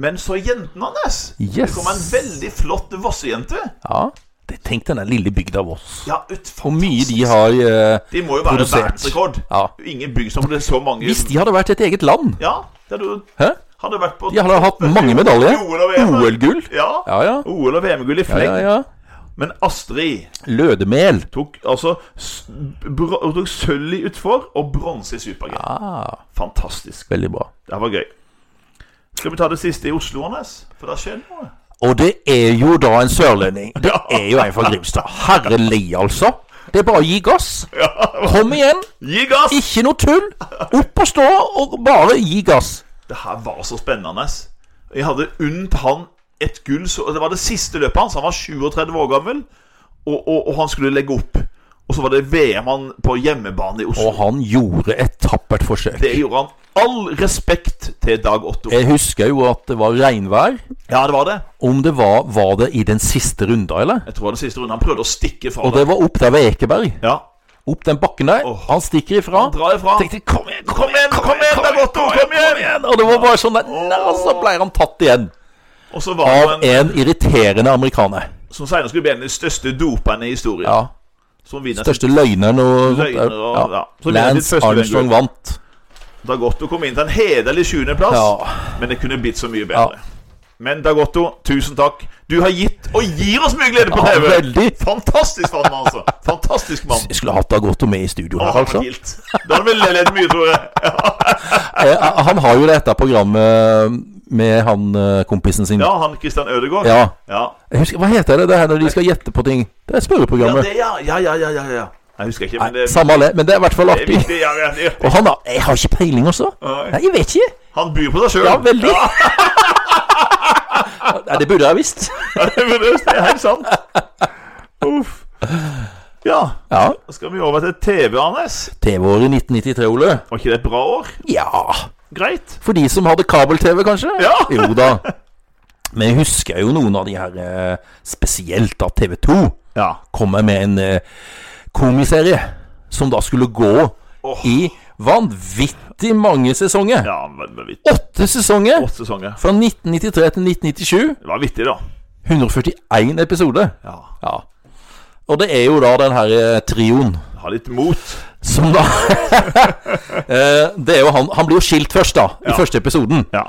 Speaker 2: Men så jentene hans!
Speaker 1: Yes.
Speaker 2: Det kom en veldig flott vossejente.
Speaker 1: ja. Det- Tenk den der lille bygda Voss.
Speaker 2: Ja, ut
Speaker 1: Hvor mye de har eh,
Speaker 2: De må jo være
Speaker 1: produsert.
Speaker 2: verdensrekord.
Speaker 1: Ja.
Speaker 2: Ingen bygg som ble så mange
Speaker 1: Hvis de hadde vært et eget land
Speaker 2: Ja, det hadde jo
Speaker 1: Hæ?
Speaker 2: hadde vært på
Speaker 1: De hadde hatt mange medaljer.
Speaker 2: OL og VM.
Speaker 1: OL-gull.
Speaker 2: Ja.
Speaker 1: Ja, ja.
Speaker 2: OL og VM-gull i
Speaker 1: Ja, ja,
Speaker 2: fleng.
Speaker 1: ja.
Speaker 2: Men Astrid
Speaker 1: Lødemel.
Speaker 2: tok altså s- br- Hun tok sølv i utfor og bronse i super-G.
Speaker 1: Ah,
Speaker 2: Fantastisk.
Speaker 1: veldig bra.
Speaker 2: Det var gøy. Skal vi ta det siste i Oslo, Anders? For det skjedde noe.
Speaker 1: Og det er jo da en sørlending. Det er jo en fra Grimstad. Herlig, altså. Det er bare å gi gass. Kom igjen.
Speaker 2: Gi gass!
Speaker 1: Ikke noe tull. Opp og stå, og bare gi gass.
Speaker 2: Det her var så spennende. Jeg hadde unnt han et gull så, Det var det siste løpet hans. Han var 37 år gammel, og, og, og han skulle legge opp. Og så var det VM han på hjemmebane i Oslo.
Speaker 1: Og han gjorde et tappert forsøk.
Speaker 2: Det gjorde han. All respekt til Dag Otto.
Speaker 1: Jeg husker jo at det var regnvær.
Speaker 2: Ja, det var det.
Speaker 1: Om det var, var det i den siste runda, eller?
Speaker 2: Jeg tror den siste runden han prøvde å stikke fra
Speaker 1: Og det var opp der ved Ekeberg.
Speaker 2: Ja.
Speaker 1: Opp den bakken der.
Speaker 2: Åh.
Speaker 1: Han stikker ifra.
Speaker 2: Han drar ifra.
Speaker 1: Tenkte, kom igjen,
Speaker 2: Kom igjen, kom igjen, Dag Otto! Kom igjen!
Speaker 1: Og det var bare sånn der, Nei, så ble han tatt igjen
Speaker 2: Og så var
Speaker 1: av
Speaker 2: han en
Speaker 1: en irriterende amerikaner.
Speaker 2: som senere skulle bli en av de største doperne i historien.
Speaker 1: Ja,
Speaker 2: Som vinner sin-
Speaker 1: Største løgneren og sånt der.
Speaker 2: Løgner og- ja. Så vinner sitt
Speaker 1: Lance
Speaker 2: første
Speaker 1: Armstrong
Speaker 2: VM-gull.
Speaker 1: vant.
Speaker 2: Dag Otto kom inn til en hederlig sjuendeplass,
Speaker 1: Ja.
Speaker 2: men det kunne blitt så mye bedre. Men Dag Otto, tusen takk. Du har gitt og gir oss mye glede på
Speaker 1: Ja,
Speaker 2: TV!
Speaker 1: veldig.
Speaker 2: Fantastisk mann, altså. Fantastisk mann.
Speaker 1: Jeg skulle hatt Agotto med i studio
Speaker 2: Å,
Speaker 1: her,
Speaker 2: han var
Speaker 1: altså.
Speaker 2: vilt. Da hadde vi ledd mye, tror jeg.
Speaker 1: Eh, eh, Han har jo dette programmet eh, med han eh, kompisen sin.
Speaker 2: Ja, han Christian Ødegaard.
Speaker 1: Ja.
Speaker 2: Ja.
Speaker 1: Jeg husker, hva heter det det her når de skal gjette på ting? Det er
Speaker 2: Ja,
Speaker 1: spørreprogrammet.
Speaker 2: det, ja. ja, ja, ja, ja, ja. Jeg husker ikke, men
Speaker 1: Nei,
Speaker 2: det,
Speaker 1: Samme det, men det er i hvert fall
Speaker 2: det er
Speaker 1: artig.
Speaker 2: viktig. Ja, ja, ja.
Speaker 1: Og han har Jeg har ikke peiling, altså.
Speaker 2: Nei.
Speaker 1: Nei, jeg vet ikke.
Speaker 2: Han byr på seg sjøl.
Speaker 1: Ja, veldig. Nei, det burde jeg visst.
Speaker 2: det er helt sant. Uff. Ja,
Speaker 1: Ja.
Speaker 2: da skal vi over til TV, Anders.
Speaker 1: TV-året 1993, Ole.
Speaker 2: Var ikke det et bra år?
Speaker 1: Ja.
Speaker 2: Greit.
Speaker 1: For de som hadde kabel-TV, kanskje?
Speaker 2: Ja.
Speaker 1: Jo da. Men jeg husker jo noen av de her, eh, spesielt da TV2,
Speaker 2: Ja.
Speaker 1: kommer med en eh, komiserie som da skulle gå
Speaker 2: Åh.
Speaker 1: i vanvittig mange sesonger.
Speaker 2: Ja, men, men vi
Speaker 1: Åtte sesonger!
Speaker 2: Åtte sesonger.
Speaker 1: Fra 1993 til 1997.
Speaker 2: Det var vittig, da.
Speaker 1: 141 episode.
Speaker 2: Ja.
Speaker 1: Ja. Og det er jo da den her eh, trioen
Speaker 2: Ha litt mot.
Speaker 1: som da Eh, Det er jo han Han blir jo skilt først, da. I
Speaker 2: Ja.
Speaker 1: første episoden.
Speaker 2: Ja.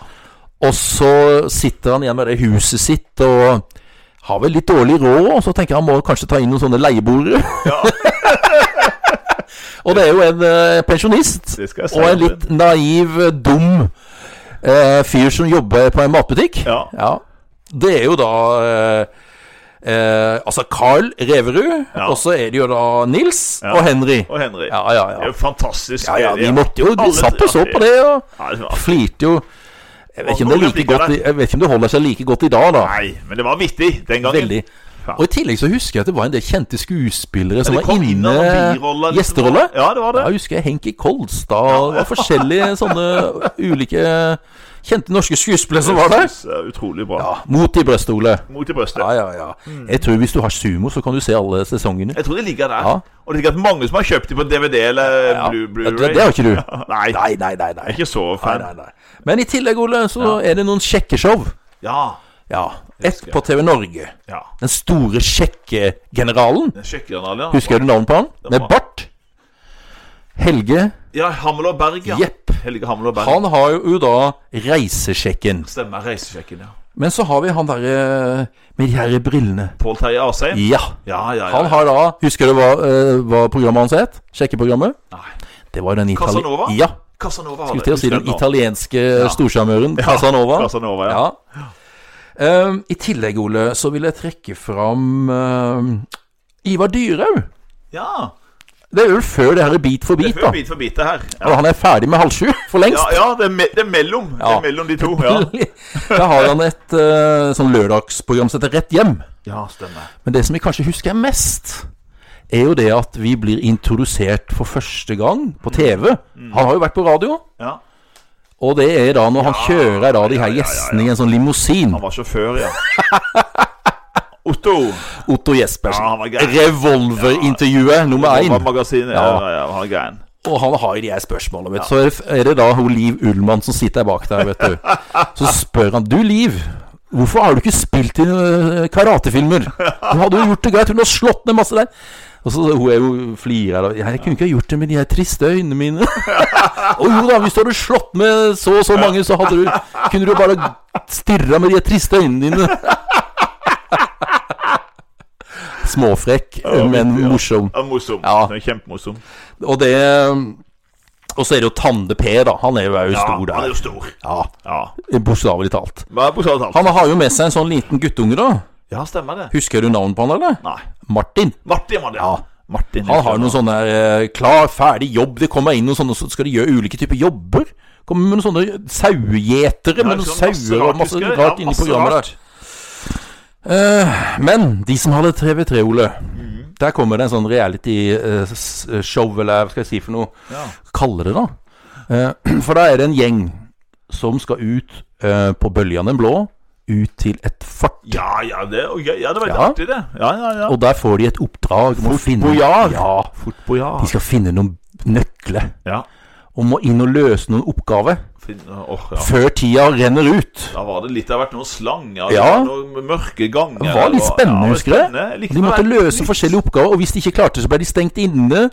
Speaker 1: Og så sitter han igjen med det huset sitt og har vel litt dårlig råd, og så tenker han må kanskje ta inn noen sånne leieboere.
Speaker 2: Ja.
Speaker 1: og det er jo en eh, pensjonist
Speaker 2: Det skal jeg si
Speaker 1: og en
Speaker 2: om
Speaker 1: litt naiv, eh, dum eh, fyr som jobber på en matbutikk.
Speaker 2: Ja.
Speaker 1: Det er jo da eh, eh, Altså Carl Reverud,
Speaker 2: Ja.
Speaker 1: og så er det jo da Nils
Speaker 2: Ja.
Speaker 1: og Henry.
Speaker 2: Og Henry.
Speaker 1: Ja, ja,
Speaker 2: Det er
Speaker 1: ja.
Speaker 2: jo fantastisk.
Speaker 1: ja, ja vi måtte jo Vi
Speaker 2: Alle-
Speaker 1: satt og så
Speaker 2: ja,
Speaker 1: på det, og
Speaker 2: Ja, det var-
Speaker 1: flirte jo jeg vet, ikke om
Speaker 2: Og
Speaker 1: det er
Speaker 2: noen
Speaker 1: like
Speaker 2: flikker
Speaker 1: godt,
Speaker 2: der.
Speaker 1: i- jeg vet ikke om det holder seg like godt i dag, da.
Speaker 2: Nei, men det var vittig den gangen.
Speaker 1: Veldig.
Speaker 2: Ja.
Speaker 1: Og I tillegg så husker jeg at det var en del kjente skuespillere som
Speaker 2: Det
Speaker 1: var
Speaker 2: kom inn
Speaker 1: inne
Speaker 2: noen biroller, liksom.
Speaker 1: Gjesteroller.
Speaker 2: Ja, det var det.
Speaker 1: Jeg husker Henki Kolstad og det var forskjellige sånne ulike kjente norske skuespillere som var der.
Speaker 2: synes jeg er Utrolig bra.
Speaker 1: Ja, Mot i brøstet, Ole.
Speaker 2: Mot i brøstet.
Speaker 1: Ja, ja, ja. Jeg tror hvis du har sumo, så kan du se alle sesongene.
Speaker 2: Mm. Jeg tror det ligger der.
Speaker 1: Ja.
Speaker 2: Og det er sikkert mange som har kjøpt dem på DVD eller
Speaker 1: Ja.
Speaker 2: Blu-
Speaker 1: Ja,
Speaker 2: Blu-ray.
Speaker 1: det, det har ikke du.
Speaker 2: Nei, jeg
Speaker 1: Nei, nei, nei. nei.
Speaker 2: er ikke så
Speaker 1: nei,
Speaker 2: fan.
Speaker 1: nei, nei. Men i tillegg, Ole, så er det noen sjekkeshow.
Speaker 2: Ja.
Speaker 1: Ja. Ett
Speaker 2: Husker jeg.
Speaker 1: på TV Norge.
Speaker 2: ja.
Speaker 1: Den store sjekkegeneralen.
Speaker 2: Den sjekker han alle, ja.
Speaker 1: Husker du navnet på han? Med
Speaker 2: var-
Speaker 1: bart. Helge.
Speaker 2: Ja, Hammel og Berg, ja.
Speaker 1: Jepp.
Speaker 2: Helge Hammel og Berg.
Speaker 1: Han har jo da reisesjekken.
Speaker 2: Stemmer reisesjekken, ja.
Speaker 1: Men så har vi han derre med de her brillene.
Speaker 2: Pål Terje Asheim.
Speaker 1: Ja.
Speaker 2: Ja, ja, ja.
Speaker 1: Han har da Husker du hva, eh, hva programmet hans het? Sjekkeprogrammet?
Speaker 2: Nei.
Speaker 1: Det var den itali-
Speaker 2: Casanova?
Speaker 1: Ja.
Speaker 2: Casanova har
Speaker 1: Skulle til å si
Speaker 2: Husker
Speaker 1: den
Speaker 2: jeg nå.
Speaker 1: italienske storsjarmøren Casanova.
Speaker 2: Casanova, ja.
Speaker 1: Ehm, I tillegg, Ole, så vil jeg trekke fram ehm, Ivar Dyrhaug.
Speaker 2: Ja.
Speaker 1: Det er jo før det her er Bit for
Speaker 2: Det
Speaker 1: bit,
Speaker 2: er
Speaker 1: da.
Speaker 2: før bit for bit, det her. Ja,
Speaker 1: Og han er ferdig med halv sju for lengst.
Speaker 2: ja, ja det, er me det er mellom. Det
Speaker 1: Ja.
Speaker 2: er mellom de to. Ja,
Speaker 1: da har han et eh, sånn lørdagsprogram som heter Rett hjem.
Speaker 2: ja stemmer.
Speaker 1: Men det som vi kanskje husker mest, er jo det at vi blir introdusert for første gang på TV.
Speaker 2: Mm.
Speaker 1: Han har jo vært på radio.
Speaker 2: Ja.
Speaker 1: Og det er da når han kjører da de her
Speaker 2: ja, ja,
Speaker 1: gjestene i en sånn limousin.
Speaker 2: Han var sjåfør, ja. Otto.
Speaker 1: Otto
Speaker 2: Ja, han var
Speaker 1: Jespersen.
Speaker 2: gæren.
Speaker 1: Revolverintervjuet nummer
Speaker 2: Nova
Speaker 1: én.
Speaker 2: Magasinet. Ja, ja, ja, han er gæren.
Speaker 1: Og han har jo de her spørsmålene, vet du. Så er det- er det da hun Liv Ullmann som sitter der bak der, vet du. Så spør han Du, Liv. Hvorfor har du ikke spilt i øh, karatefilmer? Du hadde jo gjort det greit. Hun har slått ned masse der. Og så Hun er jo flirer. da. Jeg kunne ikke ha gjort det med de her triste øynene mine. Og jo da, hvis du hadde slått med så og så mange, så hadde du, kunne du bare stirra med de her triste øynene dine. Småfrekk, men morsom.
Speaker 2: Ja, morsom.
Speaker 1: Ja.
Speaker 2: Den er kjempemorsom.
Speaker 1: Og det Og så er det jo Tande P, da. Han er jo er jo
Speaker 2: Ja,
Speaker 1: stor
Speaker 2: han er
Speaker 1: der.
Speaker 2: jo stor.
Speaker 1: Ja,
Speaker 2: Ja.
Speaker 1: Bokstavelig talt.
Speaker 2: Hva er bokstavelig talt?
Speaker 1: Han har jo med seg en sånn liten guttunge, da.
Speaker 2: Ja, stemmer det.
Speaker 1: Husker du navnet på han, eller?
Speaker 2: Nei.
Speaker 1: Martin.
Speaker 2: Martin var det.
Speaker 1: Ja.
Speaker 2: Martin.
Speaker 1: Han har noen sånne eh, klar, ferdig jobb. Det kommer inn noen sånne, så skal de gjøre ulike typer jobber. Kommer med noen sånne sauegjetere med noen sauer og masse rart inni programmet der. Eh, men de som hadde TV3, Ole, Der kommer det en sånn reality-show, eller hva skal jeg si for noe
Speaker 2: Ja.
Speaker 1: kalle det, da. Eh, For da er det en gjeng som skal ut eh, på Bøljan den blå, ut til et fart.
Speaker 2: ja, ja, det, er jo gøy. ja, det var litt
Speaker 1: Ja.
Speaker 2: artig, det. Ja, ja, ja.
Speaker 1: Og der får de et oppdrag om å finne
Speaker 2: Bojar.
Speaker 1: Ja,
Speaker 2: Fotbojar.
Speaker 1: De skal finne noen nøkler.
Speaker 2: Ja.
Speaker 1: Og må inn og løse noen oppgaver
Speaker 2: Fin- Åh, ja.
Speaker 1: før tida renner ut.
Speaker 2: Da var det litt Det har vært noen slanger,
Speaker 1: Ja.
Speaker 2: noen mørke ganger.
Speaker 1: Det var litt
Speaker 2: og-
Speaker 1: spennende,
Speaker 2: ja,
Speaker 1: husker jeg.
Speaker 2: spennende. likte
Speaker 1: De måtte
Speaker 2: det.
Speaker 1: løse forskjellige oppgaver, og hvis de ikke klarte det, så ble de stengt inne.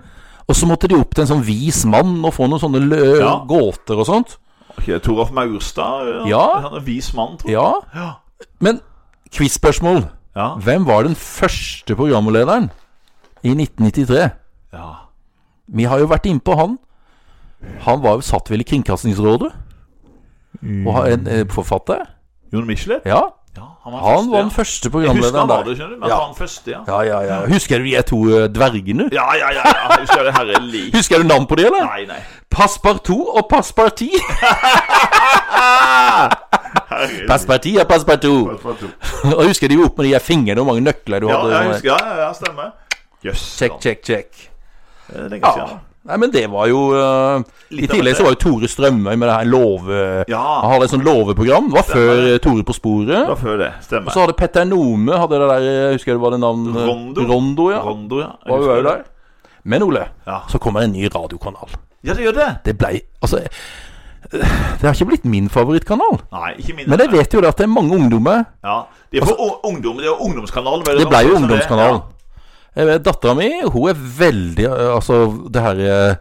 Speaker 1: Og så måtte de opp til en sånn vis mann og få noen sånne lø
Speaker 2: Ja.
Speaker 1: gåter og sånt.
Speaker 2: Ok, Toralf Maurstad.
Speaker 1: Ja.
Speaker 2: Han er vis mann, tror jeg.
Speaker 1: Ja.
Speaker 2: Ja.
Speaker 1: Men quiz-spørsmål.
Speaker 2: Ja.
Speaker 1: Hvem var den første programlederen i 1993?
Speaker 2: ja.
Speaker 1: Vi har jo vært innpå han. Han var jo satt vel i Kringkastingsrådet. Og har en eh, forfatter.
Speaker 2: Jon Michelet?
Speaker 1: Ja,
Speaker 2: Ja, han var,
Speaker 1: han var den
Speaker 2: første.
Speaker 1: første
Speaker 2: Ja. Jeg husker
Speaker 1: programlederen
Speaker 2: han var
Speaker 1: der.
Speaker 2: det, skjønner du. Men
Speaker 1: Ja.
Speaker 2: han var den første, ja.
Speaker 1: Ja, ja, ja. Husker du de to eh, dvergene?
Speaker 2: Ja, ja, ja. ja. Jeg Husker det herre lik.
Speaker 1: Husker du navn på de, eller?
Speaker 2: Nei, nei.
Speaker 1: Passepartout og Passeparti.
Speaker 2: Herre
Speaker 1: Passeparti og Passepartout.
Speaker 2: lik.
Speaker 1: Og husker de jo opp med de her fingrene og hvor mange nøkler du
Speaker 2: Ja,
Speaker 1: hadde?
Speaker 2: jeg husker. Ja, ja, ja stemmer. Jøss.
Speaker 1: Check, check, check.
Speaker 2: Det er lenge
Speaker 1: Ja.
Speaker 2: siden.
Speaker 1: Nei, men det var jo eh, I
Speaker 2: Litt av
Speaker 1: tillegg
Speaker 2: et-
Speaker 1: så var jo Tore Strømøy med det her love...
Speaker 2: Ja.
Speaker 1: Han hadde et sånt loveprogram. Det var før eh, Tore på sporet.
Speaker 2: Det var før det. Stemmer.
Speaker 1: Og så hadde Petter Nome hadde det der eh, Husker jeg det var det navn eh,
Speaker 2: Rondo.
Speaker 1: Rondo ja.
Speaker 2: Rondo, ja. Jeg
Speaker 1: Var jo
Speaker 2: husker
Speaker 1: også der. Men Ole,
Speaker 2: Ja.
Speaker 1: så kommer en ny radiokanal.
Speaker 2: ja, det gjør det.
Speaker 1: Det blei Altså eh, Det har ikke blitt min favorittkanal.
Speaker 2: Nei, ikke mindre.
Speaker 1: Men jeg vet jo det at det er mange ungdommer.
Speaker 2: Ja. De er på u- ungdom, det er jo ungdomskanalen. vel,
Speaker 1: Det blei jo
Speaker 2: så det-
Speaker 1: ungdomskanalen.
Speaker 2: ja.
Speaker 1: Dattera mi hun er veldig eh, Altså, det her eh,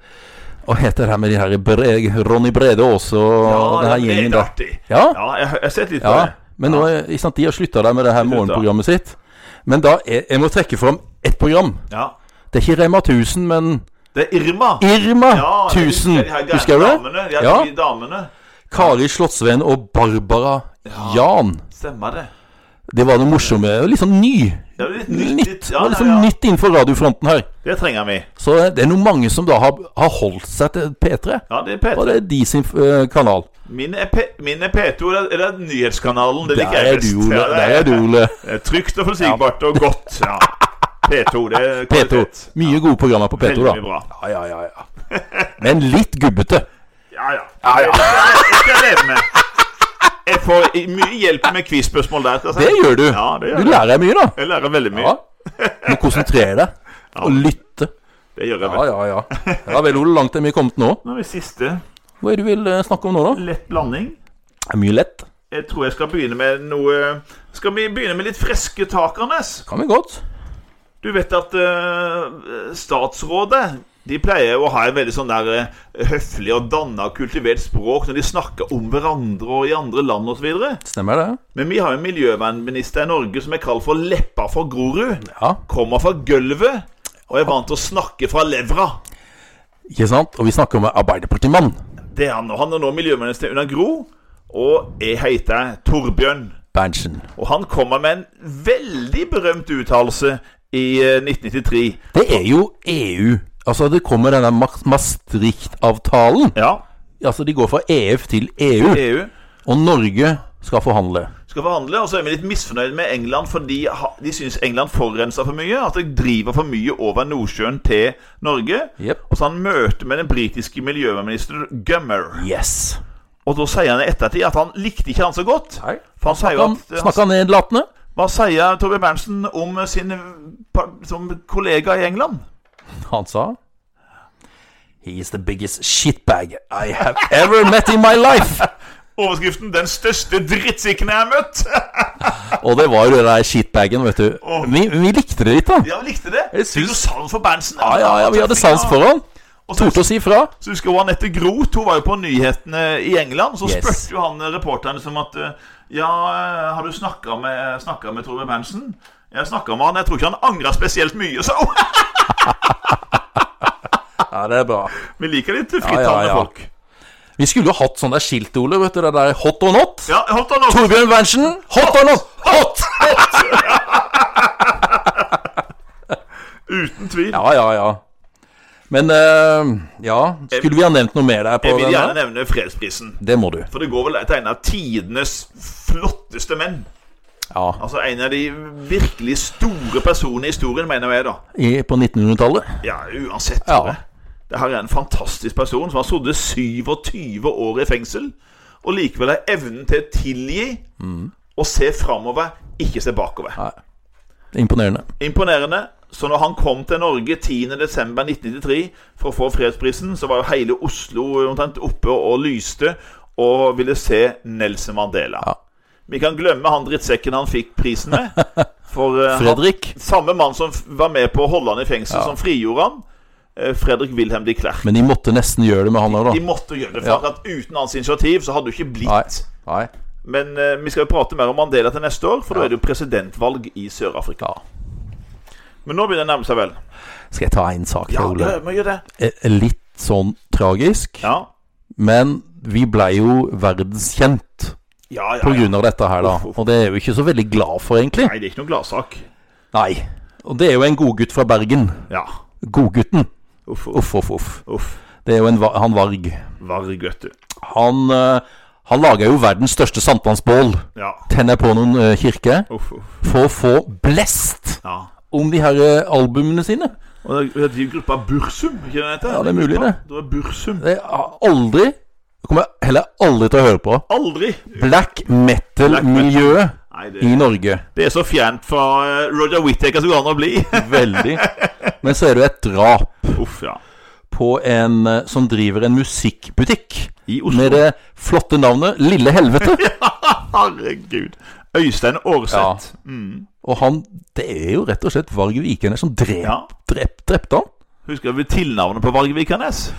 Speaker 1: Hva heter det her med de her Bre Ronny Brede Aase og
Speaker 2: Ja,
Speaker 1: den her
Speaker 2: det er
Speaker 1: gjengen der?
Speaker 2: artig.
Speaker 1: Ja,
Speaker 2: Ja, jeg, har- jeg har sett litt på
Speaker 1: ja.
Speaker 2: det.
Speaker 1: Men nå er, ikke sant, de har slutta der med det her morgenprogrammet sitt. Men da er, jeg må trekke fram ett program.
Speaker 2: Ja.
Speaker 1: Det er ikke Rema 1000, men
Speaker 2: Det er Irma.
Speaker 1: Irma
Speaker 2: Ja, det
Speaker 1: 1000.
Speaker 2: husker jeg, de her gærne
Speaker 1: Husker du det?
Speaker 2: Damene, de, her
Speaker 1: Ja.
Speaker 2: de damene.
Speaker 1: Kari Slottsveen og Barbara Jan.
Speaker 2: Stemmer det.
Speaker 1: Det var noe morsomt. Litt sånn ny.
Speaker 2: Ja, det er litt nytt.
Speaker 1: Nytt.
Speaker 2: litt-
Speaker 1: Det
Speaker 2: Ja,
Speaker 1: var
Speaker 2: ja,
Speaker 1: liksom
Speaker 2: ja.
Speaker 1: nytt innenfor radiofronten her.
Speaker 2: Det trenger vi.
Speaker 1: Så det er noe mange som da har, har holdt seg til P3.
Speaker 2: Ja, det er P3.
Speaker 1: Og det er de sin eh, kanal.
Speaker 2: Min er, P min er P2, eller, eller nyhetskanalen. Det liker
Speaker 1: Der
Speaker 2: jeg
Speaker 1: er
Speaker 2: best.
Speaker 1: du, Ole.
Speaker 2: Ja, det
Speaker 1: Der er du, Ole.
Speaker 2: Det er Eh, Trygt og forutsigbart og godt. Ja. P2, det er
Speaker 1: P2.
Speaker 2: kvalitet.
Speaker 1: Mye gode programmer på P2,
Speaker 2: Veldig mye
Speaker 1: da. Ja,
Speaker 2: bra.
Speaker 1: ja, ja, ja. Men litt gubbete.
Speaker 2: Ja, ja. Det skal jeg leve med. Jeg får i- mye hjelp med quiz-spørsmål der. skal jeg si.
Speaker 1: Det gjør du.
Speaker 2: Ja, det gjør
Speaker 1: Du
Speaker 2: jeg.
Speaker 1: lærer deg mye, da.
Speaker 2: Jeg lærer veldig mye.
Speaker 1: Ja. Du må konsentrere deg. Og lytte.
Speaker 2: Det gjør jeg
Speaker 1: Ja,
Speaker 2: vel.
Speaker 1: ja, ja. Ja vel, Ole. Langt er vi kommet nå.
Speaker 2: Nå er vi siste.
Speaker 1: Hva er det du vil eh, snakke om nå, da?
Speaker 2: Lett blanding.
Speaker 1: Det er mye lett.
Speaker 2: Jeg tror jeg skal begynne med noe Skal vi begynne med litt friske tak, Anders?
Speaker 1: Kan vi godt.
Speaker 2: Du vet at eh, statsrådet de pleier å ha en veldig sånn der eh, høflig og danna og kultivert språk når de snakker om hverandre og i andre land osv.
Speaker 1: Stemmer det?
Speaker 2: Men vi har jo en miljøvernminister i Norge som er kalt for leppa fra Grorud.
Speaker 1: Ja.
Speaker 2: kommer fra gulvet og er vant til å snakke fra levra.
Speaker 1: Ikke sant? Og vi snakker om en Arbeiderpartimann.
Speaker 2: Det er han, og han er nå miljøminister under Gro. Og jeg heter Torbjørn.
Speaker 1: Berntsen.
Speaker 2: Og han kommer med en veldig berømt uttalelse i eh, 1993.
Speaker 1: Det er jo EU. Altså, det kommer denne Ma- Maastricht-avtalen.
Speaker 2: Ja,
Speaker 1: Altså, de går fra EF til EU.
Speaker 2: EU
Speaker 1: Og Norge skal forhandle.
Speaker 2: skal forhandle, og så er vi litt misfornøyd med England fordi ha- de syns England forurenser for mye. At de driver for mye over Nordsjøen til Norge.
Speaker 1: Jep.
Speaker 2: Og så har han møte med den britiske miljøvernministeren Gummer.
Speaker 1: Yes.
Speaker 2: Og da sier han i ettertid at han likte ikke han så godt.
Speaker 1: Nei.
Speaker 2: For han sier jo
Speaker 1: Kan
Speaker 2: at han
Speaker 1: snakke nedlatende.
Speaker 2: Hva sier Torbjørn Berntsen om sin par- som kollega i England?
Speaker 1: Han sa He is the biggest shitbag I have ever met in my life.
Speaker 2: Overskriften 'Den største drittsekken jeg har møtt'.
Speaker 1: Og det var jo den der shitbagen, vet du. Vi, vi likte det litt, da.
Speaker 2: Ja, likte det.
Speaker 1: Jeg syns-
Speaker 2: Fikk du sans for Berntsen?
Speaker 1: Ja, ja, ja, vi hadde sans for han.
Speaker 2: Og så,
Speaker 1: Torde å si fra.
Speaker 2: så husker jeg Anette Groth, hun var jo på nyhetene i England. Så
Speaker 1: Yes.
Speaker 2: spurte jo han reporteren som at eh, Ja, eh, har du snakka med, eh, snakket med Torbjørn Berntsen? Jeg snakka med han, jeg tror ikke han angra spesielt mye, så
Speaker 1: Ja, det er bra.
Speaker 2: Vi liker litt
Speaker 1: Ja,
Speaker 2: frittalende
Speaker 1: ja, ja.
Speaker 2: folk.
Speaker 1: Vi skulle jo hatt sånn der skilt, Ole. Vet du, det der hot or not.
Speaker 2: Ja, holdt han opp.
Speaker 1: Torbjørn Berntsen, hot or not? Hot!
Speaker 2: Uten tvil.
Speaker 1: Ja, ja, ja. Men eh, ja Skulle vi ha nevnt noe mer der? på
Speaker 2: Jeg vil
Speaker 1: den
Speaker 2: gjerne
Speaker 1: der?
Speaker 2: nevne fredsprisen.
Speaker 1: Det må du.
Speaker 2: For det går vel til en av tidenes flotteste menn.
Speaker 1: Ja,
Speaker 2: Altså En av de virkelig store personene i historien, mener jeg, da.
Speaker 1: i, På 1900-tallet.
Speaker 2: Ja, uansett.
Speaker 1: Ja.
Speaker 2: tror jeg. Det her er en fantastisk person som har sittet 27 år i fengsel, og likevel har evnen til å tilgi
Speaker 1: Mm.
Speaker 2: og se framover, ikke se bakover.
Speaker 1: Nei. Imponerende.
Speaker 2: Imponerende. Så når han kom til Norge 10.12.1993 for å få fredsprisen, så var jo hele Oslo omtrent oppe og lyste og ville se Nelson Mandela.
Speaker 1: Ja.
Speaker 2: Vi kan glemme han drittsekken han fikk prisen med. For eh, han,
Speaker 1: Fredrik.
Speaker 2: samme mann som f- var med på å holde han i fengsel, som frigjorde han. eh, Fredrik Wilhelm de Klerk.
Speaker 1: Men de måtte nesten gjøre det med han òg,
Speaker 2: De
Speaker 1: da.
Speaker 2: måtte gjøre det, for
Speaker 1: Ja.
Speaker 2: at uten hans initiativ så hadde det ikke blitt.
Speaker 1: Nei. Nei.
Speaker 2: Men eh, vi skal jo prate mer om Mandela til neste år, for da er det jo presidentvalg i Sør-Afrika.
Speaker 1: Ja.
Speaker 2: Men nå begynner det å nærme seg vel.
Speaker 1: Skal jeg ta en sak til,
Speaker 2: Ja,
Speaker 1: Ole?
Speaker 2: ja, vi gjør det.
Speaker 1: Eh, Litt sånn tragisk,
Speaker 2: Ja,
Speaker 1: men vi blei jo verdenskjent
Speaker 2: ja, ja.
Speaker 1: på
Speaker 2: ja.
Speaker 1: grunn av dette her, da.
Speaker 2: Uff, uff.
Speaker 1: Og det er vi ikke så veldig glad for, egentlig.
Speaker 2: Nei, det er ikke noen gladsak.
Speaker 1: Nei. Og det er jo en godgutt fra Bergen.
Speaker 2: Ja.
Speaker 1: Godgutten.
Speaker 2: Uff, uff.
Speaker 1: Uff, uff, uff.
Speaker 2: uff.
Speaker 1: Det er jo en, va- han Varg.
Speaker 2: Varg, vet du.
Speaker 1: Han, eh, han laga jo verdens største sankthansbål.
Speaker 2: Ja.
Speaker 1: Tenner på noen eh, kirker
Speaker 2: Uff, uff.
Speaker 1: for å få blest
Speaker 2: Ja.
Speaker 1: om de her eh, albumene sine.
Speaker 2: Og det er gruppa Bursum, ikke det den heter?
Speaker 1: Ja, det er mulig, det.
Speaker 2: Det var Bursum.
Speaker 1: Det har aldri Det kommer jeg heller aldri til å høre på.
Speaker 2: Aldri!
Speaker 1: Black metal-miljøet
Speaker 2: Nei, det
Speaker 1: i Norge.
Speaker 2: Det er så fjernt fra eh, Roger Whittaker som går an å bli.
Speaker 1: Veldig. Men så er det jo et drap
Speaker 2: Uff, ja.
Speaker 1: på en eh, som driver en musikkbutikk
Speaker 2: I Oslo.
Speaker 1: med det flotte navnet Lille Helvete.
Speaker 2: Herregud. Øystein Aarseth. Mm.
Speaker 1: Og han Det er jo rett og slett Varg Vikenes som drep,
Speaker 2: Ja.
Speaker 1: drep, drepte han.
Speaker 2: Husker vi tilnavnet på Varg Vikernes?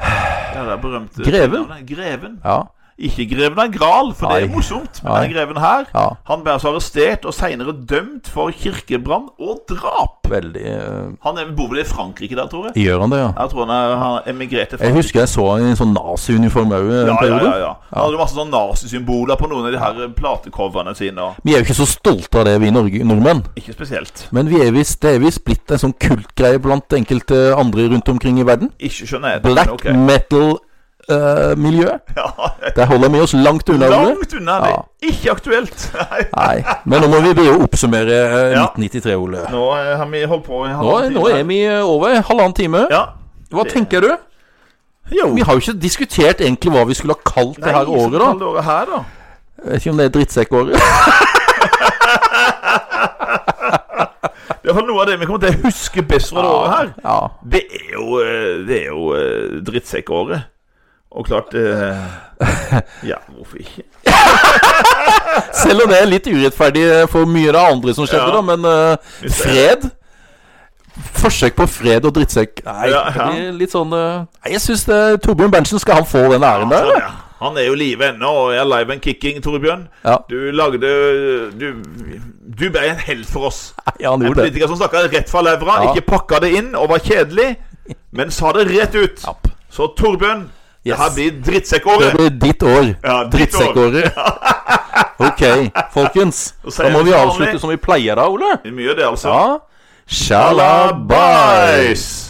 Speaker 2: Ja, det er berømte
Speaker 1: Greven?
Speaker 2: tilnavnet. Greven.
Speaker 1: Ja.
Speaker 2: Ikke greven av Gral, for det er
Speaker 1: Nei.
Speaker 2: morsomt. Men
Speaker 1: Nei.
Speaker 2: den greven her
Speaker 1: ja.
Speaker 2: Han ble altså arrestert og senere dømt for kirkebrann og drap.
Speaker 1: Veldig eh,
Speaker 2: Han er- bor vel i Frankrike der, tror jeg.
Speaker 1: Gjør han det, ja?
Speaker 2: Jeg tror han, er, han emigrerte fra
Speaker 1: Jeg husker jeg så han i en sånn nazi-uniform òg en
Speaker 2: ja, ja,
Speaker 1: periode.
Speaker 2: ja, ja. Han hadde masse sånn nazisymboler på noen av de her eh, platecoverne sine. Og
Speaker 1: Vi er jo ikke så stolte av det, vi Norge, nordmenn.
Speaker 2: ikke spesielt.
Speaker 1: Men vi er visst, det er visst blitt en sånn kultgreie blant enkelte andre rundt omkring i verden.
Speaker 2: Ikke skjønner jeg det, men
Speaker 1: Black
Speaker 2: ok.
Speaker 1: metal-miljøet.
Speaker 2: Ja,
Speaker 1: Der holder vi oss langt unna. Ole.
Speaker 2: Langt unna det. Ikke aktuelt. Nei.
Speaker 1: Nei, men nå må vi begynne å oppsummere eh,
Speaker 2: Ja.
Speaker 1: 1993, Ole.
Speaker 2: Nå eh, har vi holdt på i
Speaker 1: Nå,
Speaker 2: halvannen
Speaker 1: nå er vi eh, over halvannen time.
Speaker 2: Ja.
Speaker 1: Hva tenker du?
Speaker 2: Jo.
Speaker 1: Vi har jo ikke diskutert egentlig hva vi skulle ha kalt det her året, da.
Speaker 2: Det året her, da.
Speaker 1: Jeg vet ikke om det er drittsekkåret.
Speaker 2: Det er i hvert fall noe av det vi kommer til å huske best fra det året her.
Speaker 1: Ja.
Speaker 2: Det er jo, eh, det er jo eh, drittsekkåret. Og klart eh, Ja, hvorfor ikke?
Speaker 1: Selv om det er litt urettferdig eh, for mye av det andre som skjedde,
Speaker 2: Ja.
Speaker 1: da, men eh,
Speaker 2: Hvis det-
Speaker 1: fred Forsøk på fred og drittsekk Nei,
Speaker 2: Ja, ja.
Speaker 1: det blir litt sånn eh, Nei, jeg syns Torbjørn Berntsen skal han få den æren der.
Speaker 2: Altså,
Speaker 1: eller?
Speaker 2: ja. Han er jo i live ennå og er live and kicking, Torbjørn.
Speaker 1: Ja.
Speaker 2: Du lagde Du, du ble en helt for oss.
Speaker 1: Ja, han
Speaker 2: En
Speaker 1: gjorde det.
Speaker 2: politiker som snakka rett fra levra,
Speaker 1: Ja.
Speaker 2: ikke pakka det inn og var kjedelig, men sa det rett ut.
Speaker 1: Ja.
Speaker 2: Så Torbjørn,
Speaker 1: Yes.
Speaker 2: det her blir
Speaker 1: Det
Speaker 2: drittsekkåret.
Speaker 1: blir ditt år.
Speaker 2: Ja, ditt år.
Speaker 1: Drittsekkåret. Ok, folkens.
Speaker 2: Og så er
Speaker 1: Da må vi
Speaker 2: det som
Speaker 1: avslutte
Speaker 2: vanlig.
Speaker 1: som vi pleier da, Ole.
Speaker 2: Det er mye, det, altså.
Speaker 1: Ja. Shalabais!